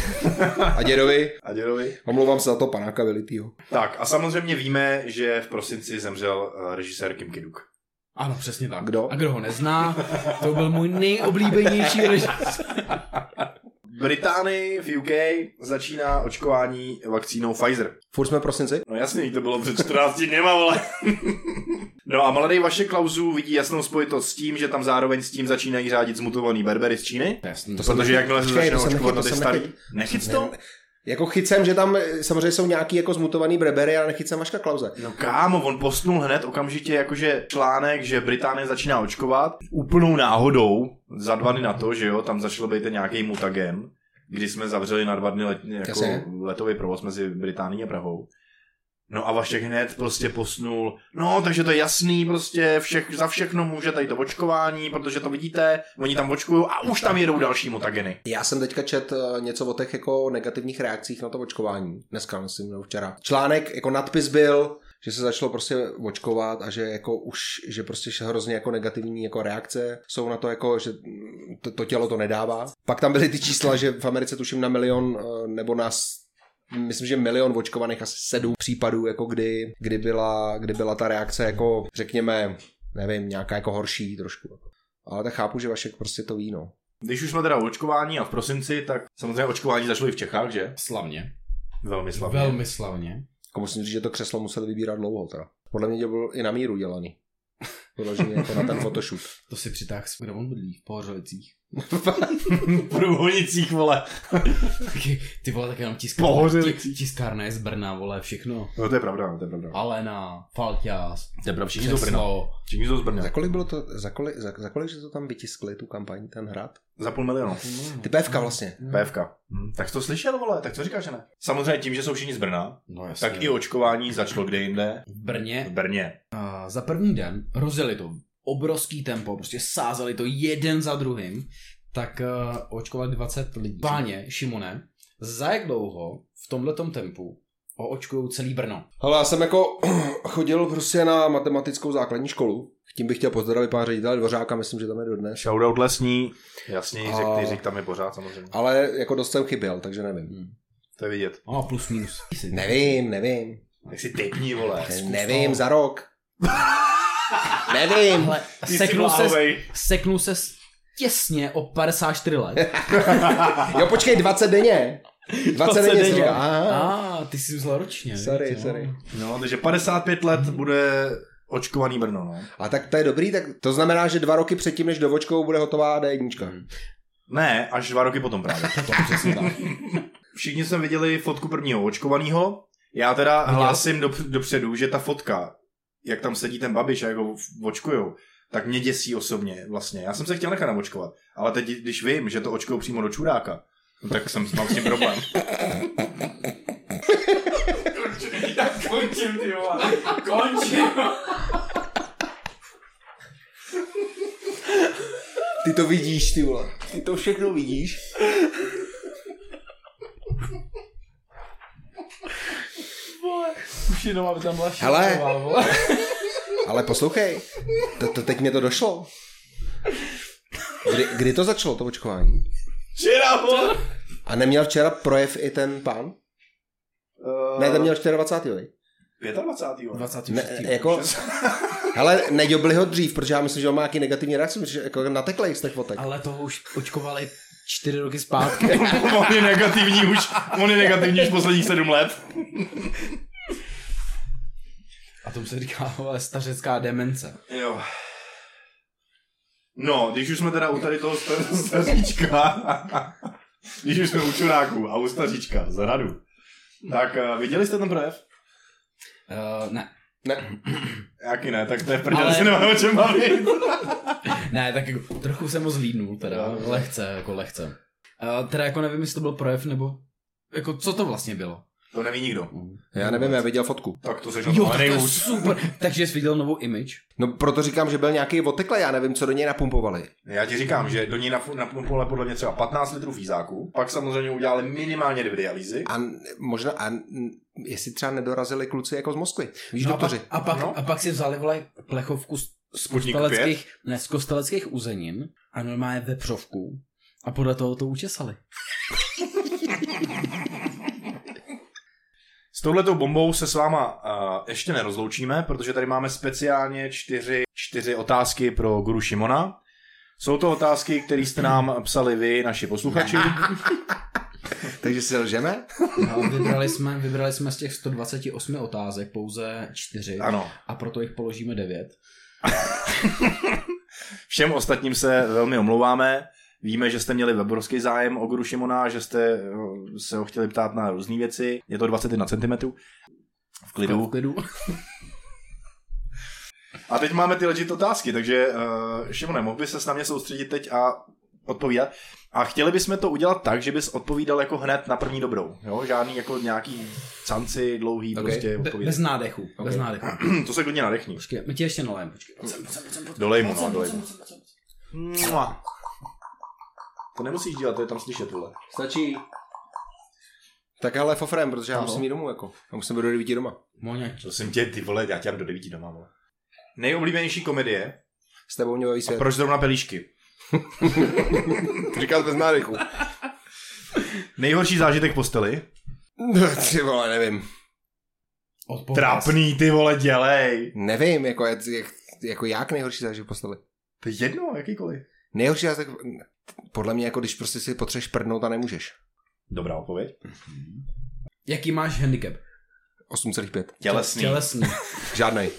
Speaker 2: A dědovi,
Speaker 1: A dědovi.
Speaker 2: omlouvám se za to panáka Velitýho.
Speaker 1: Tak a samozřejmě víme, že v prosinci zemřel eh, režisér Kim Kiduk.
Speaker 3: Ano, přesně tak.
Speaker 2: Kdo?
Speaker 3: A kdo ho nezná, to byl můj nejoblíbenější režisér.
Speaker 1: V Británii, v UK, začíná očkování vakcínou Pfizer.
Speaker 2: Furt jsme v prosinci?
Speaker 1: No jasně, to bylo před 14 dněma, vole. No a mladý Vaše Klausů vidí jasnou spojitost s tím, že tam zároveň s tím začínají řádit zmutovaný berbery z Číny.
Speaker 3: Jasný.
Speaker 2: To jsem
Speaker 1: Protože
Speaker 2: nechytil.
Speaker 1: jakmile se
Speaker 2: Počkej,
Speaker 1: začne
Speaker 2: to jsem
Speaker 1: očkovat na ty
Speaker 2: nechytil, to
Speaker 1: starý...
Speaker 2: jsem
Speaker 1: Nechyt
Speaker 2: Ne,
Speaker 1: to?
Speaker 2: ne. Jako chycem, že tam e, samozřejmě jsou nějaký jako zmutovaný brebery, ale nechycem Vaška Klauze.
Speaker 1: No kámo, on posnul hned okamžitě jakože článek, že Británie začíná očkovat. Úplnou náhodou, za dva dny na to, že jo, tam začal být ten nějaký mutagen, kdy jsme zavřeli na dva dny let, jako
Speaker 2: Jasně.
Speaker 1: letový provoz mezi Británií a Prahou. No a Vašek hned prostě posnul, no takže to je jasný, prostě všech, za všechno může tady to očkování, protože to vidíte, oni tam očkují a už tam jedou další mutageny.
Speaker 2: Já jsem teďka čet eh, něco o těch jako negativních reakcích na to očkování. Dneska, myslím, nebo včera. Článek, jako nadpis byl, že se začalo prostě očkovat a že jako už, že prostě š- hrozně jako negativní jako reakce jsou na to jako, že mm, to, to tělo to nedává. Pak tam byly ty čísla, že v Americe tuším na milion eh, nebo na s- myslím, že milion očkovaných, asi sedm případů, jako kdy, kdy, byla, kdy byla ta reakce jako, řekněme, nevím, nějaká jako horší trošku. Ale tak chápu, že Vašek prostě to ví, no.
Speaker 1: Když už jsme teda u očkování a v prosinci, tak samozřejmě očkování začalo i v Čechách, že?
Speaker 3: Slavně.
Speaker 1: Velmi slavně.
Speaker 3: Velmi slavně.
Speaker 2: Jako musím říct, že to křeslo museli vybírat dlouho teda. Podle mě to byl i na míru dělaný. Vyloženě jako na ten photoshoot.
Speaker 3: To si přitáhl, s- kde on bydlí, v Pohořelicích.
Speaker 1: průhonicích, vole.
Speaker 3: Taky- Ty vole, tak jenom tiskárna, ti- tiskárna je z Brna, vole, všechno.
Speaker 1: No to je pravda, no, to je pravda.
Speaker 3: Alena, Falťás,
Speaker 1: To je pravda, všichni jsou z Brna.
Speaker 3: Křeslo.
Speaker 1: Všichni jsou z Brna.
Speaker 2: Za kolik bylo to, za kolik, za, za kolik, že to tam vytiskli, tu kampaň, ten hrad?
Speaker 1: Za půl milionu.
Speaker 2: Ty PFK vlastně.
Speaker 1: PFK. Hm, tak jsi to slyšel, vole, tak co říkáš, že ne? Samozřejmě tím, že jsou všichni z Brna,
Speaker 3: No jasně.
Speaker 1: tak i očkování začalo kde jinde.
Speaker 3: V
Speaker 1: V
Speaker 3: Brně
Speaker 1: Brně.
Speaker 3: a za první den rozjeli to obrovský tempo, prostě sázeli to jeden za druhým, tak uh, očkovali 20 lidí. Páně, Šimone, za jak dlouho v tomhletom tempu očkují celý Brno?
Speaker 2: Hele, já jsem jako chodil prostě na matematickou základní školu. Tím bych chtěl pozdravit pana ředitele Dvořáka, myslím, že tam je dodnes.
Speaker 1: Shoutout lesní. Jasně,
Speaker 2: A-
Speaker 1: Jiřek, ty Jiřek tam je pořád samozřejmě.
Speaker 2: Ale jako dost jsem chyběl, takže nevím.
Speaker 1: To je vidět.
Speaker 3: A No, plus minus.
Speaker 2: Nevím, nevím.
Speaker 1: Tak si typni, vole.
Speaker 2: Nevím, za rok. nevím.
Speaker 3: Ale
Speaker 1: Ty jsi
Speaker 3: seknul se,
Speaker 1: bláhovej.
Speaker 3: seknul se s- těsně o 54 let.
Speaker 2: Jo, počkej, 20 denně. 20 denně.
Speaker 3: denně.
Speaker 2: jsi říkal. Aha.
Speaker 3: A ah, ty jsi vzal ročně.
Speaker 2: Sorry,
Speaker 3: víc, no.
Speaker 2: sorry.
Speaker 1: No, takže 55 let bude očkovaný Brno, no.
Speaker 2: A tak to je dobrý, tak to znamená, že dva roky předtím, než do očkou bude hotová D1.
Speaker 1: Ne, až dva roky potom právě. Všichni jsme viděli fotku prvního očkovaného. Já teda hlásím dop, dopředu, že ta fotka, jak tam sedí ten babiš a jak ho v- očkujou, tak mě děsí osobně vlastně. Já jsem se chtěl nechat naočkovat, ale teď, když vím, že to očkujou přímo do čuráka, no tak jsem mám s tím problém.
Speaker 4: Končím, ty vole. Končím.
Speaker 2: Ty to vidíš, ty vole. Ty to všechno vidíš.
Speaker 8: Už jenom, aby tam byla
Speaker 2: Hele.
Speaker 8: šílená, vole.
Speaker 2: Ale poslouchej, to, to teď mě to došlo. Kdy, kdy to začalo, to očkování?
Speaker 1: Včera, vole!
Speaker 2: A neměl včera projev i ten pán? Ne, ten měl 24. viď?
Speaker 1: 25. vole.
Speaker 3: 26.
Speaker 2: Ne, jako, hele, neďobli ho dřív, protože já myslím, že on má nějaký negativní reakce, protože jako nateklej z těch fotek.
Speaker 3: Ale toho už očkovali čtyři roky zpátky.
Speaker 1: On je negativní už, on je negativní už posledních sedm let.
Speaker 3: A tomu se říká vole, stařecká demence.
Speaker 1: Jo. No, když už jsme teda u tady toho star- staříčka, když už jsme u čuráků a u staříčka, za radu, tak eh, viděli jste ten projev?
Speaker 3: Uh, ne.
Speaker 2: Ne,
Speaker 1: Jaký ne, tak to je prdel,
Speaker 3: Ale-
Speaker 1: Ale... si nemáme o čem bavit.
Speaker 3: Ne, tak jako, trochu jsem ho zhlídnul teda.
Speaker 1: Jo.
Speaker 3: Lehce, jako lehce. Uh, teda jako nevím, jestli to byl projev nebo... Jako co to vlastně bylo?
Speaker 1: To neví nikdo.
Speaker 2: já nevím, já viděl fotku.
Speaker 1: Tak to seš
Speaker 3: Jo,
Speaker 1: jo,
Speaker 3: tak to je
Speaker 1: nejhůř.
Speaker 3: super. Takže jsi viděl novou image?
Speaker 2: No proto říkám, že byl nějaký oteklej, já nevím, co do něj napumpovali.
Speaker 1: Já ti říkám, že do ní nafu- napumpovali podle mě třeba 15 litrů fízáku, pak samozřejmě udělali minimálně dvě dialýzy.
Speaker 2: A n- možná, a n- jestli třeba nedorazili kluci jako z Moskvy. Víš, no
Speaker 3: a, pak,
Speaker 2: doktoři.
Speaker 3: a, pak,
Speaker 1: No.
Speaker 3: a pak si vzali vole plechovku z, z
Speaker 1: Sputnik
Speaker 3: kosteleckých, ne, z kosteleckých uzenin a normálně vepřovku a podle toho to učesali.
Speaker 1: S touhletou bombou se s váma uh, ještě nerozloučíme, protože tady máme speciálně čtyři, čtyři otázky pro guru Šimona. Jsou to otázky, které jste nám psali vy, naši posluchači.
Speaker 2: Takže si lžeme?
Speaker 3: A No, vybrali jsme, vybrali jsme z těch 128 otázek pouze čtyři
Speaker 1: Ano.
Speaker 3: a proto jich položíme devět.
Speaker 1: Všem ostatním se velmi omlouváme. Víme, že jste měli obrovský zájem o guru Šimona, že jste eh, se ho chtěli ptát na různé věci. Je to 21 cm. V klidu.
Speaker 3: V klidu.
Speaker 1: A teď máme ty legit otázky, takže uh, Šimone, mohl by se s námi soustředit teď a odpovídat. A chtěli bychom to udělat tak, že bys odpovídal jako hned na první dobrou. Jo? Žádný jako nějaký canci, dlouhý okay. prostě
Speaker 3: Be,
Speaker 1: odpověď.
Speaker 3: bez nádechu, okay. bez nádechu.
Speaker 1: to se klidně nadechni.
Speaker 3: Počkej, my ti ještě nalejeme, počkej. Pojď sem, pojď sem, pojď sem, pojď sem.
Speaker 1: Dolej mu, no, dolej mu. Mua. To nemusíš dělat, to je tam slyšet, vole.
Speaker 2: Stačí. Tak hele, fofrem, protože já musím jít domů, jako. Já musím být do 9 doma.
Speaker 3: Moňa,
Speaker 1: Prosím tě, ty vole, já tě dám do devíti doma, vole. Nejoblíbenější komedie.
Speaker 2: S tebou mě baví svět.
Speaker 1: Proč zrovna pelíšky?
Speaker 2: Říkal bez nádechu.
Speaker 1: Nejhorší zážitek v posteli.
Speaker 2: No, Ty vole, nevím.
Speaker 3: odpověz.
Speaker 1: Trapný, ty vole, dělej.
Speaker 2: Nevím, jako, jak, jak, jako jak nejhorší zážitek v posteli.
Speaker 1: To je jedno, jakýkoliv.
Speaker 2: Nejhorší tak podle mě, jako když prostě si potřebuješ prdnout a nemůžeš.
Speaker 1: Dobrá odpověď.
Speaker 3: Jaký máš handicap?
Speaker 2: 8,5.
Speaker 1: Tělesný.
Speaker 3: Tělesný.
Speaker 2: Žádnej,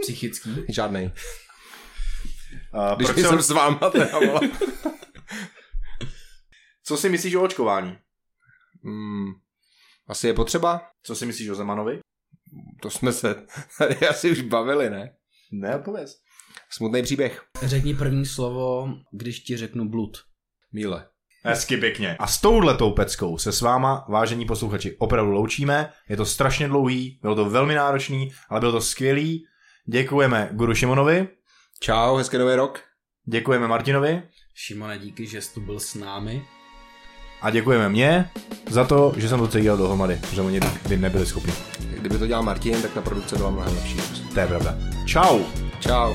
Speaker 3: Psychický.
Speaker 2: žádnej.
Speaker 1: A
Speaker 2: Když
Speaker 1: proč
Speaker 2: jsem
Speaker 1: jsem...
Speaker 2: s váma, teda vole.
Speaker 1: Co si myslíš o očkování?
Speaker 2: Hmm, asi je potřeba?
Speaker 1: Co si myslíš o Zemanovi?
Speaker 2: To jsme se tady asi už bavili, ne?
Speaker 1: Ne, odpověz.
Speaker 2: Smutný příběh.
Speaker 3: Řekni první slovo, když ti řeknu blud.
Speaker 2: Míle.
Speaker 1: Hezky pěkně. A s touhletou peckou se s váma, vážení posluchači, opravdu loučíme. Je to strašně dlouhý, bylo to velmi náročný, ale bylo to skvělý. Děkujeme Guru Šimonovi,
Speaker 2: Čau, hezký nový rok.
Speaker 1: děkujeme Martinovi
Speaker 3: Šimone, díky, že jsi tu byl s námi.
Speaker 1: a děkujeme mě za to, že jsem to celý dělal dohromady, že oni by nebyli schopni.
Speaker 2: Kdyby to dělal Martin, tak ta produkce byla mnohem lepší.
Speaker 1: To je pravda. Čau!
Speaker 2: Čau.